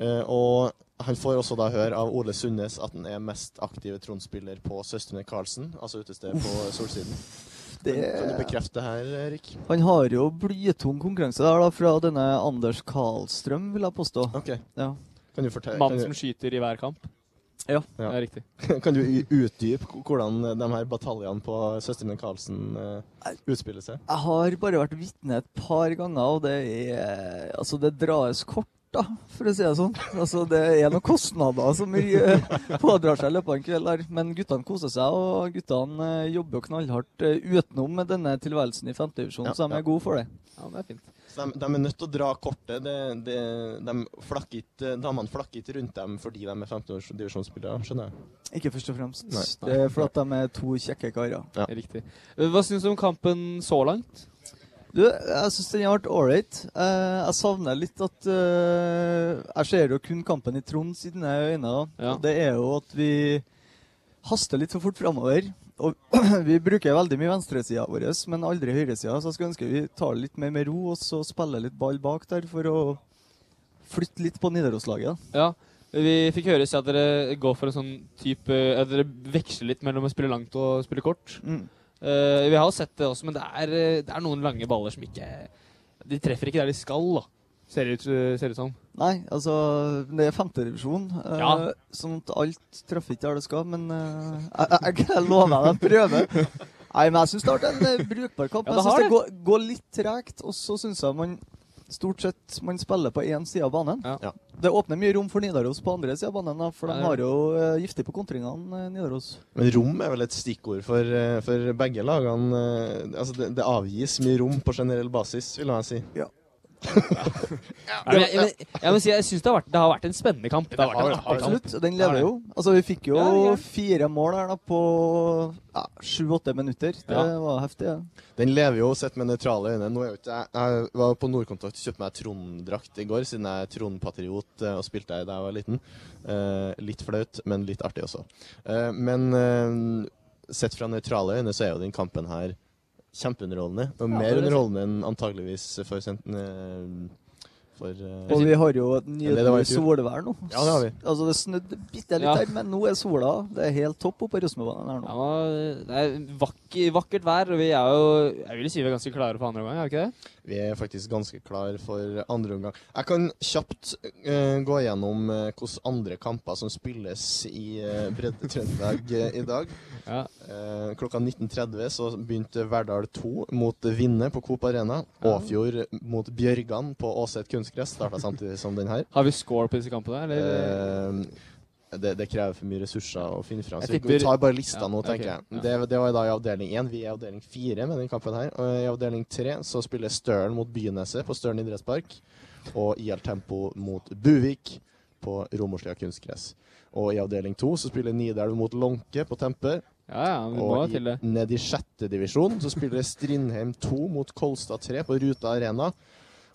[SPEAKER 4] Eh, og han får også da høre av Ole Sundnes at han er mest aktive Trond-spiller på Søstrene Karlsen, altså utestedet på Solsiden.
[SPEAKER 7] Det
[SPEAKER 4] Kan du bekrefte det her, Erik?
[SPEAKER 7] Eh, Han har jo blytung konkurranse der da, fra denne Anders Karlstrøm, vil jeg påstå.
[SPEAKER 4] OK.
[SPEAKER 7] Ja.
[SPEAKER 4] Kan du, fortelle,
[SPEAKER 3] Mannen
[SPEAKER 4] kan
[SPEAKER 3] som skyter i hver kamp.
[SPEAKER 7] Ja.
[SPEAKER 3] Det er riktig.
[SPEAKER 4] du, kan du u- utdype k- hvordan eh, de her bataljene på Søstrene Karlsen eh, utspiller seg?
[SPEAKER 7] Jeg har bare vært vitne et par ganger, og det er Altså, det dras kort, da, for å si det sånn. Altså, det er noen kostnader som eh, pådrar seg i løpet av en kveld her. Men guttene koser seg, og guttene eh, jobber jo knallhardt eh, utenom denne tilværelsen i femtedivisjon,
[SPEAKER 4] Ja,
[SPEAKER 7] så
[SPEAKER 4] ja.
[SPEAKER 7] de er gode for det.
[SPEAKER 3] Ja, men det er fint.
[SPEAKER 4] Så De, de er nødt til å dra kortet. Det, det, de flakker ikke- damene flakker ikke rundt dem fordi de er 15-årsdivisjonsspillere, skjønner jeg.
[SPEAKER 7] Ikke først og fremst.
[SPEAKER 4] Nei.
[SPEAKER 7] Det er fordi de er to kjekke karer.
[SPEAKER 4] Ja.
[SPEAKER 3] riktig. Eh, Hva syns du om kampen så langt?
[SPEAKER 7] Du, jeg syns den har vært ålreit. Eh, jeg savner litt at eh, Jeg ser jo kun kampen i Trond siden jeg er i øynene.
[SPEAKER 3] Ja.
[SPEAKER 7] Og det er jo at vi haster litt for fort framover. Og vi bruker veldig mye venstresida vår, men aldri høyresida. Så jeg skulle ønske vi tar det litt mer med ro, og så spiller litt ball bak der for å flytte litt på Nidaros-laget. da.
[SPEAKER 3] Ja, vi fikk høre i sted at dere går for en sånn type At dere veksler litt mellom å spille langt og spille kort.
[SPEAKER 7] Mm.
[SPEAKER 3] Eh, vi har jo sett det også, men det er, eh, det er noen lange baller som ikke De treffer ikke der de skal, da. Ser det ut, ser det ut som.
[SPEAKER 7] Nei, altså Det er femtedivisjon, eh,
[SPEAKER 3] Ja.
[SPEAKER 7] sånn at alt treffer ikke der det skal. Men eh, jeg, jeg, jeg lover deg, jeg prøver. Nei, men jeg syns det har vært en eh, brukbar kamp.
[SPEAKER 3] Ja, det
[SPEAKER 7] jeg syns
[SPEAKER 3] har
[SPEAKER 7] det går, går litt tregt, og så syns jeg man stort sett man spiller på én side av banen.
[SPEAKER 3] Ja.
[SPEAKER 4] Ja.
[SPEAKER 7] Det åpner mye rom for Nidaros på andre sida av banen, da, for
[SPEAKER 3] Ja,
[SPEAKER 7] de
[SPEAKER 3] det
[SPEAKER 7] har jo eh, giftig på kontringene, eh, Nidaros.
[SPEAKER 4] Men rom er vel et stikkord for, eh, for begge lagene. eh, Altså det, det avgis mye rom på generell basis, vil jeg si.
[SPEAKER 3] Nei, men jeg, jeg, jeg, må si, jeg syns det, har vært- det har vært en spennende kamp. Det har vært en artig kamp.
[SPEAKER 7] Absolutt. Den lever jo. Altså, vi fikk jo
[SPEAKER 3] Ja, det gjør det.
[SPEAKER 7] fire mål her da på ja, sju-åtte minutter. Det
[SPEAKER 3] Ja.
[SPEAKER 7] var heftig. Ja.
[SPEAKER 4] Den lever jo sett med nøytrale øyne. Nå er jo ikke, jeg, jeg var på Nordkontakt og kjøpte meg Trond-drakt i går, siden jeg er Trond-patriot eh, og spilte her da jeg var liten. Eh, litt flaut, men litt artig også. Eh, men eh, sett fra nøytrale øyne så er jo den kampen her kjempeunderholdende. Og
[SPEAKER 3] det
[SPEAKER 4] mer
[SPEAKER 3] vil jeg si.
[SPEAKER 4] underholdende enn antageligvis for sent, eh, For eh,
[SPEAKER 7] Og vi har jo et
[SPEAKER 4] Ja, det var i
[SPEAKER 7] nydelig
[SPEAKER 4] fjor.
[SPEAKER 7] solvær nå.
[SPEAKER 4] Ja, det har vi.
[SPEAKER 7] Altså, det snødde bitte litt
[SPEAKER 3] Ja.
[SPEAKER 7] her, men nå er sola Det er helt topp oppe på Rosenborgbanen her
[SPEAKER 3] Ja,
[SPEAKER 7] nå.
[SPEAKER 3] men, det er en vak vak- vakkert vær, og vi er jo Jeg vil si vi er ganske klare for andre omgang, er vi ikke det?
[SPEAKER 4] Vi er faktisk ganske klar for andre omgang. Jeg kan kjapt eh, gå gjennom eh, hvilke andre kamper som spilles i eh, Bredde Trøndelag eh, i dag.
[SPEAKER 3] Ja.
[SPEAKER 4] Eh, klokka 19.30 så begynte Verdal 2 mot Vinne på Coop Arena.
[SPEAKER 3] Ja.
[SPEAKER 4] Åfjord mot Bjørgan på Åset kunstgress starta samtidig som den her.
[SPEAKER 3] Har vi score på disse kampene, eller?
[SPEAKER 4] Eh, det, det krever for mye ressurser å finne fram. Så
[SPEAKER 3] Jeg
[SPEAKER 4] vi
[SPEAKER 3] tipper-
[SPEAKER 4] tar bare lista
[SPEAKER 3] Ja,
[SPEAKER 4] nå, tenker
[SPEAKER 3] ok.
[SPEAKER 4] jeg. Det, det var da i avdeling 1. Vi er i avdeling 4 med den kampen her. Og i avdeling 3 så spiller Stølen mot Byneset på Stølen idrettspark. Og IL Tempo mot Buvik på Romerslia kunstgress. Og i avdeling 2 så spiller Nidelv mot Lånke på Temper.
[SPEAKER 3] ja, ja, vi må
[SPEAKER 4] Og i,
[SPEAKER 3] til det.
[SPEAKER 4] ned i sjette divisjon så spiller Strindheim 2 mot Kolstad 3 på Ruta Arena.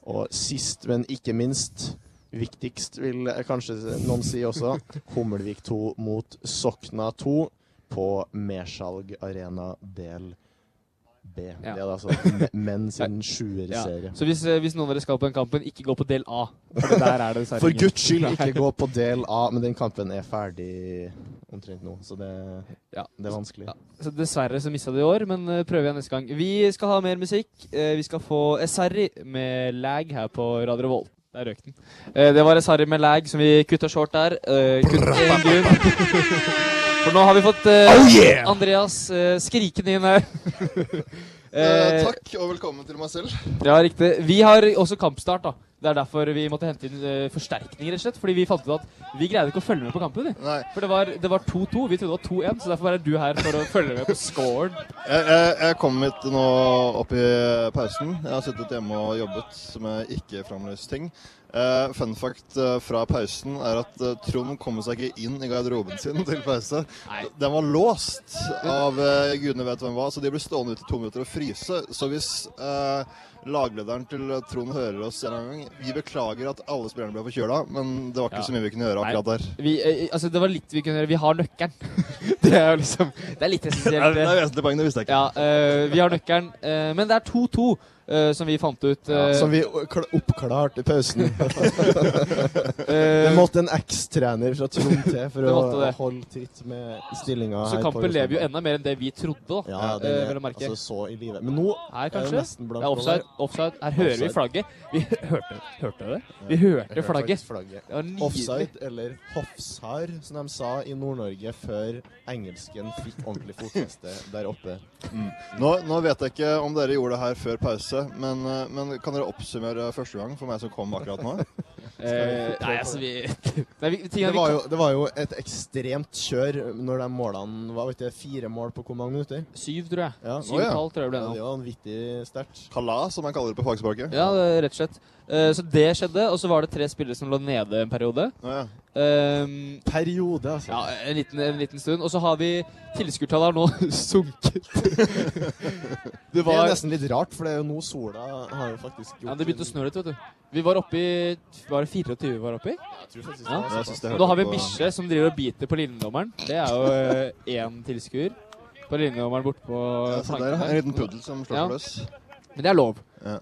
[SPEAKER 4] Og sist, men ikke minst, viktigst vil jeg kanskje noen si også, Hummelvik 2 mot Sokna 2 på Mersalg Arena del B.
[SPEAKER 3] Ja.
[SPEAKER 4] Det er altså me- menn sin sjuerserie.
[SPEAKER 3] Så hvis, eh, hvis noen av dere skal på den kampen, ikke gå på del A. For der er det dessverre
[SPEAKER 4] For
[SPEAKER 3] ingen.
[SPEAKER 4] guds skyld, ikke gå på del A, men den kampen er ferdig omtrent nå, så det,
[SPEAKER 3] Ja.
[SPEAKER 4] det er vanskelig.
[SPEAKER 3] Ja. Så dessverre så mista det i år, men eh, prøver igjen neste gang. Vi skal ha mer musikk. Eh, Vi skal få Esari med lag her på Radio Revolt. Der røk den. Eh, Det var Esari med lag som vi kutta short der. Eh, Kutt intervjuen. For nå har vi fått eh, Andreas eh, skrikende inn her. Eh,
[SPEAKER 4] takk, og velkommen til meg selv.
[SPEAKER 3] Ja, riktig. Vi har også kampstart, da. Det er derfor vi måtte hente inn eh, forsterkninger, rett og slett. Fordi vi fant ut at vi greide ikke å følge med på kampen. Vi.
[SPEAKER 8] Nei.
[SPEAKER 3] For det var det var 2-2. Vi trodde det var 2-1, så derfor er du her for å følge med på scoren.
[SPEAKER 8] Jeg, jeg, jeg kom hit nå opp i pausen. Jeg har sittet hjemme og jobbet med ikke-framlyst ting. Eh, fun fact eh, fra pausen er at eh, Trond kom seg ikke inn i garderoben sin til pause.
[SPEAKER 3] Nei.
[SPEAKER 8] Den var låst av eh, gudene vet hvem hva, så de ble stående ute i to minutter og fryse. Så hvis eh, laglederen til Trond hører oss en eller annen gang Vi beklager at alle spillerne ble forkjøla, men det var ikke
[SPEAKER 3] Ja.
[SPEAKER 8] så mye vi kunne gjøre
[SPEAKER 3] Nei.
[SPEAKER 8] akkurat der.
[SPEAKER 3] Vi, eh, altså, det var litt vi kunne gjøre. Vi har nøkkelen. Det er jo liksom Det er litt
[SPEAKER 8] Det er,
[SPEAKER 3] essensielt.
[SPEAKER 8] det
[SPEAKER 3] det.
[SPEAKER 8] er vesentlig poeng, det visste jeg ikke.
[SPEAKER 3] Ja, eh, vi har nøkkelen. Eh, men det er 2-2, eh, som vi fant ut. eh,
[SPEAKER 4] Som vi o- kla- oppklarte i pausen.
[SPEAKER 3] eh,
[SPEAKER 4] Det måtte en ekstrener fra Trond til for
[SPEAKER 3] Det
[SPEAKER 4] å
[SPEAKER 3] måtte det.
[SPEAKER 4] holde tritt med stillinga
[SPEAKER 3] så kampen lever jo enda mer enn det vi trodde, da.
[SPEAKER 4] ja, det
[SPEAKER 3] eh, vel
[SPEAKER 4] er
[SPEAKER 3] å merke.
[SPEAKER 4] altså så i live. Men nå
[SPEAKER 3] Her,
[SPEAKER 4] er det
[SPEAKER 3] kanskje.
[SPEAKER 4] nesten
[SPEAKER 3] Det
[SPEAKER 4] blankt
[SPEAKER 3] er offside.
[SPEAKER 4] over.
[SPEAKER 3] offside. Her hører vi
[SPEAKER 4] Offside.
[SPEAKER 3] flagget. Vi hørte, hørte dere det? Vi hørte
[SPEAKER 4] Jeg hørte
[SPEAKER 3] flagget.
[SPEAKER 4] faktisk flagget.
[SPEAKER 3] Det var nydelig.
[SPEAKER 4] Offside, eller hoffsar, som de sa i Nord-Norge før engelsken fikk ordentlig fotfeste der oppe.
[SPEAKER 8] Mm. Nå, nå vet jeg ikke om dere gjorde det her før pause, men, eh, men kan dere oppsummere første gang for meg som kom akkurat nå?
[SPEAKER 3] Eh, nei, altså vi Nei, vi, ting
[SPEAKER 4] Det
[SPEAKER 3] er vi
[SPEAKER 4] var jo, det var jo et ekstremt kjør når de målene var vet du, fire mål på hvor mange minutter.
[SPEAKER 3] Syv, tror jeg.
[SPEAKER 4] Ja,
[SPEAKER 3] Syv og et halvt, tror jeg det
[SPEAKER 4] Ja,
[SPEAKER 3] ble nå.
[SPEAKER 4] det var vanvittig sterkt.
[SPEAKER 8] Kalas, som jeg kaller det på fagspråket.
[SPEAKER 3] Ja, det- rett og slett. Eh, så det skjedde, og så var det tre spillere som lå nede en periode.
[SPEAKER 8] Nå, ja.
[SPEAKER 3] Ehm,
[SPEAKER 4] Periode, altså.
[SPEAKER 3] ja, en liten, en liten stund. Og så har vi Tilskuertallet har nå sunket. Det
[SPEAKER 4] Det
[SPEAKER 3] var
[SPEAKER 4] er nesten litt rart, for det er jo nå sola har jo faktisk gjort
[SPEAKER 3] ja, Det begynte å
[SPEAKER 4] en-
[SPEAKER 3] snø litt, vet du. Vi var oppe i Var det 24 vi var oppe i?
[SPEAKER 4] Jeg tror faktisk
[SPEAKER 3] Ja.
[SPEAKER 4] det var
[SPEAKER 8] Jeg
[SPEAKER 4] såpass.
[SPEAKER 8] synes det hørte
[SPEAKER 3] Nå har vi
[SPEAKER 8] på-
[SPEAKER 3] Bisje som driver og biter på lilledommeren. Det er jo eh, én tilskuer. På lilledommeren borte på
[SPEAKER 8] Ja, se der, ja.
[SPEAKER 3] planken.
[SPEAKER 8] En liten puddel som slår
[SPEAKER 3] Ja.
[SPEAKER 8] seg løs.
[SPEAKER 3] Men det er lov.
[SPEAKER 8] Ja.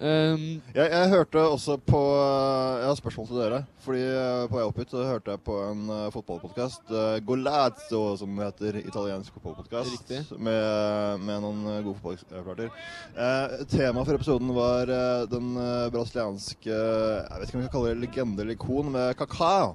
[SPEAKER 3] Ehm,
[SPEAKER 8] Jeg, jeg hørte også på eh, Jeg har spørsmål til dere. Fordi eh, på vei opp hit så hørte jeg på en uh, fotballpodkast. eh, Golazzo, som det heter. Italiensk fotballpodkast.
[SPEAKER 3] Riktig.
[SPEAKER 8] Med, med noen eh, gode fotballeksperter. Uh, Temaet for episoden var eh, den eh, brasilianske Jeg vet ikke om vi skal kalle det legende eller ikon, med Kaká.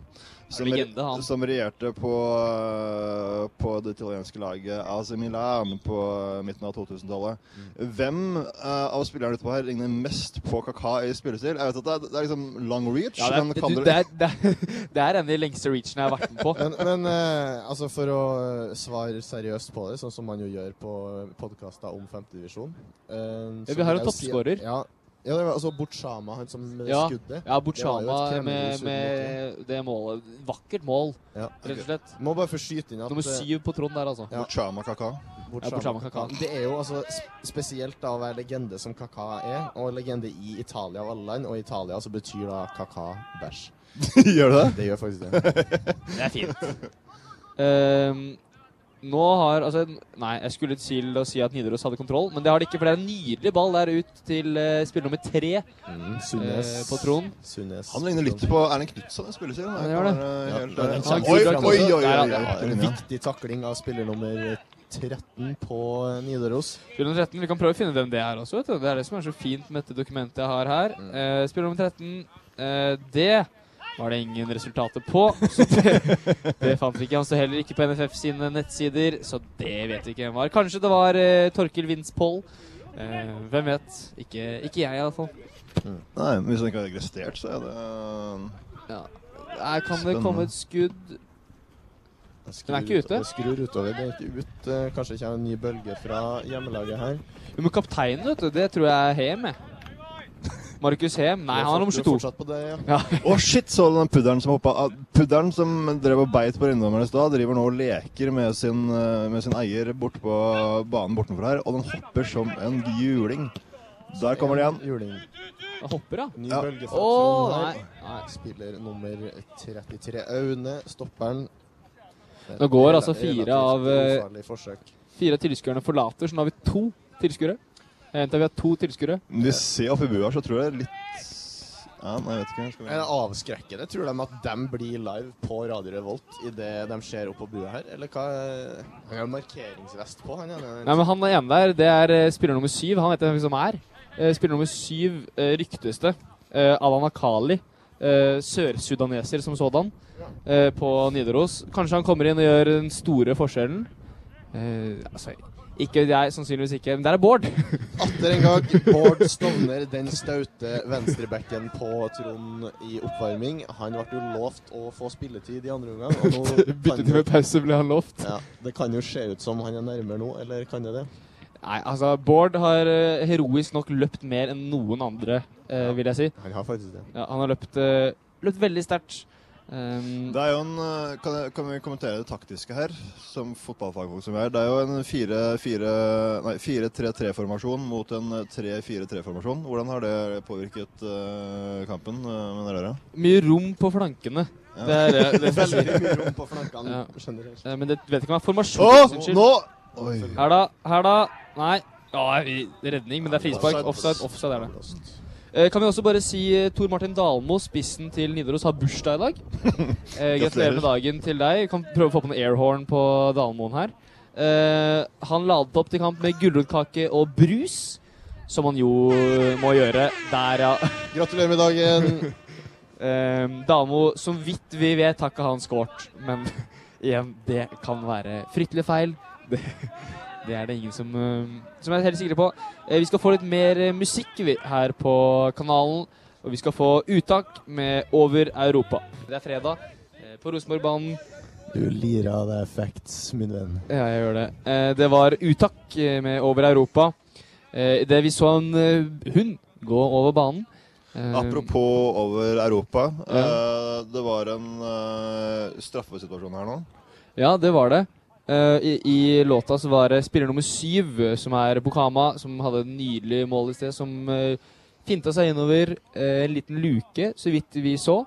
[SPEAKER 8] Som,
[SPEAKER 3] Legende, han.
[SPEAKER 8] som regjerte på, eh, på det italienske laget AC Milan på eh, midten av 2000-tallet.
[SPEAKER 3] Mm.
[SPEAKER 8] Hvem eh, av spillerne etterpå her ligner mest på Kaka i spillestil? Jeg vet at det er, det er liksom long reach,
[SPEAKER 3] Ja, det, er,
[SPEAKER 8] men
[SPEAKER 3] du,
[SPEAKER 8] kan
[SPEAKER 3] det,
[SPEAKER 8] dere
[SPEAKER 3] er, det, er, det er en av de lengste reachene jeg har vært med på.
[SPEAKER 4] Men, men eh, altså for å eh, svare seriøst på det, sånn som man jo gjør på podkaster om femtedivisjon uh,
[SPEAKER 3] Ja, vi har en toppskårer.
[SPEAKER 4] Si, ja, ja, det var altså Butsjama, han som med det
[SPEAKER 3] Ja.
[SPEAKER 4] skuddet.
[SPEAKER 3] Ja,
[SPEAKER 4] Det var jo
[SPEAKER 3] Butsjama
[SPEAKER 4] et
[SPEAKER 3] med,
[SPEAKER 4] kremmerhus
[SPEAKER 3] med det målet. Vakkert mål,
[SPEAKER 4] Ja.
[SPEAKER 3] rett og slett.
[SPEAKER 4] Må bare få skyte inn at
[SPEAKER 3] Nummer
[SPEAKER 4] eh,
[SPEAKER 3] syv på Trond der, altså.
[SPEAKER 4] Ja.
[SPEAKER 8] Chama Kaka?
[SPEAKER 4] Butsjama-
[SPEAKER 3] Butsjama Kaká.
[SPEAKER 4] Det er jo altså sp- spesielt da å være legende som Kaka er, og legende i Italia og alle land, og i Italia så betyr da Kaka bæsj.
[SPEAKER 8] Gjør det?
[SPEAKER 4] Det gjør faktisk det.
[SPEAKER 3] Det er fint. Ehm, nå har altså Nei, jeg skulle til å si at Nidaros hadde kontroll, men det har de ikke, for det er en nydelig ball der ut til eh, spiller nummer tre
[SPEAKER 4] Mm.
[SPEAKER 3] eh, på Trond.
[SPEAKER 4] Sundnes.
[SPEAKER 8] Han ligner litt på Erling Knutson i spillestil.
[SPEAKER 3] Ja, det gjør det.
[SPEAKER 8] Kan være
[SPEAKER 4] Ja,
[SPEAKER 8] helt,
[SPEAKER 4] men
[SPEAKER 8] eh,
[SPEAKER 4] han
[SPEAKER 8] Oi,
[SPEAKER 4] kommer
[SPEAKER 8] oi,
[SPEAKER 4] frem til-
[SPEAKER 8] oi! oi,
[SPEAKER 3] Der, ja,
[SPEAKER 8] oi,
[SPEAKER 3] det
[SPEAKER 4] Ja,
[SPEAKER 8] oi,
[SPEAKER 4] en
[SPEAKER 8] oi.
[SPEAKER 4] viktig takling av spiller nummer 13 på Nidaros.
[SPEAKER 3] Spill nummer 13. Vi kan prøve å finne hvem det er også. vet du. Det er det som er så fint med dette dokumentet jeg har her.
[SPEAKER 4] Mm.
[SPEAKER 3] Eh, spill nummer 13. eh, det var det ingen resultater på. Så det, det fant vi ikke. Han står heller ikke på NFF sine nettsider, så det vet vi ikke hvem var. Kanskje det var eh, Torkil Vinspoll. Eh, hvem vet? Ikke, ikke jeg, iallfall.
[SPEAKER 8] Nei, men hvis han ikke har registrert, så er det eh,
[SPEAKER 3] Ja. Her kan det komme et skudd
[SPEAKER 4] Jeg
[SPEAKER 3] Den er ikke
[SPEAKER 4] ut-
[SPEAKER 3] ute.
[SPEAKER 4] jeg Skrur utover. Det er ikke ut. Eh, Kanskje det kommer en ny bølge fra hjemmelaget her.
[SPEAKER 3] Men kapteinen, vet du, det tror jeg er Hem, jeg. Markus Hem. Nei,
[SPEAKER 4] Du
[SPEAKER 3] han er nummer
[SPEAKER 4] fort-
[SPEAKER 3] 22.
[SPEAKER 4] Du er fortsatt på det, ja.
[SPEAKER 8] Å, shit! Så du den pudderen som hoppa av? Pudderen som drev og beit på eiendommerne i stad, driver nå og leker med sin, eh, med sin eier bort på banen bortenfor her, og den hopper som en juling. Der kommer det igjen.
[SPEAKER 4] Juling.
[SPEAKER 3] Han hopper, ja.
[SPEAKER 4] Ny
[SPEAKER 8] Ja.
[SPEAKER 4] bølge
[SPEAKER 3] Å,
[SPEAKER 4] fra Trondheim.
[SPEAKER 3] nei. nei.
[SPEAKER 4] Spiller nummer 33, Aune, stopperen.
[SPEAKER 3] Nå går
[SPEAKER 4] Rela-
[SPEAKER 3] altså fire
[SPEAKER 4] relativt
[SPEAKER 3] av, eh,
[SPEAKER 4] ufarlig forsøk.
[SPEAKER 3] Fire av tilskuerne forlater, så nå har vi to tilskuere. Jeg gjentar, vi har to tilskuere.
[SPEAKER 8] Hvis de ser oppi bua, så tror jeg litt Ja, nei, jeg vet ikke. Skal
[SPEAKER 4] Er det
[SPEAKER 8] vi...
[SPEAKER 4] avskrekkende, tror de, at de blir live på Radio Revolt idet de ser opp på bua her? Eller hva er- Han har markeringsvest på, han ene.
[SPEAKER 3] Nei, men Han ene der, det er eh, spiller nummer syv. Han heter hvem som er. Eh, Spiller nummer syv eh, ryktes det. Eh, Alan Akali, eh, sørsudaneser som sådan, eh, på Nidaros. Kanskje han kommer inn og gjør den store forskjellen. Eh, altså, ikke jeg, sannsynligvis ikke. Men der er Bård!
[SPEAKER 4] Atter en gang Bård Stovner, den staute venstrebacken på Trond i oppvarming. Han ble jo lovt å få spilletid i andre omgang, og nå kan jo,
[SPEAKER 3] pause ble han lovt.
[SPEAKER 4] ja, det kan jo se ut som han er nærmere nå, eller kan det det?
[SPEAKER 3] Nei, altså, Bård har eh, heroisk nok løpt mer enn noen andre, eh, vil jeg si.
[SPEAKER 4] Han har faktisk det.
[SPEAKER 3] Ja, han har løpt, eh, løpt veldig sterkt. Ehm,
[SPEAKER 8] Det er jo en, eh, kan, jeg- kan vi kommentere det taktiske her, som fotballfagfolk som vi er? Det er jo en 4-3-3-formasjon mot en 3-4-3-formasjon. Hvordan har det påvirket eh, kampen, eh, mener dere?
[SPEAKER 3] mye rom på flankene.
[SPEAKER 8] Ja.
[SPEAKER 3] Det er, eh, det er
[SPEAKER 4] Veldig mye rom på flankene
[SPEAKER 3] Ja.
[SPEAKER 4] generelt.
[SPEAKER 3] Eh, Men det vet ikke om det er formasjon.
[SPEAKER 8] Å,
[SPEAKER 3] Unnskyld.
[SPEAKER 8] nå! Oi.
[SPEAKER 3] Her da, her da. Nei. Ja, vi- redning, men det er frispark. Offside, offside er det. Eh, kan vi også bare si eh, Tor Martin Dalmo, spissen til Nidaros, har bursdag i dag. Eh, gratulerer med dagen til deg. Vi Kan prøve å få på noen airhorn på Dalmoen her. Eh, han ladet opp til kamp med gulrotkake og brus, som han jo må gjøre. Der, ja.
[SPEAKER 4] Gratulerer med dagen.
[SPEAKER 3] Ehm, Damo, som vidt vi vet, har ikke han skåret. Men igjen, det kan være fryktelig feil. Det, det er det ingen som, ehm, som er helt sikre på. Eh, vi skal få litt mer eh, musikk vi, her på kanalen. Og vi skal få uttak med Over Europa. Det er fredag eh, på Rosenborgbanen.
[SPEAKER 4] Du lirer av deg facts, min venn.
[SPEAKER 3] Ja, jeg gjør det. Eh, det var uttak eh, med Over Europa. Eh, det vi så en eh, hund gå over banen. Eh,
[SPEAKER 8] Apropos over Europa.
[SPEAKER 3] Ja.
[SPEAKER 8] eh, det var en eh, straffesituasjon her nå.
[SPEAKER 3] Ja, det var det. Eh, i, I låta så var det spiller nummer syv, eh, som er Bukama, som hadde et nydelig mål i sted, som eh, finta seg innover eh, en liten luke, så vidt vi så.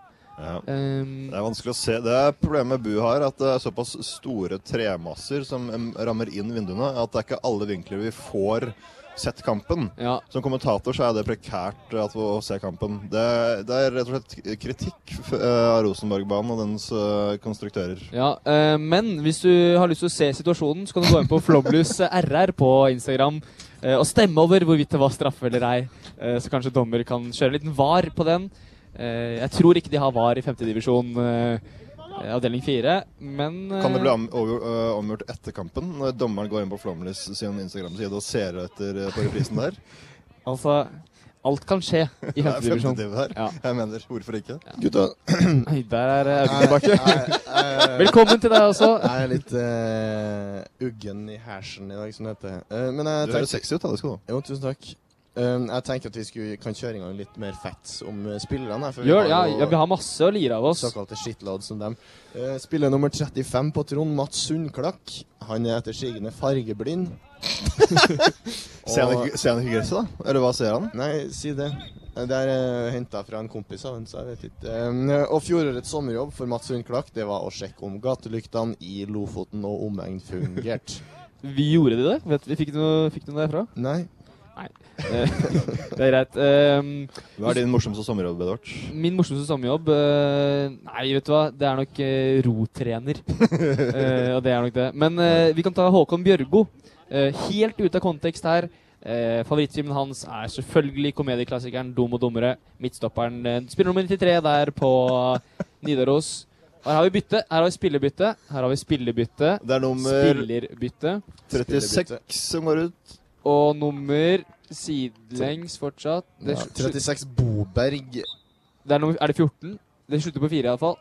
[SPEAKER 8] Ja.
[SPEAKER 3] Ehm,
[SPEAKER 8] Det er vanskelig å se. Det er problemet med bu her, at det er såpass store tremasser som em, rammer inn vinduene, at det er ikke alle vinkler vi får sett kampen.
[SPEAKER 3] ja,
[SPEAKER 8] Som kommentator så er det prekært at å se kampen. Det, det er rett og slett kritikk f- eh, av Rosenborgbanen og dens eh, konstruktører.
[SPEAKER 3] ja. eh, men hvis du har lyst til å se situasjonen, så kan du gå inn på Flåblus RR på Instagram eh, og stemme over hvorvidt det var straffe eller ei. Eh, så kanskje dommer kan kjøre en liten var på den. Eh, jeg tror ikke de har var i femtedivisjon, uh, avdeling fire, men eh,
[SPEAKER 8] Kan det bli om, over, eh, omgjort etter kampen, når dommeren går inn på Flåmlys sin Instagram-side og ser etter eh, på reprisen der?
[SPEAKER 3] Altså, alt kan skje i
[SPEAKER 8] Det er
[SPEAKER 3] femtedivisjon.
[SPEAKER 8] femtediv her.
[SPEAKER 3] Ja.
[SPEAKER 8] Jeg mener, hvorfor ikke?
[SPEAKER 4] Gutta,
[SPEAKER 3] Nei, der er Audun
[SPEAKER 4] jeg,
[SPEAKER 3] tilbake.
[SPEAKER 4] jeg, jeg,
[SPEAKER 3] Velkommen til deg også.
[SPEAKER 4] eh, jeg er litt eh, uggen i hersen i dag, som det heter. Eh, men jeg
[SPEAKER 8] Du
[SPEAKER 4] tenker,
[SPEAKER 8] høres sexy ut, da. Det skal du ha.
[SPEAKER 4] jo, tusen takk. Um, jeg tenker at vi skulle, kan kjøre i gang litt mer facts om eh, spillerne. For
[SPEAKER 3] Gjør, ja,
[SPEAKER 4] jo
[SPEAKER 3] ja, vi har masse å lire av oss.
[SPEAKER 4] såkalte shitload som dem. Eh, spiller nummer 35 på Trond, Mats Sundklakk. Han er etter sigende fargeblind.
[SPEAKER 8] Ser han, ikke, ser han ikke gresset, da? Eller hva ser han?
[SPEAKER 4] Nei, si det. Det er uh, henta fra en kompis av ham, så jeg vet ikke. Eh, og fjorårets sommerjobb for Mats Sundklakk, det var å sjekke om gatelyktene i Lofoten og omegn fungerte.
[SPEAKER 3] Vi gjorde de det? Vet, vi fikk du noe, fikk du noe derfra?
[SPEAKER 4] Nei.
[SPEAKER 3] Nei. Eh, det er greit. Ehm,
[SPEAKER 8] Hva er din morsomste sommerjobb, Edvard?
[SPEAKER 3] min morsomste sommerjobb eh, Nei, vet du hva. Det er nok eh, rotrener. Eh, og det er nok det. Men eh, vi kan ta Håkon Bjørgo. Eh, helt ute av kontekst her. Uh, Favorittfilmen hans er selvfølgelig komedieklassikeren 'Dum og dummere'. Midtstopperen eh, spiller nummer 93 der på Nidaros. Og her har vi bytte. Her har vi spillerbytte. Her har vi spillerbytte.
[SPEAKER 8] Det er nummer
[SPEAKER 3] Spillerbytte.
[SPEAKER 8] 36 som går ut.
[SPEAKER 3] Og nummer sidelengs fortsatt. Det,
[SPEAKER 4] Ja,
[SPEAKER 3] slu-
[SPEAKER 4] 36 Boberg.
[SPEAKER 3] det er, nummer, er det 14? Det slutter på 4 iallfall.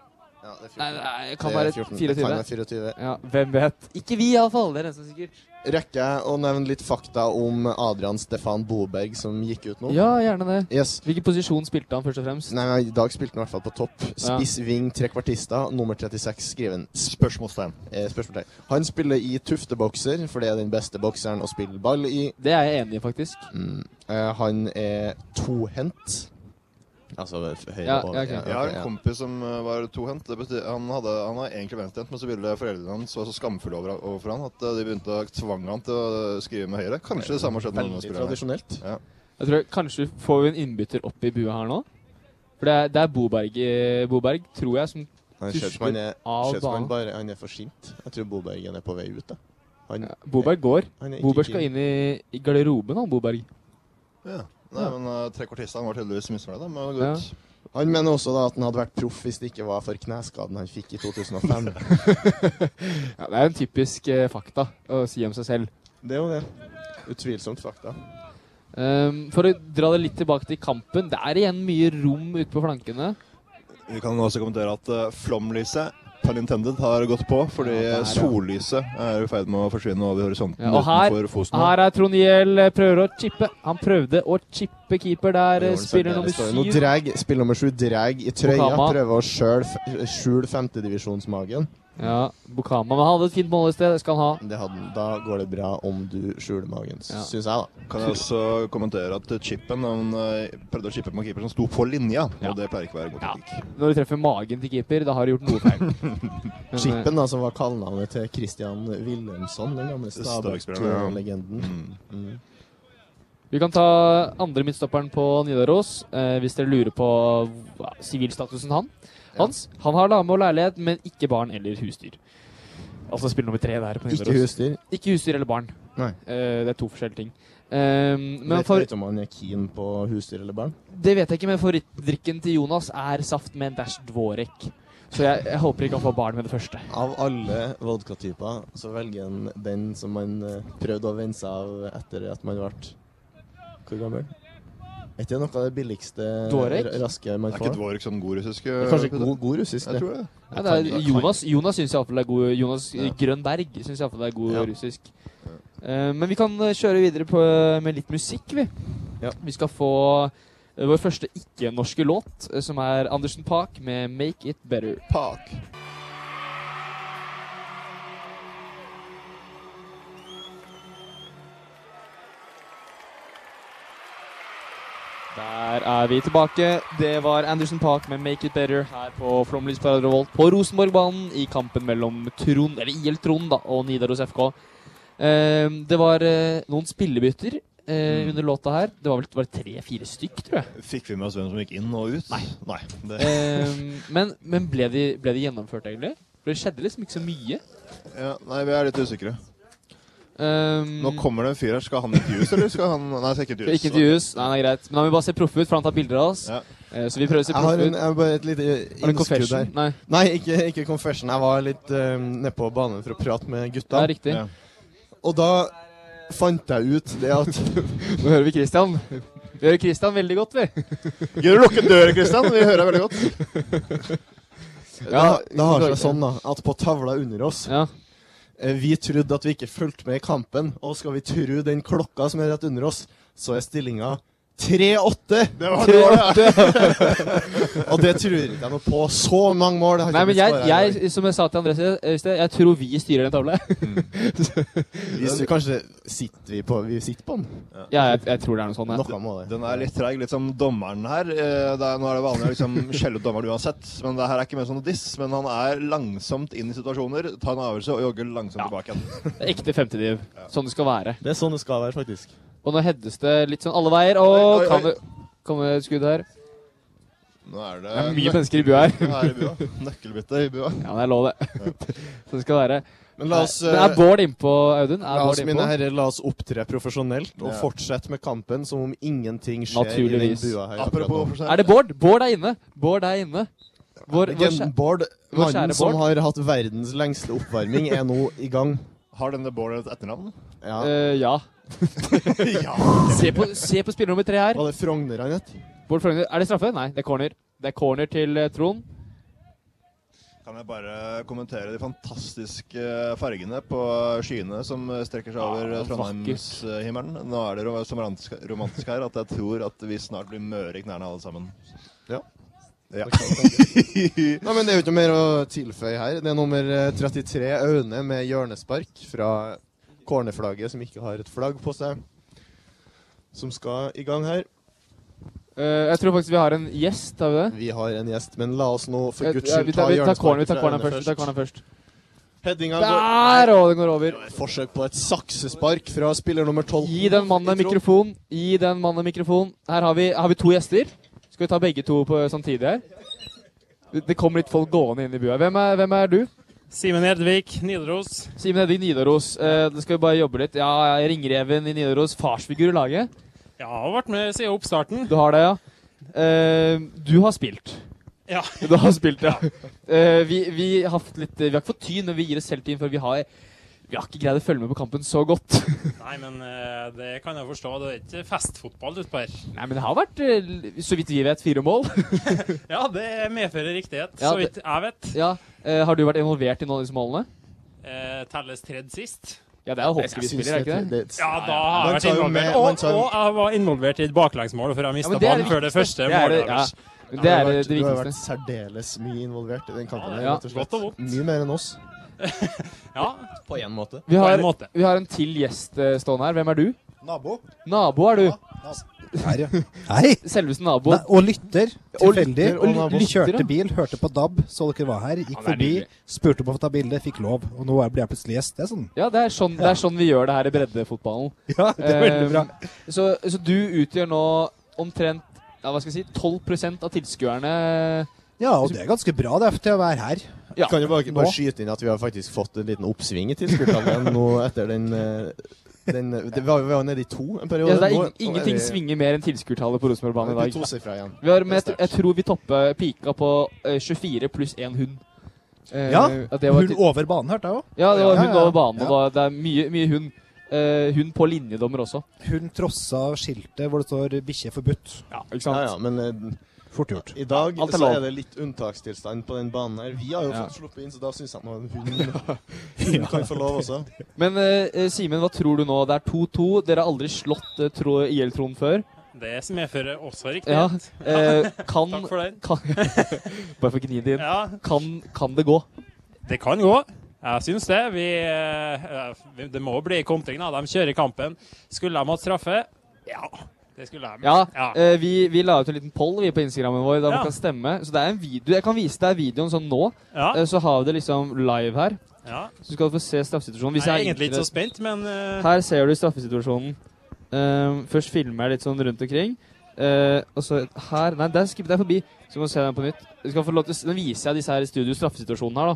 [SPEAKER 4] Ja, det er 14.
[SPEAKER 3] Nei, det kan
[SPEAKER 4] Det er
[SPEAKER 3] være
[SPEAKER 4] 14. Det kan
[SPEAKER 3] 24.
[SPEAKER 4] være 24.
[SPEAKER 3] Ja, hvem vet? Ikke vi iallfall, det er nesten sikkert.
[SPEAKER 4] Rekker jeg å nevne litt fakta om Adrian Stefan Boberg som gikk ut nå?
[SPEAKER 3] Ja, gjerne det.
[SPEAKER 4] Yes.
[SPEAKER 3] Hvilken posisjon spilte han først og fremst?
[SPEAKER 4] Nei, nei, I dag spilte han i hvert fall på topp. Spiss ving, trekvartista, nummer 36, skriven
[SPEAKER 8] Spørsmålstegn.
[SPEAKER 4] eh, spørsmålstegn. Han spiller i tuftebokser, for det er den beste bokseren å spille ball i.
[SPEAKER 3] Det er jeg enig i, faktisk.
[SPEAKER 4] Mm. Eh, han er tohendt. Altså f- høyre
[SPEAKER 3] Ja,
[SPEAKER 4] og
[SPEAKER 3] ja, ok.
[SPEAKER 4] ja,
[SPEAKER 8] Jeg har en
[SPEAKER 4] ja.
[SPEAKER 8] kompis som eh, var tohendt. Det betyr- Han, hadde, han var egentlig venstrehendt, men så ville foreldrene hans var så skamfulle over, overfor han at eh, de begynte å tvange han til å skrive med høyre. Kanskje det samme har skjedd med
[SPEAKER 4] Veldig
[SPEAKER 8] ungdomsspillerne.
[SPEAKER 4] tradisjonelt.
[SPEAKER 3] Jeg tror Kanskje får vi en innbytter opp i bua her nå? For det er, det er Boberg, eh, Boberg, tror jeg, som
[SPEAKER 4] Han ser ut som han er, eh,
[SPEAKER 3] av
[SPEAKER 4] ser ut som han
[SPEAKER 3] banen.
[SPEAKER 4] bare han er for sint. Jeg tror Bobergen er på vei ut. Da. Han,
[SPEAKER 3] Ja, Boberg går.
[SPEAKER 4] han er ikke
[SPEAKER 3] Boberg skal
[SPEAKER 4] keen.
[SPEAKER 3] inn i, i garderoben, han Boberg.
[SPEAKER 8] Ja. Nei, men uh, trekvartistene var tydeligvis misfornøyd da, med å gå
[SPEAKER 3] Ja.
[SPEAKER 8] ut.
[SPEAKER 4] Han mener også da at han hadde vært proff hvis det ikke var for kneskaden han fikk i 2005.
[SPEAKER 3] Ja, det er jo en typisk eh, fakta å si om seg selv.
[SPEAKER 4] det er jo det. Utvilsomt fakta.
[SPEAKER 3] Ehm, for å dra det litt tilbake til kampen. Det er igjen mye rom ute på flankene.
[SPEAKER 8] Vi kan også kommentere at eh, flomlyset på Nintended har gått på, fordi
[SPEAKER 3] Ja, der, ja.
[SPEAKER 8] sollyset er i ferd med å forsvinne over horisonten
[SPEAKER 3] Ja, og her-
[SPEAKER 8] utenfor Fosen.
[SPEAKER 3] Her er Trond Gjell eh, prøver å chippe. Han prøvde å chippe keeper der.
[SPEAKER 4] Det
[SPEAKER 3] eh,
[SPEAKER 4] gjorde han særlig.
[SPEAKER 3] Spiller nummer
[SPEAKER 4] Det står jo Nå
[SPEAKER 3] syv.
[SPEAKER 4] dreg, spiller nummer sju dreg i trøya,
[SPEAKER 3] Okama.
[SPEAKER 4] prøver å skjøle f- skjule femtedivisjonsmagen.
[SPEAKER 3] Ja, Bukama. Men han hadde et fint mål i sted. Det skal han ha.
[SPEAKER 4] Det hadde, han. da går det bra om du skjuler magen,
[SPEAKER 3] Ja.
[SPEAKER 4] synes syns jeg, da.
[SPEAKER 8] Kan jeg også kommentere at chipen Han eh, prøvde å chippe på en keeper som sto på linja,
[SPEAKER 3] Ja.
[SPEAKER 8] og det pleier ikke å være god
[SPEAKER 3] Ja.
[SPEAKER 8] teknikk.
[SPEAKER 3] Når du treffer magen til keeper, da har du gjort noe feil. Men, eh,
[SPEAKER 4] Chippen, da, som var kallenavnet til Christian Wilhelmsson, den gamle
[SPEAKER 8] Stabæk-spilleren, ja.
[SPEAKER 4] Stabæk-legenden.
[SPEAKER 8] Mm.
[SPEAKER 4] Mm.
[SPEAKER 3] Vi kan ta andre midtstopperen på Nidaros, eh, hvis dere lurer på hva- sivilstatusen han. hans. Han har dame og leilighet, men ikke barn eller husdyr. Altså spiller nummer tre der på Nidaros.
[SPEAKER 4] Ikke husdyr.
[SPEAKER 3] Ikke husdyr eller barn.
[SPEAKER 4] Nei.
[SPEAKER 3] Eh, det er to forskjellige ting. Eh, men
[SPEAKER 4] Vet
[SPEAKER 3] for,
[SPEAKER 4] ikke om han er keen på husdyr eller barn.
[SPEAKER 3] det vet jeg ikke, men favorittdrikken til Jonas er saft med en dash dvorek. Så jeg, jeg håper ikke han får barn med det første.
[SPEAKER 4] Av alle vodkatyper så velger han den som man eh, prøvde å venne seg av etter at man ble Hvor gammel? Er ikke det noe av det billigste
[SPEAKER 3] Dvorek?
[SPEAKER 4] ra- raske
[SPEAKER 8] Det
[SPEAKER 4] man
[SPEAKER 8] er ikke
[SPEAKER 4] får?
[SPEAKER 8] dvorek sånn god russisk?
[SPEAKER 4] Det er Kanskje god, god russisk,
[SPEAKER 8] Jeg
[SPEAKER 4] det.
[SPEAKER 8] tror det.
[SPEAKER 3] Ja, det er, Jonas Jonas syns iallfall det er god Jonas
[SPEAKER 4] Ja.
[SPEAKER 3] Grønberg syns iallfall det er god
[SPEAKER 4] Ja.
[SPEAKER 3] russisk. Eh, men vi kan eh, kjøre videre på, eh, med litt musikk, vi.
[SPEAKER 4] Ja.
[SPEAKER 3] Vi skal få eh, vår første ikke-norske låt, eh, som er Andersen Park med 'Make It Better'.
[SPEAKER 4] Pak.
[SPEAKER 3] Der er vi tilbake. Det var Anderson Park med 'Make It Better' her på Flåmlys Parader Volt på Rosenborgbanen i kampen mellom Trond, eller IL Trond da, og Nidaros FK. Eh, det var eh, noen spillebytter eh, under låta her. Det var vel bare tre-fire stykk, tror jeg.
[SPEAKER 8] Mm. Fikk vi med oss hvem som gikk inn og ut? Nei. det.
[SPEAKER 3] Eh, men men ble, de, ble de gjennomført, egentlig? For det skjedde liksom ikke så mye.
[SPEAKER 8] Ja, nei, vi er litt usikre.
[SPEAKER 3] Um,
[SPEAKER 8] Nå kommer det en fyr her. Skal han intervjues, eller skal han Nei, skal ikke intervjues.
[SPEAKER 3] ikke intervjues. Nei, det er greit. Men han vil bare se proffe ut, for han tar bilder av oss.
[SPEAKER 8] Ja.
[SPEAKER 3] Eh, så vi prøver å se
[SPEAKER 4] Jeg har
[SPEAKER 3] proffe
[SPEAKER 4] en,
[SPEAKER 3] ut.
[SPEAKER 4] jeg har bare et lite eh,
[SPEAKER 3] Har du en
[SPEAKER 4] innskudd
[SPEAKER 3] confession?
[SPEAKER 4] her.
[SPEAKER 3] Nei.
[SPEAKER 4] Nei, ikke, ikke confession. Jeg var litt eh, nede på banen for å prate med
[SPEAKER 3] Det
[SPEAKER 4] gutta.
[SPEAKER 3] er riktig.
[SPEAKER 8] Ja.
[SPEAKER 4] Og da fant jeg ut det at
[SPEAKER 3] Nå hører vi Christian. Vi hører Christian veldig godt, vi.
[SPEAKER 8] Ok. Gidder du lukke døra, Christian? Vi hører deg veldig godt.
[SPEAKER 4] det, har- det har seg
[SPEAKER 3] ikke.
[SPEAKER 4] sånn da, at på tavla under oss
[SPEAKER 3] Ja.
[SPEAKER 4] Eh, Vi trodde at vi ikke fulgte med i kampen, og skal vi tro den klokka som er rett under oss, så er stillinga 3-8!
[SPEAKER 8] Det var det. Var det.
[SPEAKER 4] Og det tror jeg ikke noe på. Så mange mål! det har ikke
[SPEAKER 3] Nei, men
[SPEAKER 4] blitt
[SPEAKER 3] jeg,
[SPEAKER 4] skåret her i dag.
[SPEAKER 3] jeg, som jeg sa til André eh, i sted, jeg tror vi styrer den tavla.
[SPEAKER 8] Mm.
[SPEAKER 4] Hvis du, kanskje sitter vi på Vi sitter på den?
[SPEAKER 3] ja, jeg, jeg tror det er noe sånt. Ja.
[SPEAKER 4] Noe må det.
[SPEAKER 8] Den er litt treig, litt som dommeren her. Eh, Det er, nå er det vanlig å liksom skjelle ut dommeren uansett, men det her er ikke mer sånn diss. Men han er langsomt inn i situasjoner, tar en avgjørelse og jogger langsomt tilbake igjen.
[SPEAKER 3] Ekte femtediv. Sånn det skal være.
[SPEAKER 4] Det er sånn det skal være, faktisk.
[SPEAKER 3] Og nå heades det litt sånn alle veier.
[SPEAKER 8] Oi,
[SPEAKER 3] Og
[SPEAKER 8] oi,
[SPEAKER 3] kan
[SPEAKER 8] oi.
[SPEAKER 3] det komme et skudd her?
[SPEAKER 8] Nå er det,
[SPEAKER 3] Det er mye mennesker i bua her.
[SPEAKER 8] nøkkelbytte her i bua. Nøkkelbytte i bua.
[SPEAKER 3] Ja, det er lov, det. Sånn skal det være.
[SPEAKER 4] Men la oss,
[SPEAKER 3] Men er
[SPEAKER 4] eh,
[SPEAKER 3] Bård innpå, Audun? Er
[SPEAKER 4] la oss,
[SPEAKER 3] Bård
[SPEAKER 4] mine
[SPEAKER 3] innpå?
[SPEAKER 4] herrer, la oss opptre profesjonelt og
[SPEAKER 8] Ja.
[SPEAKER 4] fortsette med kampen som om ingenting skjer
[SPEAKER 3] Naturligvis.
[SPEAKER 4] i den bua her. akkurat nå.
[SPEAKER 8] Apropos for seg-
[SPEAKER 3] Er det Bård? Bård er inne! Bård er inne. Vår, vår,
[SPEAKER 4] Legenden
[SPEAKER 3] skjæ-
[SPEAKER 4] Bård,
[SPEAKER 3] vår
[SPEAKER 4] mannen
[SPEAKER 3] kjære
[SPEAKER 4] som
[SPEAKER 3] Bård.
[SPEAKER 4] har hatt verdens lengste oppvarming, er nå i gang.
[SPEAKER 8] Har denne Bård et etternavn?
[SPEAKER 4] Ja.
[SPEAKER 3] Eh, ja. se, på, se på spiller nummer tre her.
[SPEAKER 4] Var det Frogner han het?
[SPEAKER 3] Bård Frogner. Er det straffe? Nei, det er corner. Det er corner til eh, Trond.
[SPEAKER 8] Kan jeg bare kommentere de fantastiske eh, fargene på skyene som eh, strekker seg over
[SPEAKER 3] Ja,
[SPEAKER 8] Trondheimshimmelen? Nå er det ro- så romantisk- romantisk her at jeg tror at vi snart blir møre i knærne alle sammen.
[SPEAKER 4] Ja.
[SPEAKER 8] Ja.
[SPEAKER 4] Nei, men Det er jo ikke mer å tilføye her. Det er nummer eh, 33, Aune, med hjørnespark fra cornerflagget, som ikke har et flagg på seg, som skal i gang her.
[SPEAKER 3] Eh, jeg tror faktisk vi har en gjest, har vi det?
[SPEAKER 4] Vi har en gjest, men la oss nå for
[SPEAKER 3] Eh,
[SPEAKER 4] guds
[SPEAKER 3] ja, vi
[SPEAKER 4] skyld ta
[SPEAKER 3] tar- vi tar corner- vi
[SPEAKER 4] hjørnesparket
[SPEAKER 3] tar
[SPEAKER 4] fra
[SPEAKER 3] corner
[SPEAKER 4] Aune
[SPEAKER 3] først. vi tar corner
[SPEAKER 4] først.
[SPEAKER 3] først.
[SPEAKER 4] Headinga går
[SPEAKER 3] Der! Og den går over.
[SPEAKER 4] Et forsøk på et saksespark fra spiller nummer 12.
[SPEAKER 3] Gi den mannen en
[SPEAKER 4] Jeg tror-
[SPEAKER 3] mikrofon. Gi den mannen en mikrofon. Her har vi, har vi to gjester. Skal vi ta begge to på, samtidig her? Det- Det kommer litt folk gående inn i bua. Hvem er, hvem er du?
[SPEAKER 9] Simen Edvik, Nidaros.
[SPEAKER 3] Simen Hedvig Nidaros. Eh, da skal vi bare jobbe litt. Ja, jeg er ringreven i Nidaros. Farsfigur i laget.
[SPEAKER 9] Ja, har vært med siden oppstarten.
[SPEAKER 3] Du har det, ja. Eh, du har spilt.
[SPEAKER 9] Ja.
[SPEAKER 3] Du har spilt, ja. Eh, vi, vi, har hatt litt, vi har ikke fått tyn, men vi gir oss selv tyn, for vi har, vi har ikke greid å følge med på kampen så godt.
[SPEAKER 9] Nei, men eh, det kan jeg forstå. Det er ikke festfotball utpå her.
[SPEAKER 3] Nei, men det har vært, eh, så vidt vi vet, fire mål.
[SPEAKER 9] Ja, det medfører riktighet,
[SPEAKER 3] Ja,
[SPEAKER 9] så
[SPEAKER 3] det-
[SPEAKER 9] vidt jeg vet.
[SPEAKER 3] Ja, eh, Har du vært involvert i noen av disse målene?
[SPEAKER 9] Eh, telles tredje sist.
[SPEAKER 3] Ja, det er jo
[SPEAKER 4] Jeg
[SPEAKER 3] hockey vi
[SPEAKER 4] synes
[SPEAKER 3] spiller, er det ikke det?
[SPEAKER 4] det-
[SPEAKER 9] Ja,
[SPEAKER 4] Man
[SPEAKER 9] da har jeg vært
[SPEAKER 4] tar jo med-
[SPEAKER 9] involvert.
[SPEAKER 4] man
[SPEAKER 9] Og,
[SPEAKER 4] tar jo-
[SPEAKER 9] og jeg var involvert i et baklengsmål, for jeg
[SPEAKER 3] Ja, men
[SPEAKER 9] mista
[SPEAKER 3] det er
[SPEAKER 9] ballen
[SPEAKER 3] det
[SPEAKER 9] før det første
[SPEAKER 3] Det er det,
[SPEAKER 9] målet.
[SPEAKER 3] ja.
[SPEAKER 9] deres.
[SPEAKER 3] Men det er
[SPEAKER 4] Du har
[SPEAKER 3] det,
[SPEAKER 4] vært-
[SPEAKER 3] det
[SPEAKER 4] Du har vært
[SPEAKER 3] viktigste.
[SPEAKER 4] særdeles mye involvert i den kampen. her,
[SPEAKER 3] Ja,
[SPEAKER 4] rett og slett.
[SPEAKER 9] godt og vondt.
[SPEAKER 4] Mye mer enn oss.
[SPEAKER 9] Ja,
[SPEAKER 4] På én måte.
[SPEAKER 3] Vi
[SPEAKER 9] på
[SPEAKER 3] har,
[SPEAKER 9] en måte.
[SPEAKER 3] vi har en til gjest eh, stående her. Hvem er du?
[SPEAKER 8] Nabo?
[SPEAKER 3] Nabo er du.
[SPEAKER 10] Her, ja. Hei!
[SPEAKER 3] Selveste nabo.
[SPEAKER 10] Nei, og lytter. Tilfeldig.
[SPEAKER 4] lytter, og nabo.
[SPEAKER 10] Vi
[SPEAKER 3] Lytter, ja.
[SPEAKER 10] kjørte bil, hørte på DAB, så dere var her. Gikk
[SPEAKER 3] det er
[SPEAKER 10] forbi,
[SPEAKER 3] nydelig.
[SPEAKER 10] spurte om å få ta bilde, fikk lov. Og nå er- blir jeg plutselig gjest. Det er sånn.
[SPEAKER 3] Ja, det er, sånn, det er sånn vi gjør det her i breddefotballen. Ehm,
[SPEAKER 10] Ja, det er veldig bra.
[SPEAKER 3] Så, så du utgjør nå omtrent ja, hva skal jeg si, 12 av tilskuerne.
[SPEAKER 10] Ja, og det er ganske bra det er til å være her.
[SPEAKER 3] Ja,
[SPEAKER 4] kan jo bare,
[SPEAKER 10] nå.
[SPEAKER 4] bare skyte inn at vi har faktisk fått en liten oppsving i tilskuertallet nå etter den, eh, den det, Vi var vi var nede i to en periode.
[SPEAKER 3] Ja, det er
[SPEAKER 4] Nå-
[SPEAKER 3] ing ingenting svinger mer enn tilskuertallet på Rosenborg-banen
[SPEAKER 4] nå
[SPEAKER 3] i
[SPEAKER 4] er vi
[SPEAKER 3] dag.
[SPEAKER 4] tosifra igjen.
[SPEAKER 3] Vi har, men jeg,
[SPEAKER 4] Det er
[SPEAKER 3] tr- jeg tror vi toppa pika på eh, 24 pluss én hund. Eh,
[SPEAKER 10] Ja,
[SPEAKER 3] at det var
[SPEAKER 10] Hun
[SPEAKER 3] til-
[SPEAKER 10] over banen hørte jeg òg.
[SPEAKER 3] ja, det var
[SPEAKER 10] Ja,
[SPEAKER 3] hund
[SPEAKER 10] ja, ja.
[SPEAKER 3] over banen. og
[SPEAKER 10] Ja.
[SPEAKER 3] da- Det er mye, mye hund. Eh, hund på linjedommer også.
[SPEAKER 10] Hun trossa skiltet hvor det står 'bikkje forbudt'.
[SPEAKER 3] Ja, ikke sant?
[SPEAKER 4] Ja, ja, men eh,
[SPEAKER 10] Fort gjort.
[SPEAKER 4] i dag
[SPEAKER 3] Alt er
[SPEAKER 4] så
[SPEAKER 3] lov.
[SPEAKER 4] er det litt unntakstilstand på den banen her. Vi har jo
[SPEAKER 3] Ja.
[SPEAKER 4] fått sluppet inn, så da syns jeg nå hun, hun kan få lov også.
[SPEAKER 3] Men eh, eh, Simen, hva tror du nå? Det er 2-2. Dere har aldri slått eh, tro IL-tronen før.
[SPEAKER 9] Det medfører også
[SPEAKER 3] Ja,
[SPEAKER 9] riktighet.
[SPEAKER 3] eh, kan,
[SPEAKER 9] Takk for den.
[SPEAKER 3] kan Bare for å gni det inn.
[SPEAKER 9] Ja,
[SPEAKER 3] Kan, kan det gå?
[SPEAKER 9] Det kan gå. Jeg syns det. Vi, eh, eh, det må bli kontring. da. De kjører kampen. Skulle de hatt straffe? Ja, det skulle de.
[SPEAKER 3] Ja.
[SPEAKER 9] Ja.
[SPEAKER 3] eh, vi, vi la ut en liten poll vi på Instagrammen vår der
[SPEAKER 9] Ja.
[SPEAKER 3] man kan stemme. Så det er en video, Jeg kan vise deg videoen sånn nå.
[SPEAKER 9] ja.
[SPEAKER 3] Eh, så har vi det liksom live her.
[SPEAKER 9] ja.
[SPEAKER 3] Så skal du få se straffesituasjonen. Hvis
[SPEAKER 9] jeg er
[SPEAKER 3] jeg er
[SPEAKER 9] egentlig ikke så
[SPEAKER 3] interessert-
[SPEAKER 9] spent, men eh,
[SPEAKER 3] her ser du straffesituasjonen. Eh, først filmer jeg litt sånn rundt omkring. Eh, og så her Nei, der skippet jeg forbi. Så må du se den på nytt. Du skal få lov til, å s- nå viser jeg disse her i studio straffesituasjonen her, da.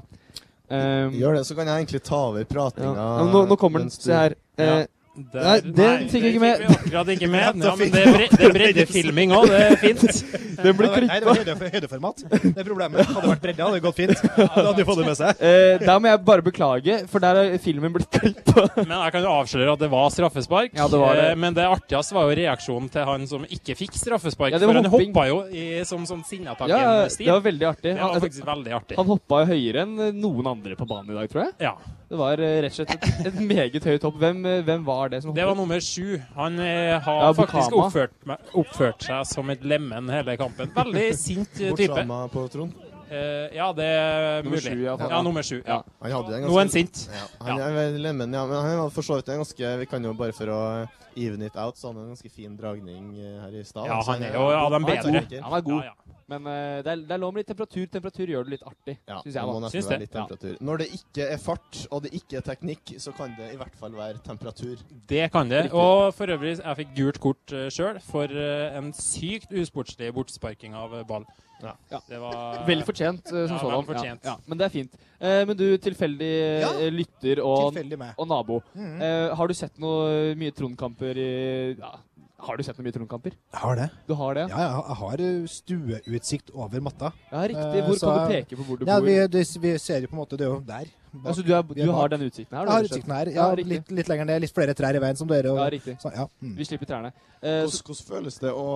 [SPEAKER 3] Eh,
[SPEAKER 4] Gjør det, så kan jeg egentlig ta over pratinga.
[SPEAKER 3] Ja. men Nå, nå kommer den.
[SPEAKER 4] mens du-
[SPEAKER 3] Se her. Eh,
[SPEAKER 9] der-
[SPEAKER 3] Nei, den fikk jeg ikke med.
[SPEAKER 9] vi akkurat ikke med. Ja, men det er, bre det er breddefilming òg, det er fint.
[SPEAKER 3] den blir klippet.
[SPEAKER 10] Nei, det var høyde- høydeformat. Det er problemet. Hadde det vært bredde, hadde det gått fint. Da hadde de fått det med seg.
[SPEAKER 3] Eh, der må jeg bare beklage, for der er filmen blitt klippet.
[SPEAKER 9] Men jeg kan jo avsløre at det var straffespark.
[SPEAKER 3] Ja, det var det.
[SPEAKER 9] Eh, Men det artigste var jo reaksjonen til han som ikke fikk straffespark.
[SPEAKER 3] Ja, det var
[SPEAKER 9] for han
[SPEAKER 3] hopping.
[SPEAKER 9] hoppa jo i, som sånn
[SPEAKER 3] ja, det
[SPEAKER 9] Sinnatakken-stil.
[SPEAKER 3] var veldig artig.
[SPEAKER 9] det var
[SPEAKER 3] Han,
[SPEAKER 9] faktisk veldig artig.
[SPEAKER 3] han hoppa jo høyere enn noen andre på banen i dag, tror jeg.
[SPEAKER 9] Ja.
[SPEAKER 3] Det var eh, rett og slett et, et meget høyt hopp. Hvem, eh, hvem var det som
[SPEAKER 9] Det
[SPEAKER 3] hoppet?
[SPEAKER 9] var nummer sju. Han eh, har
[SPEAKER 3] Ja,
[SPEAKER 9] faktisk
[SPEAKER 3] Bukama.
[SPEAKER 9] oppført, meg, oppført seg som et lemen hele kampen. Veldig sint eh,
[SPEAKER 4] Bort
[SPEAKER 9] type.
[SPEAKER 4] sama på Trond.
[SPEAKER 9] Eh, ja, det er
[SPEAKER 3] Nummer
[SPEAKER 9] mulig.
[SPEAKER 3] sju, ja,
[SPEAKER 9] ja,
[SPEAKER 3] faen.
[SPEAKER 9] nummer sju. Ja.
[SPEAKER 3] Ja.
[SPEAKER 4] Han hadde jo en
[SPEAKER 9] Nå er
[SPEAKER 4] ganske
[SPEAKER 9] han sint.
[SPEAKER 4] Ja, han er veldig lemmen, ja, men han hadde for så vidt en ganske Vi kan jo bare for å even it out, så han hadde en ganske fin dragning eh, her i stad.
[SPEAKER 9] Ja,
[SPEAKER 4] Så
[SPEAKER 9] han er jo av de
[SPEAKER 4] han er
[SPEAKER 9] bedre.
[SPEAKER 4] god.
[SPEAKER 3] Han er god.
[SPEAKER 9] Ja, ja.
[SPEAKER 3] Men eh, det, er, det er lov med litt temperatur. Temperatur gjør det litt artig,
[SPEAKER 4] Ja,
[SPEAKER 3] syns jeg.
[SPEAKER 4] det må
[SPEAKER 3] da.
[SPEAKER 4] nesten være litt temperatur. Når det ikke er fart, og det ikke er teknikk, så kan det i hvert fall være temperatur.
[SPEAKER 9] Det kan det.
[SPEAKER 4] Riktig.
[SPEAKER 9] Og for øvrig, jeg fikk gult kort uh, sjøl for eh, en sykt usportslig bortsparking av eh, ball.
[SPEAKER 3] Ja.
[SPEAKER 9] Det var
[SPEAKER 3] Vel fortjent eh,
[SPEAKER 9] ja,
[SPEAKER 3] som sådan.
[SPEAKER 9] vel fortjent.
[SPEAKER 3] Ja, ja. Men det er fint. Eh, men du, tilfeldig eh, lytter og,
[SPEAKER 10] tilfeldig meg.
[SPEAKER 3] og nabo.
[SPEAKER 10] Mhm.
[SPEAKER 3] Eh, har du sett noe mye Trond-kamper i ja, Har du sett noe mye Trond-kamper?
[SPEAKER 10] Jeg har det.
[SPEAKER 3] Du har det?
[SPEAKER 10] Ja, jeg har- jeg har eh, stueutsikt over matta.
[SPEAKER 3] Ja, riktig.
[SPEAKER 10] Eh,
[SPEAKER 3] Hvor
[SPEAKER 10] så
[SPEAKER 3] kan du
[SPEAKER 10] jeg-
[SPEAKER 3] peke på hvor du
[SPEAKER 10] ja,
[SPEAKER 3] bor?
[SPEAKER 10] Vi, det, vi ser jo på en måte Det er jo der. bak.
[SPEAKER 3] Altså, du er-
[SPEAKER 10] Vi er
[SPEAKER 3] du har
[SPEAKER 10] bak.
[SPEAKER 3] den utsikten her,
[SPEAKER 10] Jeg
[SPEAKER 3] du,
[SPEAKER 10] har
[SPEAKER 3] rett og slett.
[SPEAKER 10] utsikten her.
[SPEAKER 3] Ja,
[SPEAKER 10] Ja,
[SPEAKER 3] riktig.
[SPEAKER 10] litt, litt lenger ned. Litt flere trær i veien som dere. Og,
[SPEAKER 3] Ja, riktig.
[SPEAKER 10] Så, ja. mm.
[SPEAKER 3] Vi slipper trærne. Eh,
[SPEAKER 4] Hvordan, hvordan føles det å,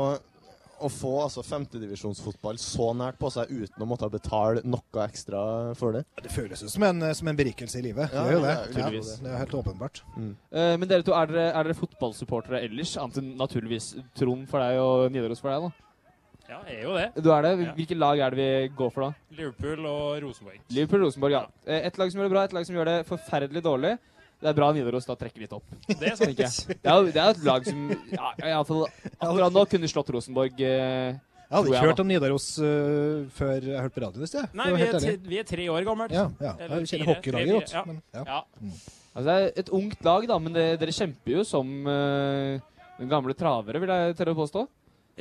[SPEAKER 4] å få altså, femtedivisjonsfotball så nært på seg uten å måtte betale noe ekstra for det?
[SPEAKER 10] Det føles jo som en, som en berikelse i livet.
[SPEAKER 4] Ja,
[SPEAKER 10] det gjør jo
[SPEAKER 4] ja,
[SPEAKER 10] det.
[SPEAKER 4] ja,
[SPEAKER 10] Ja,
[SPEAKER 4] tydeligvis.
[SPEAKER 10] det er helt åpenbart.
[SPEAKER 3] Eh, men dere to, er dere, er dere fotballsupportere ellers? Annet enn naturligvis Trond for deg og Nidaros for deg, da.
[SPEAKER 9] Ja, jeg er jo det.
[SPEAKER 3] Du er det.
[SPEAKER 9] Ja.
[SPEAKER 3] Hvilke lag er det vi går for, da?
[SPEAKER 9] Liverpool og Rosenborg.
[SPEAKER 3] Liverpool-Rosenborg, ja. Eh, Ett lag som gjør det bra, ett lag som gjør det forferdelig dårlig. Det er bra Nidaros da trekker litt opp.
[SPEAKER 9] Det er sant.
[SPEAKER 3] tenker jeg. Det er, jo- det er jo et lag som ja, i alle fall akkurat nå kunne slått Rosenborg. Eh,
[SPEAKER 10] Jeg hadde
[SPEAKER 3] tror
[SPEAKER 10] ikke
[SPEAKER 3] jeg,
[SPEAKER 10] hørt om Nidaros øh, før jeg hørte på radioen i sted.
[SPEAKER 9] Nei,
[SPEAKER 10] Det var
[SPEAKER 9] vi er,
[SPEAKER 10] helt ærlig.
[SPEAKER 9] tre, vi er tre år gammelt.
[SPEAKER 10] Ja, ja.
[SPEAKER 9] Eller
[SPEAKER 10] Jeg kjenner
[SPEAKER 9] fire,
[SPEAKER 10] hockeylaget
[SPEAKER 9] tre,
[SPEAKER 10] godt,
[SPEAKER 9] fire,
[SPEAKER 10] men-
[SPEAKER 9] Ja.
[SPEAKER 10] ja.
[SPEAKER 9] Ja.
[SPEAKER 3] Altså, det er et ungt lag, da, men det, dere kjemper jo som eh, den gamle travere, vil jeg tørre å påstå.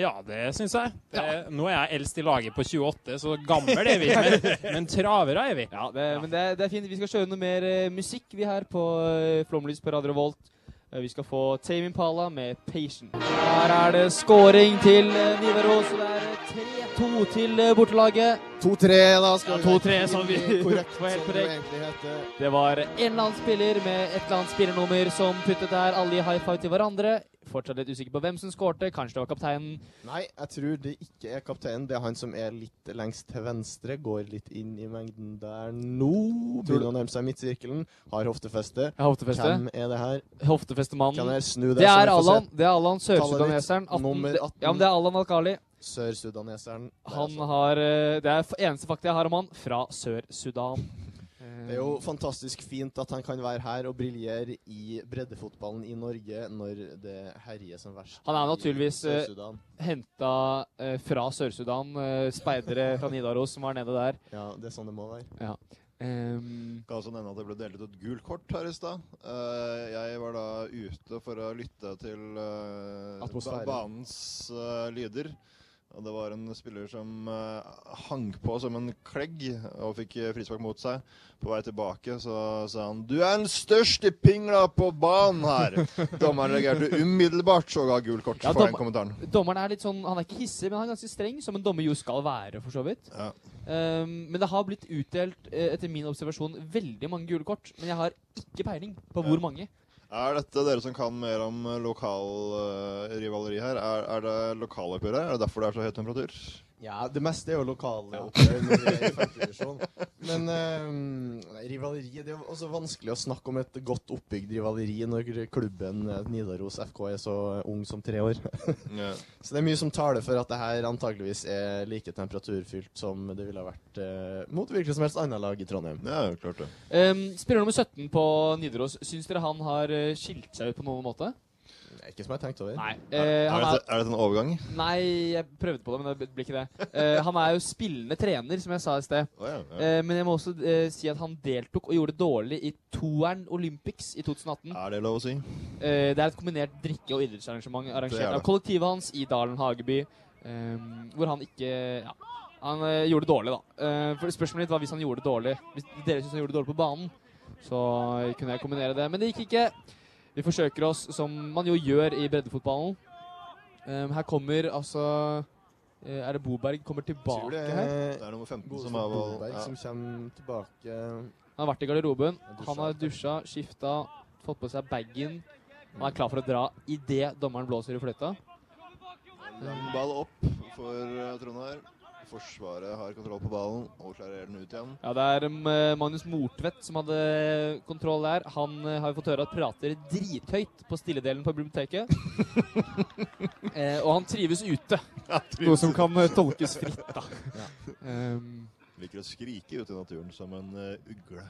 [SPEAKER 9] Ja, det syns jeg. Det, Nå er jeg eldst i laget på 28, så gammel er vi. Men, men travere er vi.
[SPEAKER 3] Ja, det, Men det, er- det er fint. Vi skal kjøre noe mer eh, musikk, vi her på eh, Flomlys på Radio Volt. vi skal få Tame Impala med 'Patient'. Her er det scoring til eh, Nidaros. og Det er eh, 3-2 til eh, bortelaget.
[SPEAKER 4] 2-3, da
[SPEAKER 3] Ja,
[SPEAKER 4] skal
[SPEAKER 3] 2-3, som vi
[SPEAKER 4] Korrekt,
[SPEAKER 3] var
[SPEAKER 4] som det
[SPEAKER 3] helt
[SPEAKER 4] jo
[SPEAKER 3] korrekt.
[SPEAKER 4] egentlig heter.
[SPEAKER 3] Det var en eller annen spiller med et eller annet spillernummer som puttet der. Alle i high five til hverandre. Fortsatt litt usikker på hvem som skårte. Kanskje det var kapteinen.
[SPEAKER 4] Nei, jeg tror det ikke er kapteinen. Det er han som er litt lengst til venstre. Går litt inn i mengden der nå. Begynner å nærme seg midtsirkelen. Har hoftefeste.
[SPEAKER 3] Ja, hoftefeste.
[SPEAKER 4] Hvem er det her?
[SPEAKER 3] Hoftefestemannen.
[SPEAKER 4] Kan jeg snu det?
[SPEAKER 3] Det
[SPEAKER 4] så vi
[SPEAKER 3] er
[SPEAKER 4] får se?
[SPEAKER 3] Allan. Det er Allan
[SPEAKER 4] Tallet
[SPEAKER 3] Sør-Sudaneseren.
[SPEAKER 4] ditt, nummer
[SPEAKER 3] 18.
[SPEAKER 4] 18.
[SPEAKER 3] Ja, men det er Allan Al-Khali.
[SPEAKER 4] Sør-sudaneseren. Det er sånn.
[SPEAKER 3] Han har eh, Det er f- eneste fakta jeg har om han. Fra Sør-Sudan.
[SPEAKER 4] Det er jo fantastisk fint at han kan være her og briljere i breddefotballen i Norge når det herjer som verst.
[SPEAKER 3] Han er
[SPEAKER 4] i
[SPEAKER 3] naturligvis eh,
[SPEAKER 4] Sør-Sudan.
[SPEAKER 3] henta eh, fra Sør-Sudan. eh, speidere fra Nidaros som var nede der.
[SPEAKER 4] Ja, det er sånn det må være.
[SPEAKER 3] Ja. Ehm,
[SPEAKER 8] Kan også nevne at det ble delt ut et gult kort her i stad. Eh, jeg var da ute for å lytte til eh,
[SPEAKER 4] Atmosfære.
[SPEAKER 8] ba- banens eh, lyder. Og det var en spiller som eh, hang på som en klegg og fikk eh, frispark mot seg. På vei tilbake så sa han 'Du er den største pingla på banen her!' Dommeren reagerte umiddelbart og ga gult kort
[SPEAKER 3] Ja,
[SPEAKER 8] for
[SPEAKER 3] dommer-
[SPEAKER 8] den kommentaren.
[SPEAKER 3] Dommeren er litt sånn, han er ikke hissig, men han er ganske streng, som en dommer jo skal være, for så vidt.
[SPEAKER 8] Ja.
[SPEAKER 3] Ehm, men det har blitt utdelt, eh, etter min observasjon, veldig mange gule kort. Men jeg har ikke peiling på hvor mange.
[SPEAKER 8] Er dette dere som kan mer om eh, lokal eh, rivaleri her? Er, er det lokaloppgjør her? Er det derfor det er så høy temperatur?
[SPEAKER 4] Ja, det meste er jo lokale oppgjør når vi er i femtedivisjon. Men eh, nei, rivaleri Det er jo også vanskelig å snakke om et godt oppbygd rivaleri når klubben eh, Nidaros FK er så ung som tre år.
[SPEAKER 8] Ja.
[SPEAKER 4] Så det er mye som taler for at det her antageligvis er like temperaturfylt som det ville ha vært eh, mot hvilket som helst annet lag i Trondheim.
[SPEAKER 8] Ja, klart det.
[SPEAKER 3] Ehm, spiller nummer 17 på Nidaros, syns dere han har eh, skilt seg ut på noen måte?
[SPEAKER 4] Det er ikke som jeg har tenkt over.
[SPEAKER 3] Nei.
[SPEAKER 8] Er,
[SPEAKER 3] Eh, han er,
[SPEAKER 8] dette, er
[SPEAKER 4] sånn
[SPEAKER 8] dette en overgang?
[SPEAKER 3] nei, jeg prøvde på det, men det ble ikke det. Eh, han er jo spillende trener, som jeg sa i sted.
[SPEAKER 8] Å, ja, ja.
[SPEAKER 3] Eh, men jeg må også eh, si at han deltok og gjorde det dårlig i toeren Olympics i 2018.
[SPEAKER 8] Er det lov å si?
[SPEAKER 3] Eh, det er et kombinert drikke- og idrettsarrangement
[SPEAKER 8] Det
[SPEAKER 3] arrangert
[SPEAKER 8] er det.
[SPEAKER 3] av kollektivet hans i Dalen Hageby, eh, hvor han ikke ja, Han eh, gjorde det dårlig, da. Eh, for Spørsmålet mitt var hvis han gjorde det dårlig. Hvis dere syns han gjorde det dårlig på banen, så kunne jeg kombinere det. Men det gikk ikke. Vi forsøker oss som man jo gjør i breddefotballen. Eh, her kommer altså eh, Er det Boberg kommer
[SPEAKER 4] Tror
[SPEAKER 3] tilbake
[SPEAKER 4] det
[SPEAKER 3] her?
[SPEAKER 4] er
[SPEAKER 8] Det er nummer 15
[SPEAKER 4] Godeste
[SPEAKER 8] som er valg.
[SPEAKER 4] Blomberg
[SPEAKER 8] Ja.
[SPEAKER 4] Eh, som kommer tilbake.
[SPEAKER 3] Han har vært i garderoben.
[SPEAKER 4] dusja.
[SPEAKER 3] Han har dusja, skifta, fått på seg bagen. Han er klar for å dra idet dommeren blåser i fløyta.
[SPEAKER 8] Lang ball opp for eh, Trond her. Forsvaret har kontroll på ballen og klarerer den ut igjen.
[SPEAKER 3] Ja, det er um, eh, Magnus Mortvedt som hadde kontroll der. Han eh, har jo fått høre at prater drithøyt på stilledelen på biblioteket. eh, og han trives ute. Noe som kan eh, tolkes fritt, da. Um,
[SPEAKER 8] Liker å skrike ute i naturen som en eh, ugle.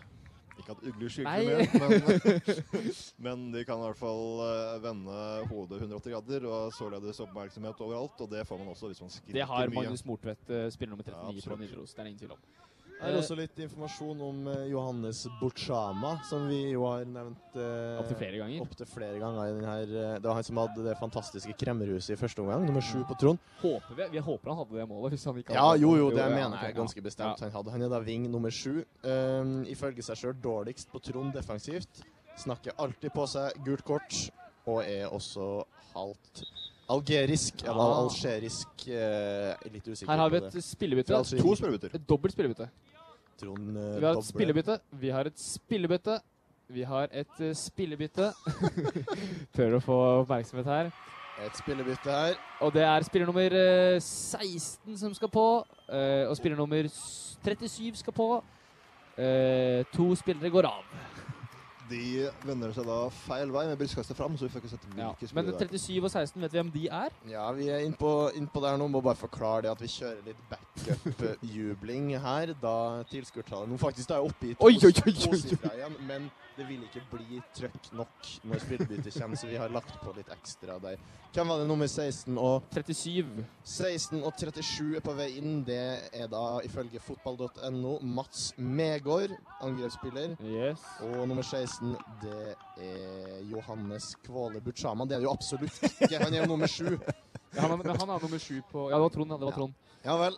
[SPEAKER 8] Ikke at ugler skyter
[SPEAKER 3] Nei.
[SPEAKER 8] mer, men, men de kan i hvert fall eh, vende hodet 180 grader og således oppmerksomhet overalt. Og det får man også hvis man skriker
[SPEAKER 3] Det har
[SPEAKER 8] mye.
[SPEAKER 3] Magnus Mortvedt, eh, spiller nummer 39 på
[SPEAKER 8] absolutt.
[SPEAKER 3] Nidaros. Det er det ingen tvil om. Eh,
[SPEAKER 4] Her er også litt informasjon om eh, Johannes Buchama, som vi jo har nevnt eh,
[SPEAKER 3] Opptil flere ganger.
[SPEAKER 4] opptil flere ganger i den her, eh, Det var han som hadde det fantastiske kremmerhuset i første omgang, nummer sju på Trond.
[SPEAKER 3] Håper vi, vi håper han hadde det målet. Hvis han ikke
[SPEAKER 4] Ja,
[SPEAKER 3] hadde
[SPEAKER 4] jo, jo, det
[SPEAKER 3] ja,
[SPEAKER 4] mener
[SPEAKER 3] nei,
[SPEAKER 4] jeg
[SPEAKER 3] ja.
[SPEAKER 4] ganske bestemt han hadde. Han er da wing nummer sju. Um, ifølge seg sjøl dårligst på Trond defensivt. Snakker alltid på seg gult kort, og er også halvt algerisk, eller
[SPEAKER 3] Ah.
[SPEAKER 4] algerisk eh, Litt usikker
[SPEAKER 3] Her har vi
[SPEAKER 4] på
[SPEAKER 3] et
[SPEAKER 4] det. altså Fra
[SPEAKER 3] spillebytte.
[SPEAKER 4] Algerie.
[SPEAKER 3] Et dobbelt spillebytte.
[SPEAKER 4] Trond eh,
[SPEAKER 3] Vi har
[SPEAKER 4] dobler.
[SPEAKER 3] et spillebytte. Vi har et spillebytte. Vi har et eh, spillebytte. Prøver å få oppmerksomhet her.
[SPEAKER 4] Et spillebytte her.
[SPEAKER 3] Og det er spiller nummer eh, 16 som skal på. eh, og spiller nummer s- 37 skal på. Eh, to spillere går av.
[SPEAKER 8] De vender seg da feil vei med brystkastet fram, så vi får ikke sett
[SPEAKER 3] Ja.
[SPEAKER 8] hvilke
[SPEAKER 3] Men
[SPEAKER 8] spillere det er.
[SPEAKER 3] 37 og 16, vet vi hvem de er?
[SPEAKER 4] Ja, vi er innpå inn på der nå. Må bare forklare det at vi kjører litt backup-jubling her. Da tilskuertallet nå faktisk da er oppe i to-
[SPEAKER 3] Oi, oi, oi, oi, oi.
[SPEAKER 4] tosifra igjen. Men det vil ikke bli trøkk nok når spillebyttet kommer, så vi har lagt på litt ekstra der. Hvem var det nummer 16 og
[SPEAKER 3] 37.
[SPEAKER 4] 16 og 37 er på vei inn. Det er da ifølge fotball.no Mats Megård, angrepsspiller.
[SPEAKER 3] Yes.
[SPEAKER 4] Og nummer 16, det er Johannes Kvåle Buchama. Det er det jo absolutt ikke. Han er jo nummer 7.
[SPEAKER 3] Ja, han, men han er nummer 7 på Ja, det var Trond. ja, Det var Trond.
[SPEAKER 4] Ja vel.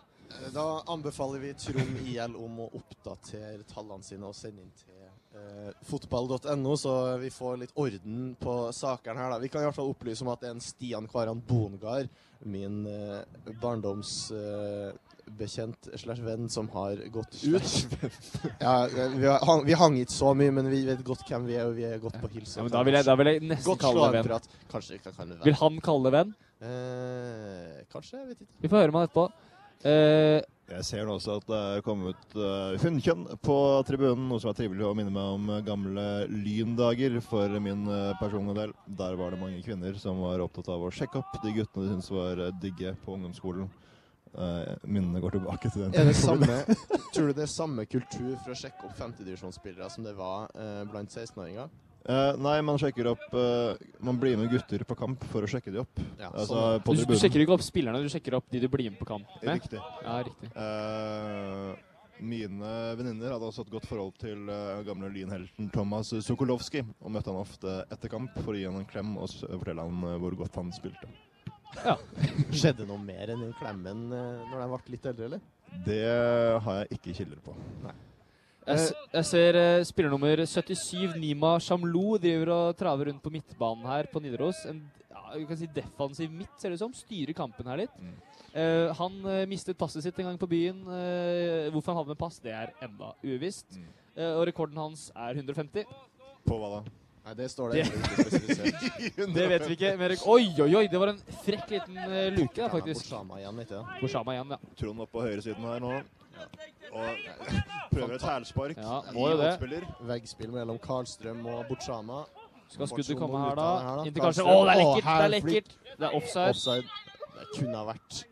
[SPEAKER 4] Da anbefaler vi Trond IL om å oppdatere tallene sine og sende inn til eh, fotball.no, så vi får litt orden på sakene her. da. Vi kan i hvert fall opplyse om at det er en Stian Kvaran Bongard, min eh, barndomsbekjent slash venn, som har gått ut. ja, eh, vi, har- hang, vi hang ikke så mye, men vi vet godt hvem vi er, og vi er godt på hilsen.
[SPEAKER 3] Ja, men da vil jeg, da vil jeg nesten
[SPEAKER 4] Godt
[SPEAKER 3] kalle det venn.
[SPEAKER 4] slagprat. Kanskje vi kan kalle det venn.
[SPEAKER 3] Vil han kalle det venn?
[SPEAKER 4] Eh, kanskje, jeg vet ikke.
[SPEAKER 3] Vi får høre med han etterpå. Eh,
[SPEAKER 8] Jeg ser nå også at det er kommet uh, hunnkjønn på tribunen, noe som er trivelig å minne meg om eh, gamle lyndager for min eh, personlige del. Der var det mange kvinner som var opptatt av å sjekke opp de guttene de syntes var eh, digge på ungdomsskolen. Eh, minnene går tilbake til den
[SPEAKER 4] Er det
[SPEAKER 8] tiden.
[SPEAKER 4] samme, tror du det er samme kultur for å sjekke opp femtedivisjonsspillere som det var eh, blant 16-åringer?
[SPEAKER 8] Eh, nei, man sjekker opp eh, Man blir med gutter på kamp for å sjekke de opp.
[SPEAKER 4] Ja,
[SPEAKER 8] altså,
[SPEAKER 4] sånn.
[SPEAKER 8] på
[SPEAKER 3] du, du
[SPEAKER 8] tribunen.
[SPEAKER 3] sjekker ikke opp spillerne, du sjekker opp de du blir med på kamp med.
[SPEAKER 8] Riktig.
[SPEAKER 3] Ja, riktig.
[SPEAKER 8] Eh, mine venninner hadde også et godt forhold til eh, gamle lynhelten Thomas Sokolowski, og møtte han ofte etter kamp for å gi han en klem og s- fortelle han eh, hvor godt han spilte.
[SPEAKER 4] Skjedde noe mer enn den klemmen eh, når de ble litt eldre, eller?
[SPEAKER 8] Det har jeg ikke kilder på. Eh,
[SPEAKER 3] Jeg, s- jeg ser eh, spiller nummer 77, Nima Shamlo, driver og traver rundt på midtbanen her på Nidaros. En ja, vi kan si defensiv midt, ser det ut som. Styrer kampen her litt. Eh, han eh, mistet passet sitt en gang på byen. Eh, hvorfor han hadde med pass, det er enda uvisst. Eh, og rekorden hans er 150.
[SPEAKER 8] På hva da?
[SPEAKER 4] Nei, det står det ikke spesifisert.
[SPEAKER 3] Det vet vi ikke. Men rek- oi, oi, oi! Det var en frekk liten eh, luke, da, faktisk.
[SPEAKER 4] Borsama igjen, vet du.
[SPEAKER 3] Borsama igjen, ja.
[SPEAKER 8] Trond opp på høyresiden her nå. Og prøver et hælspark.
[SPEAKER 3] Ja,
[SPEAKER 8] i
[SPEAKER 3] må jo det.
[SPEAKER 8] motspiller.
[SPEAKER 4] Veggspill mellom Karlstrøm og Borsama.
[SPEAKER 3] Skal skuddet
[SPEAKER 4] Borsama
[SPEAKER 3] komme her,
[SPEAKER 4] ut
[SPEAKER 3] da?
[SPEAKER 4] av det her, da.
[SPEAKER 3] Inntil kanskje Å,
[SPEAKER 4] Karlstrøm.
[SPEAKER 3] det er
[SPEAKER 4] Å,
[SPEAKER 3] lekkert! Det
[SPEAKER 4] her
[SPEAKER 3] er
[SPEAKER 4] flipp.
[SPEAKER 3] lekkert! Det er offside.
[SPEAKER 4] Offside. Det kunne ha vært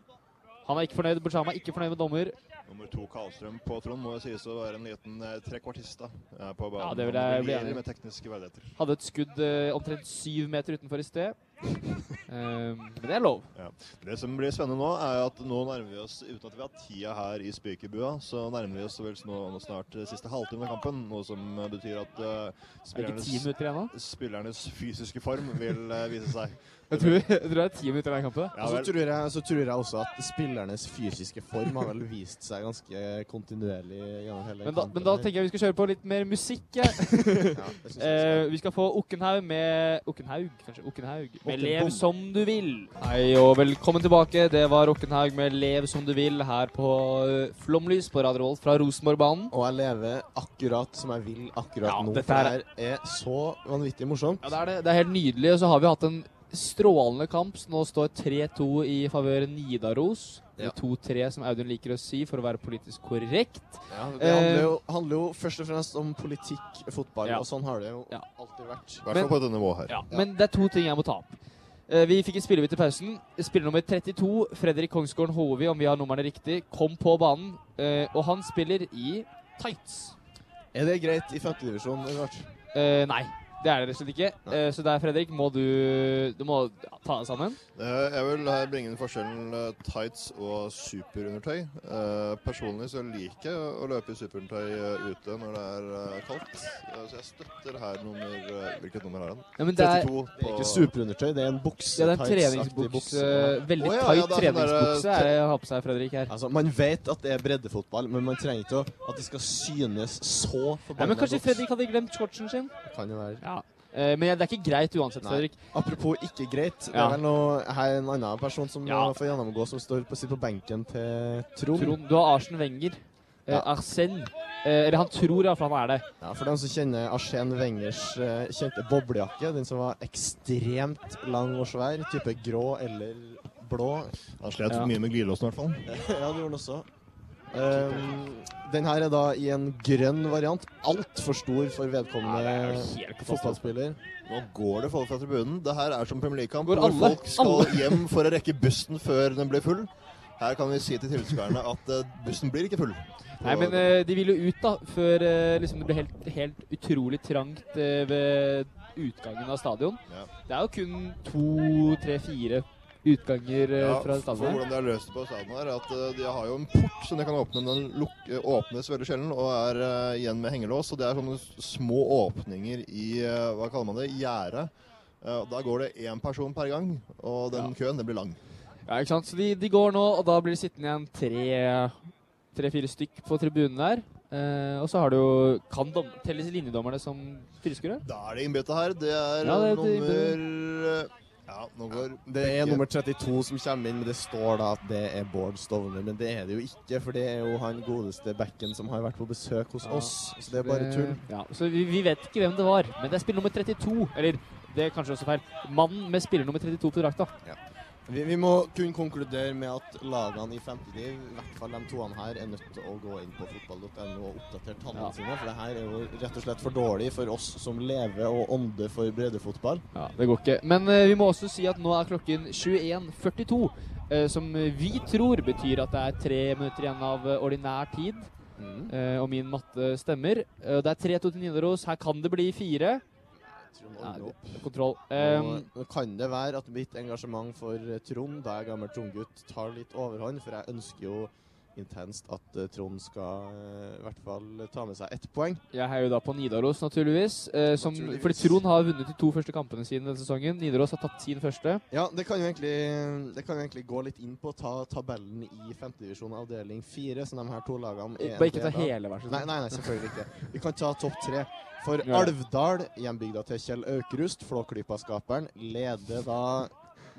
[SPEAKER 3] Han er ikke fornøyd. Borsama er ikke fornøyd med dommer.
[SPEAKER 8] Nummer to Karlstrøm på Trond må jo sies å være en liten eh, trekvartist da, eh, på banen.
[SPEAKER 3] Ja, det vil jeg
[SPEAKER 8] Han
[SPEAKER 3] bli
[SPEAKER 8] briljerer
[SPEAKER 3] enig i.
[SPEAKER 8] med tekniske ferdigheter.
[SPEAKER 3] Hadde et skudd eh, omtrent syv meter utenfor i sted. Ehm, men det er lov.
[SPEAKER 8] Det som blir spennende nå, er at nå nærmer vi oss, uten at vi har tida her i spikerbua, så nærmer vi oss vel nå, nå snart eh, siste halvtime av kampen, noe som eh, betyr at eh,
[SPEAKER 3] Det er ikke ti
[SPEAKER 8] spillernes,
[SPEAKER 3] minutter igjen nå.
[SPEAKER 8] spillernes fysiske form vil eh, vise seg.
[SPEAKER 3] Jeg tror, jeg tror det er ti minutter igjen i kampen.
[SPEAKER 8] Ja,
[SPEAKER 4] Og så
[SPEAKER 8] vel.
[SPEAKER 4] tror, jeg, så tror jeg også at spillernes fysiske form har vel vist seg ganske kontinuerlig gjennom hele
[SPEAKER 3] Men da, men da tenker jeg vi skal kjøre på litt mer musikk. jeg.
[SPEAKER 4] jeg ja, det synes jeg skal.
[SPEAKER 3] Eh, vi skal få Okkenhaug med Okkenhaug, kanskje. Okkenhaug med
[SPEAKER 4] Okkenbom.
[SPEAKER 3] Lev som du vil. Hei og velkommen tilbake. Det var Okkenhaug med Lev som du vil her på eh, Flomlys på Radio Rolf fra Rosenborgbanen.
[SPEAKER 4] Og jeg lever akkurat som jeg vil akkurat
[SPEAKER 3] Ja,
[SPEAKER 4] nå.
[SPEAKER 3] dette
[SPEAKER 4] for
[SPEAKER 3] er-
[SPEAKER 4] Det her er så vanvittig morsomt.
[SPEAKER 3] Ja, det er det. Det er helt nydelig. Og så har vi hatt en strålende kamp. Så nå står 3-2 i favør Nidaros.
[SPEAKER 4] Ja.
[SPEAKER 3] Eller 2-3, som Audun liker å si, for å være politisk korrekt.
[SPEAKER 4] Ja, det handler jo, handler jo først og fremst om politikk, fotball,
[SPEAKER 3] Eh, Ja.
[SPEAKER 4] og sånn har det jo
[SPEAKER 3] Ja.
[SPEAKER 4] alltid vært.
[SPEAKER 8] I hvert fall på dette nivået her.
[SPEAKER 3] Men det er to ting jeg må ta opp. Eh, Vi fikk en spillebytte i pausen. Spiller nummer 32, Fredrik Kongsgården Hovi, om vi har numrene riktig, kom på banen. eh, Og han spiller i tights.
[SPEAKER 4] Er det greit i femtedivisjon, Edvard?
[SPEAKER 3] Eh, nei, det er det rett og slett ikke. Eh, så der, Fredrik, må du, du må ja, ta deg sammen.
[SPEAKER 8] Eh, Jeg vil her bringe inn forskjellen eh, tights og superundertøy. Eh, Personlig så liker jeg å løpe i superundertøy eh, ute når det er eh, kaldt. Eh, Så jeg støtter her nummer eh, Hvilket nummer har han?
[SPEAKER 3] Ja, men det er-
[SPEAKER 8] 32
[SPEAKER 3] Det er
[SPEAKER 8] på-
[SPEAKER 3] ikke
[SPEAKER 4] Superundertøy, det er en bukse.
[SPEAKER 3] Ja, det er en
[SPEAKER 4] tights-aktig
[SPEAKER 3] treningsbukse. Eh,
[SPEAKER 4] bukse.
[SPEAKER 3] Veldig
[SPEAKER 4] Å, ja,
[SPEAKER 3] tight
[SPEAKER 4] ja, det er sånn der,
[SPEAKER 3] treningsbukse er
[SPEAKER 4] eh,
[SPEAKER 3] det jeg har på seg, Fredrik, her.
[SPEAKER 4] Altså, Man vet at det er breddefotball, men man trenger ikke å, at det skal synes så
[SPEAKER 3] Nei,
[SPEAKER 4] forbanna
[SPEAKER 3] men kanskje Fredrik hadde glemt shortsen sin?
[SPEAKER 4] Kan jo være.
[SPEAKER 3] Ja. Eh, men det er ikke greit uansett,
[SPEAKER 4] Nei.
[SPEAKER 3] Fredrik.
[SPEAKER 4] Apropos ikke greit. Det
[SPEAKER 3] Ja.
[SPEAKER 4] er vel noe, her er en annen person som
[SPEAKER 3] Ja.
[SPEAKER 4] eh, får gjennomgå, som står på, sitter på benken til Trond.
[SPEAKER 3] Trond, Du har Arsen Wenger. Eh,
[SPEAKER 4] Ja.
[SPEAKER 3] Arsène. Eh, eller han tror iallfall han er det.
[SPEAKER 4] Ja, For dem som kjenner Arsène Wengers eh, kjente boblejakke, den som var ekstremt lang og svær, type grå eller blå
[SPEAKER 8] Han slet mye med glidelåsen, i hvert fall.
[SPEAKER 4] Ja, det gjorde den også. Um, den her er da i en grønn variant. Altfor stor for vedkommende
[SPEAKER 8] Ja, det er jo helt
[SPEAKER 4] fotballspiller.
[SPEAKER 8] Nå går det folk fra tribunen. Det her er som Premier League-kamp,
[SPEAKER 4] Går
[SPEAKER 8] hvor
[SPEAKER 4] alle?
[SPEAKER 8] folk skal
[SPEAKER 4] Alle?
[SPEAKER 8] hjem for å rekke bussen før den blir full. Her kan vi si til tilskuerne at eh, bussen blir ikke full.
[SPEAKER 3] Nei, men eh, de vil jo ut, da, før eh, liksom det blir helt, helt utrolig trangt eh, ved utgangen av stadion.
[SPEAKER 8] Ja.
[SPEAKER 3] Det er jo kun to, tre, fire utganger eh,
[SPEAKER 8] Ja,
[SPEAKER 3] fra
[SPEAKER 8] for
[SPEAKER 3] stadion.
[SPEAKER 8] hvordan
[SPEAKER 3] her.
[SPEAKER 8] de har løst det på stadion her, er at eh, de har jo en port som de kan åpne, men den luk eh, åpnes veldig sjelden og er eh, igjen med hengelås. Og det er sånne s- små åpninger i eh, hva kaller man det, gjerdet. Eh, og da går det én person per gang, og den køen den blir lang.
[SPEAKER 3] Ja, ikke sant? Så de, de går nå, og da blir det sittende igjen tre- tre-fire stykk på tribunen der. Eh, og så har du jo Kan dom, telles linjedommerne som tilskuere?
[SPEAKER 8] Da er det innbytte her. Det er
[SPEAKER 3] Ja, det- det-
[SPEAKER 8] nummer Ja, nå går
[SPEAKER 4] Det er
[SPEAKER 8] begge-
[SPEAKER 4] nummer 32 som kommer inn, men det står da at det er Bård Stovner. Men det er det jo ikke, for det er jo han godeste backen som har vært på besøk hos oss.
[SPEAKER 8] altså,
[SPEAKER 4] Så det er bare tull.
[SPEAKER 3] Eh, Ja, så vi, vi vet ikke hvem det var, men det er spiller nummer 32. Eller det er kanskje også feil. Mannen med spiller nummer 32 på drakta.
[SPEAKER 4] Vi, vi må kun konkludere med at lagene i femtediv, i hvert fall de toene her, er nødt til å gå inn på fotball.no og oppdatere tallene
[SPEAKER 3] Ja.
[SPEAKER 4] sine. For det her er jo rett og slett for dårlig for oss som lever og ånder for breddefotball.
[SPEAKER 3] Ja, det går ikke. Men eh, vi må også si at nå er klokken 21.42, eh, som vi tror betyr at det er tre minutter igjen av eh, ordinær tid. Eh, og min matte stemmer. Eh, det er 3-2 til Nidaros. Her kan det bli fire. Nei, det- kontroll.
[SPEAKER 4] Nå
[SPEAKER 3] Ehm,
[SPEAKER 4] nå kan det være at mitt engasjement for eh, Trond, da jeg er gammel Trond-gutt, tar litt overhånd, for jeg ønsker jo intenst at eh, Trond skal eh, i hvert fall ta med seg ett poeng.
[SPEAKER 3] jeg heier jo da på Nidaros, naturligvis. eh, som,
[SPEAKER 4] Naturligvis.
[SPEAKER 3] Fordi Trond har vunnet de to første kampene sine denne sesongen. Nidaros har tatt sin første.
[SPEAKER 4] Ja, det kan jo egentlig, det kan jo egentlig gå litt inn på å ta tabellen i femtedivisjon avdeling fire, som de her to lagene er en
[SPEAKER 3] Bare ikke
[SPEAKER 4] del
[SPEAKER 3] ta
[SPEAKER 4] av.
[SPEAKER 3] hele, vær så snill.
[SPEAKER 4] Nei, nei, nei, selvfølgelig ikke. Vi kan ta topp tre. For
[SPEAKER 3] Ja.
[SPEAKER 4] Alvdal, hjembygda til Kjell Aukrust, Flåklypa-skaperen, leder da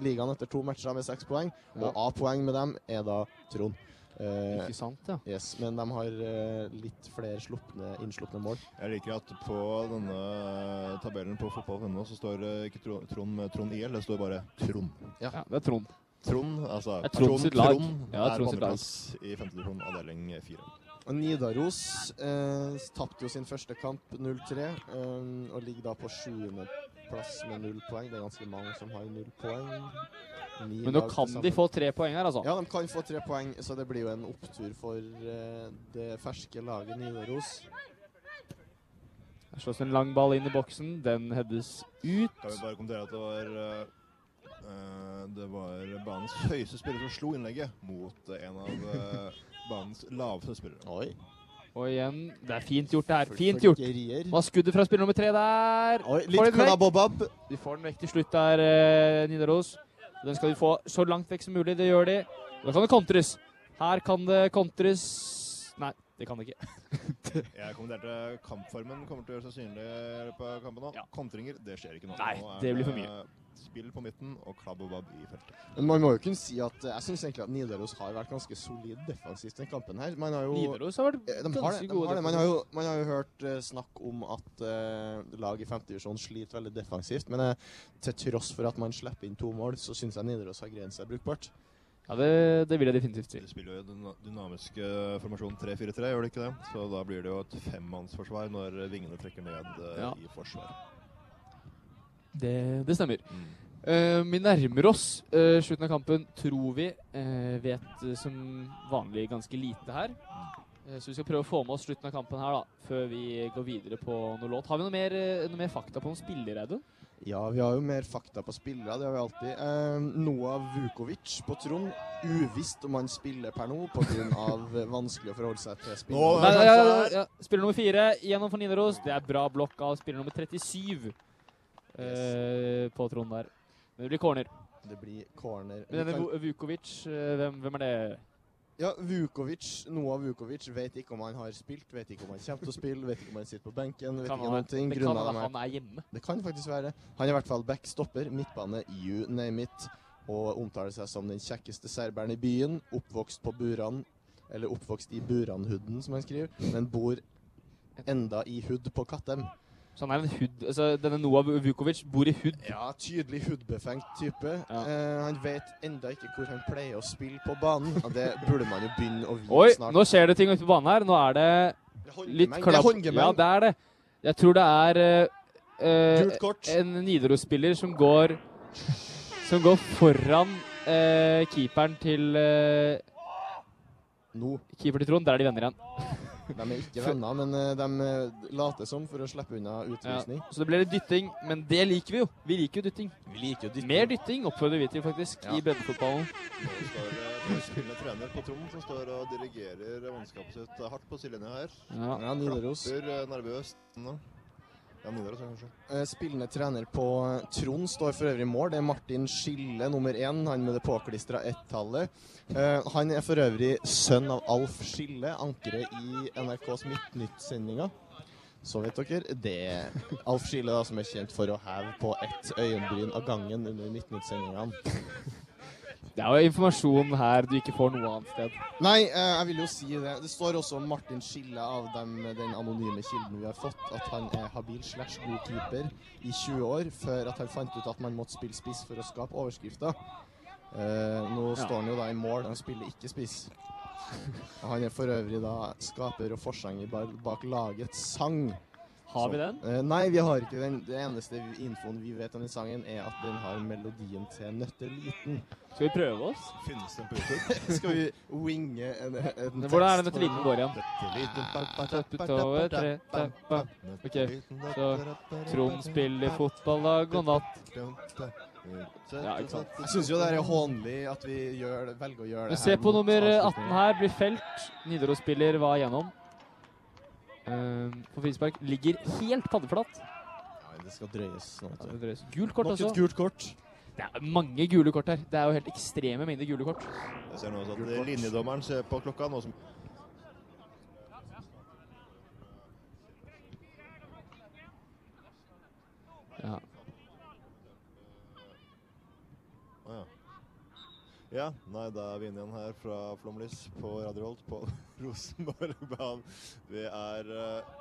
[SPEAKER 4] ligaen etter to matcher med seks poeng, og
[SPEAKER 3] Ja.
[SPEAKER 4] A-poeng med dem er da Trond. Eh,
[SPEAKER 3] Ikke sant, ja.
[SPEAKER 4] Yes, men de har eh, litt flere sluppne, innslupne mål.
[SPEAKER 8] Jeg liker at på denne tabellen på fotball.no så står det ikke Tro- Trond med Trond IL, det står bare Trond.
[SPEAKER 4] Ja,
[SPEAKER 3] det er Trond.
[SPEAKER 8] Trond, altså
[SPEAKER 3] Det er Trond sitt lag.
[SPEAKER 8] Trond
[SPEAKER 3] Ja, det er
[SPEAKER 8] er
[SPEAKER 3] Trond
[SPEAKER 8] på
[SPEAKER 3] sitt lag.
[SPEAKER 8] andreplass i femte divisjon, avdeling fire.
[SPEAKER 4] Og Nidaros eh, tapte jo sin første kamp 0-3 eh, og ligger da på sjuendeplass med null poeng. Det er ganske mange som har null poeng. Ni
[SPEAKER 3] Men nå
[SPEAKER 4] lag til
[SPEAKER 3] kan de
[SPEAKER 4] sammen.
[SPEAKER 3] få tre poeng her, altså.
[SPEAKER 4] Ja, de kan få tre poeng, så det blir jo en opptur for eh, det ferske laget Nidaros.
[SPEAKER 3] Her slås en lang ball inn i boksen. Den heades ut.
[SPEAKER 8] Kan vi bare kommentere at det var eh, det var banens høyeste spiller som slo innlegget mot eh, en av eh, banens laveste spillere.
[SPEAKER 4] Oi.
[SPEAKER 3] Og igjen, det er fint gjort det her.
[SPEAKER 8] For-
[SPEAKER 3] Fint
[SPEAKER 8] for
[SPEAKER 3] gjort.
[SPEAKER 4] greier.
[SPEAKER 3] Hva er skuddet fra spiller nummer tre der?
[SPEAKER 4] Oi,
[SPEAKER 3] Får
[SPEAKER 4] litt
[SPEAKER 3] den vekk.
[SPEAKER 4] klabbobab.
[SPEAKER 3] Vi får den vekk til slutt der, eh, Nidaros. Den skal vi få så langt vekk som mulig. Det gjør de. Og da kan det kontres. Her kan det kontres. Nei, det kan det ikke.
[SPEAKER 8] Jeg kommenterte kampformen kommer til å gjøre seg synlig i løpet av kampen nå. Kontringer, det skjer ikke nå.
[SPEAKER 3] Nei,
[SPEAKER 8] nå er
[SPEAKER 3] det blir for mye.
[SPEAKER 8] det Spill på midten og klabb og babb i feltet.
[SPEAKER 4] Men man må jo kunne si at eh, jeg syns egentlig at Nidaros har vært ganske solid defensivt den kampen her. Man har jo
[SPEAKER 3] Nidaros har vært
[SPEAKER 4] Eh, de har
[SPEAKER 3] ganske
[SPEAKER 4] det, de
[SPEAKER 3] gode
[SPEAKER 4] har det. Man, har jo,
[SPEAKER 3] defensivt.
[SPEAKER 4] man har jo hørt eh, snakk om at eh, lag i femtedivisjon sliter veldig defensivt, men eh, til tross for at man slipper inn to mål, så syns jeg Nidaros har greid seg brukbart.
[SPEAKER 3] Ja, det, det vil jeg definitivt si.
[SPEAKER 8] De spiller jo i den dynamiske formasjonen 3-4-3, gjør de ikke det? Så da blir det jo et femmannsforsvar når vingene trekker ned eh,
[SPEAKER 3] Ja.
[SPEAKER 8] i forsvar.
[SPEAKER 3] Det, det stemmer. Eh, vi nærmer oss eh, slutten av kampen, tror vi. Eh, vet eh, som vanlig ganske lite her. Eh, Så vi skal prøve å få med oss slutten av kampen her, da, før vi går videre på noe låt. Har vi noe mer, eh, noe mer fakta på noen spillere, Audun?
[SPEAKER 4] Ja, vi har jo mer fakta på spillere, det har vi alltid. Eh, Noah Vukovic på Trond. Uvisst om han spiller per nå pga. vanskelig å forholde seg til
[SPEAKER 3] Nå-
[SPEAKER 4] spillere.
[SPEAKER 3] Nei, ja, ja, ja. Spiller nummer fire gjennom for Nidaros. Det er bra blokk av spiller nummer 37 eh, på Trond der. Men det blir corner.
[SPEAKER 4] Det blir corner. Vi
[SPEAKER 3] Men denne
[SPEAKER 4] kan-
[SPEAKER 3] Vu- Vukovic, eh, hvem, hvem er det?
[SPEAKER 4] Ja, Vukovic, Noah Vukovic vet ikke om han har spilt, vet ikke om han kommer til å spille, vet ikke om han sitter på benken, vet
[SPEAKER 3] Kan
[SPEAKER 4] ikke
[SPEAKER 3] han-
[SPEAKER 4] noen ting.
[SPEAKER 3] det
[SPEAKER 4] grunnet
[SPEAKER 3] kan
[SPEAKER 4] dem
[SPEAKER 3] være han er hjemme.
[SPEAKER 4] Det kan faktisk være. Han er i hvert fall backstopper, midtbane, you name it, og omtaler seg som den kjekkeste serberen i byen, oppvokst på Buran, eller oppvokst i Buranhudden, som han skriver, men bor enda i Hud på Kattem.
[SPEAKER 3] Så han er en hud, altså Denne Noah Vukovic bor i hud.
[SPEAKER 4] Ja, tydelig hudbefengt type. Eh, han vet enda ikke hvor han pleier å spille på banen, og det burde man jo begynne å vite
[SPEAKER 3] Oi,
[SPEAKER 4] snart.
[SPEAKER 3] nå skjer det ting ute på banen her. Nå er det
[SPEAKER 4] håndgemeng,
[SPEAKER 3] litt
[SPEAKER 4] det er
[SPEAKER 3] klapp.
[SPEAKER 4] håndgemeng.
[SPEAKER 3] Ja, det er det. Jeg tror det er eh, eh,
[SPEAKER 4] Gult kort.
[SPEAKER 3] en Nidaros-spiller som går Som går foran eh, keeperen til eh, Keeper til Trond. Der er de venner igjen.
[SPEAKER 4] De er ikke venner, men eh, de eh, later som for å slippe unna
[SPEAKER 3] Ja,
[SPEAKER 4] utvisning.
[SPEAKER 3] så det ble litt dytting, men det liker vi jo. Vi liker jo dytting. Mer dytting oppfordrer vi til, faktisk, i breddefotballen.
[SPEAKER 8] Det står eh, for spillende trener på Trond som står og dirigerer mannskapet sitt hardt på sidelinja her.
[SPEAKER 4] Ja. Ja, Nidaros.
[SPEAKER 8] Klapper eh, nervøst. nå. Ja, Nidaros, ja, kanskje.
[SPEAKER 4] Eh, Spillende trener på eh, Trond står for øvrig i mål. Det er Martin Skille, nummer én, han med det påklistra ett-tallet. Eh, han er for øvrig sønn av Alf Skille, ankeret i NRKs Midtnytt-sendinga. Så vet dere det. er Alf Skille, da, som er kjent for å heve på ett øyenbryn av gangen under Midtnytt-sendingene.
[SPEAKER 3] Det er jo informasjon her du ikke får noe annet sted.
[SPEAKER 4] Nei, eh, jeg vil jo si det. Det står også om Martin Skille av dem, den anonyme kilden vi har fått, at han er habil slash god keeper i 20 år, før at han fant ut at man måtte spille spiss for å skape overskrifter. Eh, nå
[SPEAKER 8] Ja.
[SPEAKER 4] står han jo da i mål, han spiller ikke spiss. Han er for øvrig da skaper og forsanger ba- bak lagets sang.
[SPEAKER 3] Har vi
[SPEAKER 4] Som-
[SPEAKER 3] den?
[SPEAKER 4] Eh, nei, vi har ikke den. Det eneste infoen vi vet om den sangen, er at den har melodien til Nøtteliten.
[SPEAKER 3] Skal vi prøve oss?
[SPEAKER 4] Finnes den på YouTube? Skal vi winge en, en
[SPEAKER 3] Men
[SPEAKER 4] tekst?
[SPEAKER 3] hvordan er det
[SPEAKER 4] på
[SPEAKER 3] Nøtteliten går igjen? Tøppetoe, tre, tøppa. Ok, så Trond spiller fotball dag og natt. Ja, ikke sant.
[SPEAKER 4] Jeg syns jo det er hånlig at vi gjør, velger å gjøre
[SPEAKER 3] Men
[SPEAKER 4] det
[SPEAKER 3] se på
[SPEAKER 4] mot
[SPEAKER 3] nummer
[SPEAKER 4] avslutningen.
[SPEAKER 3] 18 her, blir felt. Nidaros-spiller var igjennom. Ehm, på frispark. Ligger helt paddeflat.
[SPEAKER 4] Nei, det skal drøyes nå. vet du.
[SPEAKER 3] Gult kort
[SPEAKER 4] Nok et
[SPEAKER 3] også.
[SPEAKER 4] gult kort.
[SPEAKER 3] Det er mange gule kort her. Det er jo helt ekstreme mengder gule kort.
[SPEAKER 8] Jeg ser nå også at eh, linjedommeren ser på klokka nå som
[SPEAKER 3] Ja.
[SPEAKER 8] Å ja. Ja, nei, da er vi inne igjen her fra Flomlys på Radio Holt på Rosenborg-banen. Vi er eh,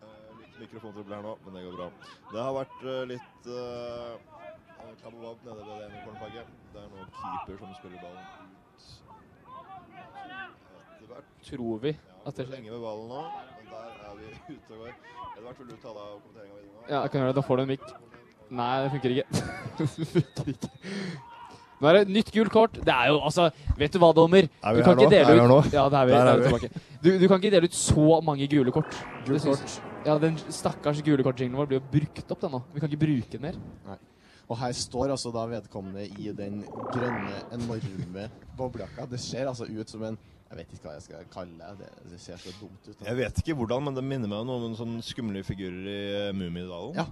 [SPEAKER 8] eh, litt mikrofontrøbbel her nå, men det går bra. Det har vært eh, litt uh, kabobab nede ved det ene cornerflagget. Det er nå keeper som spiller ballen ut etter hvert.
[SPEAKER 3] Tror vi at det
[SPEAKER 8] Går lenge med ballen nå, men der er vi ute og går. Etter hvert vil du ta deg av kommenteringa videre nå.
[SPEAKER 3] Ja, jeg kan gjøre det. Da får du en mic. Nei, det funker ikke. det funker ikke. Nå er det et nytt gult kort. Det er jo altså Vet du hva, dommer?
[SPEAKER 8] Er vi
[SPEAKER 3] du kan
[SPEAKER 8] her nå?
[SPEAKER 3] ikke dele
[SPEAKER 8] Er vi her
[SPEAKER 3] ut
[SPEAKER 8] nå?
[SPEAKER 3] Ja, det er vi.
[SPEAKER 8] Der
[SPEAKER 3] Der
[SPEAKER 8] er
[SPEAKER 3] er vi
[SPEAKER 8] vi.
[SPEAKER 3] tilbake. Du, du kan ikke dele ut så mange gule kort.
[SPEAKER 4] Gult
[SPEAKER 3] Det synes- Ja, den stakkars gule kort-jinglen vår blir jo brukt opp, den nå. Vi kan ikke bruke den mer.
[SPEAKER 4] Nei. Og her står altså da vedkommende i den grønne, enorme boblejakka. Det ser altså ut som en Jeg vet ikke hva jeg skal kalle det. Det- Det ser så dumt ut. da.
[SPEAKER 8] Jeg vet ikke hvordan, men det minner meg om noen sånne skumle figurer i eh, Mummidalen.
[SPEAKER 4] Ja.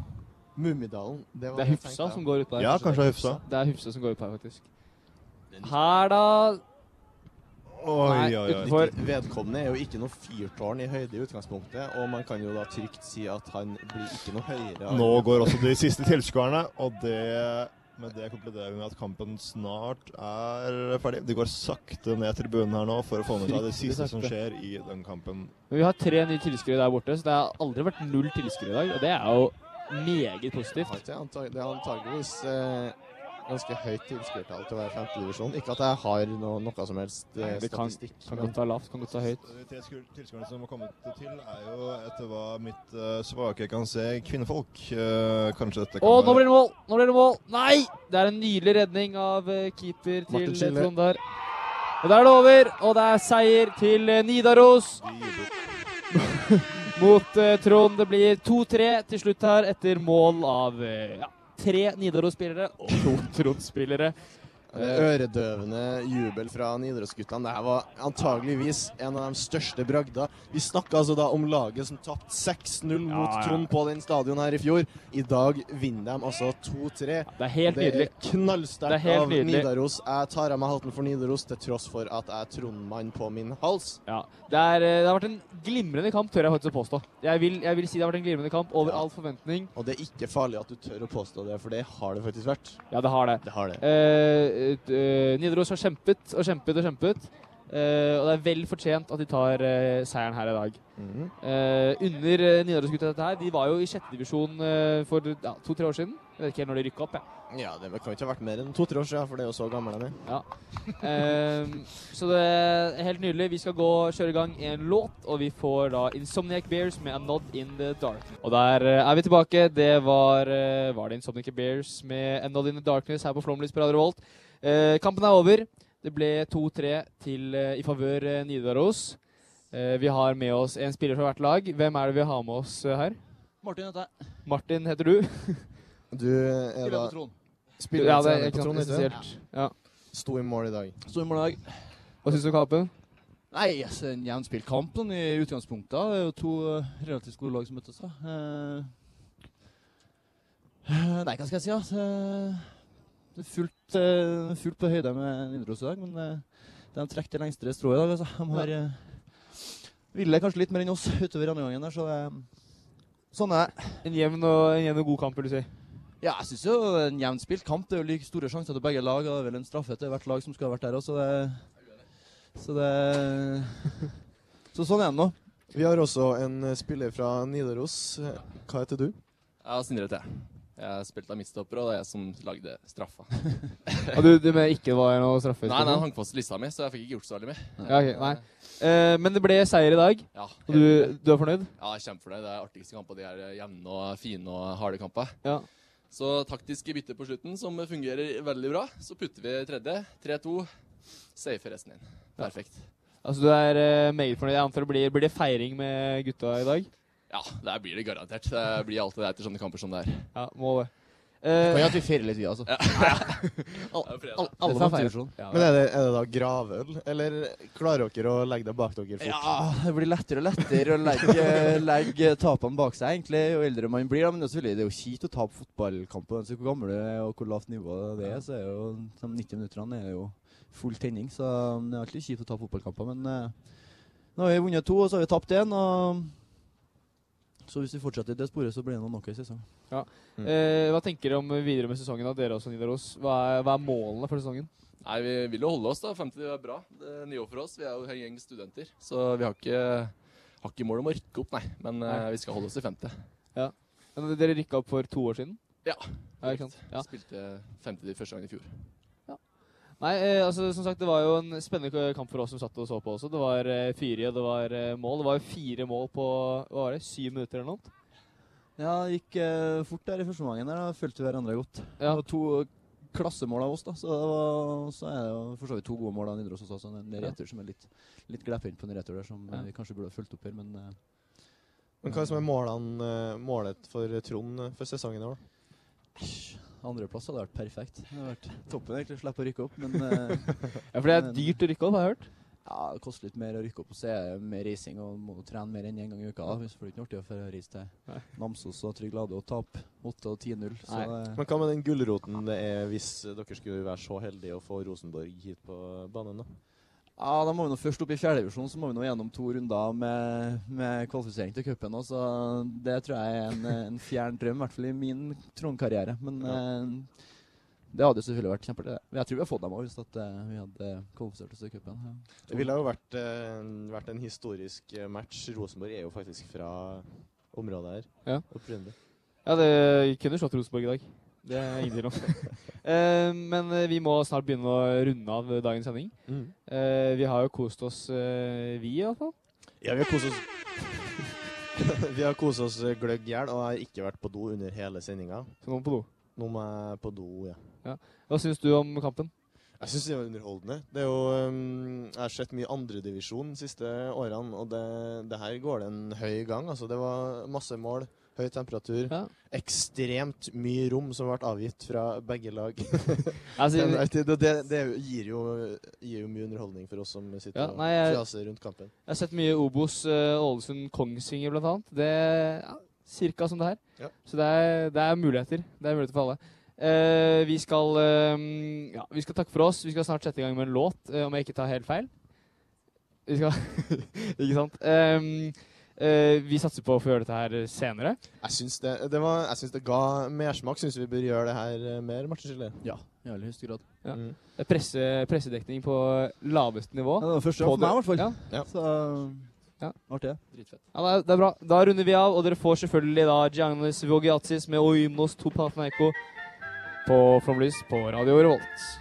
[SPEAKER 4] Mummidalen. Det, var
[SPEAKER 3] Det er
[SPEAKER 4] det jeg
[SPEAKER 3] Hufsa
[SPEAKER 4] tenkte.
[SPEAKER 3] som går utpå her.
[SPEAKER 8] Ja, kanskje det er Hufsa.
[SPEAKER 3] Det er Hufsa som går utpå her, faktisk. Her, da Nei, utenfor.
[SPEAKER 4] Vedkommende er jo ikke noe fyrtårn i høyde i utgangspunktet, og man kan jo da trygt si at han blir ikke noe høyere. av-
[SPEAKER 8] Nå går også de siste tilskuerne, og det, med det konkluderer vi med at kampen snart er ferdig. De går sakte ned tribunen her nå for å få med seg det
[SPEAKER 3] Fryktelig
[SPEAKER 8] siste som
[SPEAKER 3] sakte.
[SPEAKER 8] skjer i den kampen.
[SPEAKER 3] Men vi har tre nye tilskuere der borte, så det har aldri vært null tilskuere i dag. Og det er jo meget positivt.
[SPEAKER 4] Det er antag- det er antageligvis eh, ganske høyt tilskuertall til å være femtedivisjon. Ikke at jeg har noe, noe som helst eh,
[SPEAKER 3] Nei, det kan-
[SPEAKER 4] statistikk.
[SPEAKER 3] kan
[SPEAKER 4] men-
[SPEAKER 3] godt være lavt, kan godt være høyt.
[SPEAKER 8] De tre sku- tilskuerne som har kommet til, er jo etter hva mitt eh, svake kan se, kvinnefolk. Eh, kanskje dette kan
[SPEAKER 3] Og nå blir det mål! Nå blir det mål! Nei! Det er en nydelig redning av eh, keeper til
[SPEAKER 8] Martin
[SPEAKER 3] eh,
[SPEAKER 8] Schiller.
[SPEAKER 3] Trond der. Og da er det over, og det er seier til eh, Nidaros. Mot eh, Trond. Det blir 2-3 til slutt her, etter mål av eh, ja, tre Nidaros-spillere og to Trond-spillere.
[SPEAKER 4] Øredøvende jubel fra Nidarosguttene. Dette var antageligvis en av de største bragda. Vi snakka altså da om laget som tapte 6-0 mot
[SPEAKER 3] Ja, ja.
[SPEAKER 4] Trond på den stadion her i fjor. I dag vinner de altså 2-3.
[SPEAKER 3] det er helt nydelig. Det er
[SPEAKER 4] knallsterkt
[SPEAKER 3] helt
[SPEAKER 4] av
[SPEAKER 3] nydelig.
[SPEAKER 4] Nidaros. Jeg tar av meg hatten for Nidaros til tross for at jeg er Trond-mann på min hals.
[SPEAKER 3] Ja, det, er, eh, det har vært en glimrende kamp, tør jeg faktisk å påstå. Jeg vil, jeg vil si det har vært en glimrende kamp over all forventning.
[SPEAKER 4] Og det er ikke farlig at du tør å påstå det, for det har det faktisk vært.
[SPEAKER 3] Ja, det har det. Eh, ut- eh, Nidaros har kjempet og kjempet og kjempet. Eh, og det er vel fortjent at de tar eh, seieren her i dag.
[SPEAKER 4] Mhm.
[SPEAKER 3] Eh, under eh, Nidaros-gutta dette her, de var jo i sjette divisjon eh, for ja, to-tre år siden. Jeg vet ikke helt når de rykka opp, jeg.
[SPEAKER 4] Ja, det kan jo ikke ha vært mer enn to-tre år siden, for det er jo så gammel de er.
[SPEAKER 3] Ja. Ehm, så det er helt nydelig. Vi skal gå og kjøre i gang en låt, og vi får da Insomniac Bears med A Nod In The Dark. Og der eh, er vi tilbake. Det var, eh, var det Insomniac Bears med A Nod In The Darkness her på Flåmlys på Radio Revolt. Eh, kampen er over. Det ble 2-3 til, eh, i favør eh, Nidaros. Eh, vi har med oss en spiller fra hvert lag. Hvem er det vi har med oss eh, her?
[SPEAKER 11] Martin heter jeg.
[SPEAKER 3] Martin heter du.
[SPEAKER 4] Du er
[SPEAKER 11] Spiller
[SPEAKER 4] da
[SPEAKER 11] på Trond.
[SPEAKER 4] Spiller
[SPEAKER 3] Ja,
[SPEAKER 4] og
[SPEAKER 3] det er
[SPEAKER 4] trener
[SPEAKER 3] ikke
[SPEAKER 4] på
[SPEAKER 3] sant,
[SPEAKER 4] Trond, ikke sant?
[SPEAKER 3] essensielt. Ja.
[SPEAKER 4] Sto i mål i dag.
[SPEAKER 11] Sto i mål i dag.
[SPEAKER 3] Hva syns du om kampen?
[SPEAKER 11] Nei, altså, en jevnspilt kamp sånn, i utgangspunktet. Det er jo to eh, relativt gode lag som møttes. da. Eh, eh, nei, hva skal jeg si? Altså, eh, det er fullt, eh, fullt på høyde med Nidaros i dag, men eh, de trekker det lengste strået i dag. Altså. De har eh, ville kanskje litt mer enn oss utover andre gangen. Der, så det, sånn er det.
[SPEAKER 3] En jevn og, en jevn og god kamp, vil du si?
[SPEAKER 11] Ja, jeg syns jo en jevnspilt kamp. Det er jo like store sjanser til begge lag. Og det er vel en straffe til hvert lag som skulle ha vært der òg, så det, så det Så sånn er det nå.
[SPEAKER 4] Vi har også en eh, spiller fra Nidaros. Eh, Hva heter du?
[SPEAKER 12] Ja, Sindre heter jeg. Jeg spilte av midtstopper, og det er jeg som lagde straffa.
[SPEAKER 3] Og du, du mener ikke det var noe straffe?
[SPEAKER 12] nei, nei, han hang fast i lista mi, så jeg fikk ikke gjort så veldig mye.
[SPEAKER 3] Ja, ok, nei. Eh, men det ble seier i dag.
[SPEAKER 12] Ja,
[SPEAKER 3] og du, du er fornøyd?
[SPEAKER 12] Ja, jeg er kjempefornøyd. Det er artigste kamper. De er jevne og fine og harde kamper.
[SPEAKER 3] Ja.
[SPEAKER 12] Så taktiske bytter på slutten, som fungerer veldig bra. Så putter vi tredje. 3-2. Safer resten inn. Perfekt.
[SPEAKER 3] Altså Du er eh, meget fornøyd. Jeg antar det blir, blir det feiring med gutta i dag?
[SPEAKER 12] Ja, der blir det garantert. Det blir alltid det etter sånne kamper som det er.
[SPEAKER 3] Ja, må det.
[SPEAKER 12] Kan
[SPEAKER 3] Eh,
[SPEAKER 12] jo at vi feirer litt, vi, altså. Ja. Al- al- alle må feire sånn. Ja,
[SPEAKER 4] Men er det, er det da gravøl, eller klarer dere å legge det bak dere fort?
[SPEAKER 11] Ja, det blir lettere og lettere å legge, legge tapene bak seg, egentlig, jo eldre man blir. da. Men det er, selvfølgelig- det er jo kjipt å tape fotballkamper. uansett Hvor gammel du er og hvor lavt nivå det er, så er jo de 90 minuttene er jo full tenning. Så det er alltid kjipt å tape fotballkamper. Men eh, nå har vi vunnet to, og så har vi tapt én. og Så hvis vi fortsetter i det sporet, så blir det noen nok i sesong.
[SPEAKER 3] ja.
[SPEAKER 12] Mm.
[SPEAKER 3] Eh, hva tenker dere om videre med sesongen? da, dere også, Nidaros? Hva er, hva er målene for sesongen?
[SPEAKER 12] Nei, vi vil jo holde oss, da. 50 er bra. Det er nivå for oss. Vi er jo en gjeng studenter, så vi har ikke, har ikke mål om å rykke opp, nei. Men eh,
[SPEAKER 3] Nei.
[SPEAKER 12] vi skal holde oss til 50.
[SPEAKER 3] Ja. Men Dere rykka opp for to år siden?
[SPEAKER 12] Ja.
[SPEAKER 3] ja ikke sant? Ja.
[SPEAKER 12] Spilte 50 de første gangen i fjor.
[SPEAKER 3] Nei, eh, altså som sagt, det var jo en spennende kamp for oss som satt og så på også. Det var eh, fyre, det var eh, mål. Det var jo fire mål på hva var det, syv minutter eller noe.
[SPEAKER 11] Ja, det gikk eh, fort der i første omgangen. der, da Fulgte hverandre godt. Det var to eh, klassemål av oss, da, så, det var, så er det jo for så vidt to gode mål av Nidaros også. Så en
[SPEAKER 4] Ja.
[SPEAKER 11] retur som er litt, litt glepphendt på en retur der, som eh,
[SPEAKER 4] Ja.
[SPEAKER 11] vi kanskje burde ha fulgt opp her, men eh,
[SPEAKER 4] Men hva som er målene, eh, målet for Trond eh, for sesongen i år?
[SPEAKER 11] andreplass eh, hadde vært perfekt. Det hadde vært toppen egentlig, å slippe å rykke opp, men eh,
[SPEAKER 3] Ja, for det er
[SPEAKER 11] men-
[SPEAKER 3] dyrt å rykke opp, har jeg hørt.
[SPEAKER 11] Ja, det koster litt mer å rykke opp, og så er det mer reising, og må jo trene mer enn én gang i uka. da, Hvis det blir ikke noe artig for å reise til Namsos og Trygg Lade og tape 8 og 10-0. så det-
[SPEAKER 4] Men hva med den gulroten det er hvis eh, dere skulle være så heldige å få Rosenborg hit på banen, da?
[SPEAKER 11] Ja, da må vi nå først opp i fjerdedivisjon, så må vi nå gjennom to runder med, med kvalifisering til cupen. også. Det tror jeg er en, en fjern drøm, i hvert fall i min Trond-karriere. Men eh, det hadde jo selvfølgelig vært kjempeartig. det. Jeg tror vi hadde fått dem òg hvis at, eh, vi hadde kvalifisert oss til cupen. Ja.
[SPEAKER 4] Det ville jo vært, eh, vært en historisk eh, match. Rosenborg er jo faktisk fra området her.
[SPEAKER 3] Ja.
[SPEAKER 4] Opprinnelig.
[SPEAKER 3] Ja, det kunne slått Rosenborg i dag. Det er jeg ingen tvil om. Eh, Men eh, vi må snart begynne å runde av dagens sending.
[SPEAKER 4] Mhm.
[SPEAKER 3] Eh, Vi har jo kost oss, eh, vi i hvert fall.
[SPEAKER 4] Ja, vi har kost oss. Vi har kosa oss gløgg i hjel, og jeg har ikke vært på do under hele sendinga.
[SPEAKER 3] Så nå må på do?
[SPEAKER 4] Nå må jeg på do, ja.
[SPEAKER 3] Ja. Hva syns du om kampen?
[SPEAKER 4] Jeg syns det var underholdende. Det er jo, um, jeg har sett mye andredivisjon de siste årene, og det, det her går det en høy gang. Altså, det var masse mål, høy temperatur, ekstremt mye rom som ble avgitt fra begge lag.
[SPEAKER 11] Altså,
[SPEAKER 4] Men, vet du, det, det, det gir, jo, gir jo mye underholdning for oss som sitter
[SPEAKER 3] Ja, nei,
[SPEAKER 4] og
[SPEAKER 3] jeg-
[SPEAKER 4] fjaser rundt kampen.
[SPEAKER 3] Jeg har sett mye Obos, eh, Ålesund, Kongsvinger blant annet. Det ja, Cirka som det her.
[SPEAKER 4] Ja.
[SPEAKER 3] Så det er, det er muligheter. Det er muligheter for alle. Eh, vi, skal, eh, ja, vi skal takke for oss. Vi skal snart sette i gang med en låt, eh, om jeg ikke tar helt feil. Vi skal Ikke sant? Ehm, eh, vi satser på å få gjøre dette her senere.
[SPEAKER 4] Jeg syns det, det, var, jeg syns det ga mersmak. Syns vi bør gjøre det her eh, mer, Martin Mm. Skille?
[SPEAKER 11] Ja, i aller høyeste grad.
[SPEAKER 3] Ja. Det er Presse, pressedekning på laveste nivå.
[SPEAKER 11] Ja, det var første gang
[SPEAKER 3] På
[SPEAKER 11] for meg, i hvert fall.
[SPEAKER 3] Ja.
[SPEAKER 11] Så
[SPEAKER 3] ja.
[SPEAKER 11] artig.
[SPEAKER 3] Ja, det er, det er bra. Da runder vi av, og dere får selvfølgelig da Giannis Vogiatis med Oymos Topatneiko på Flomlys på Radio Revolt.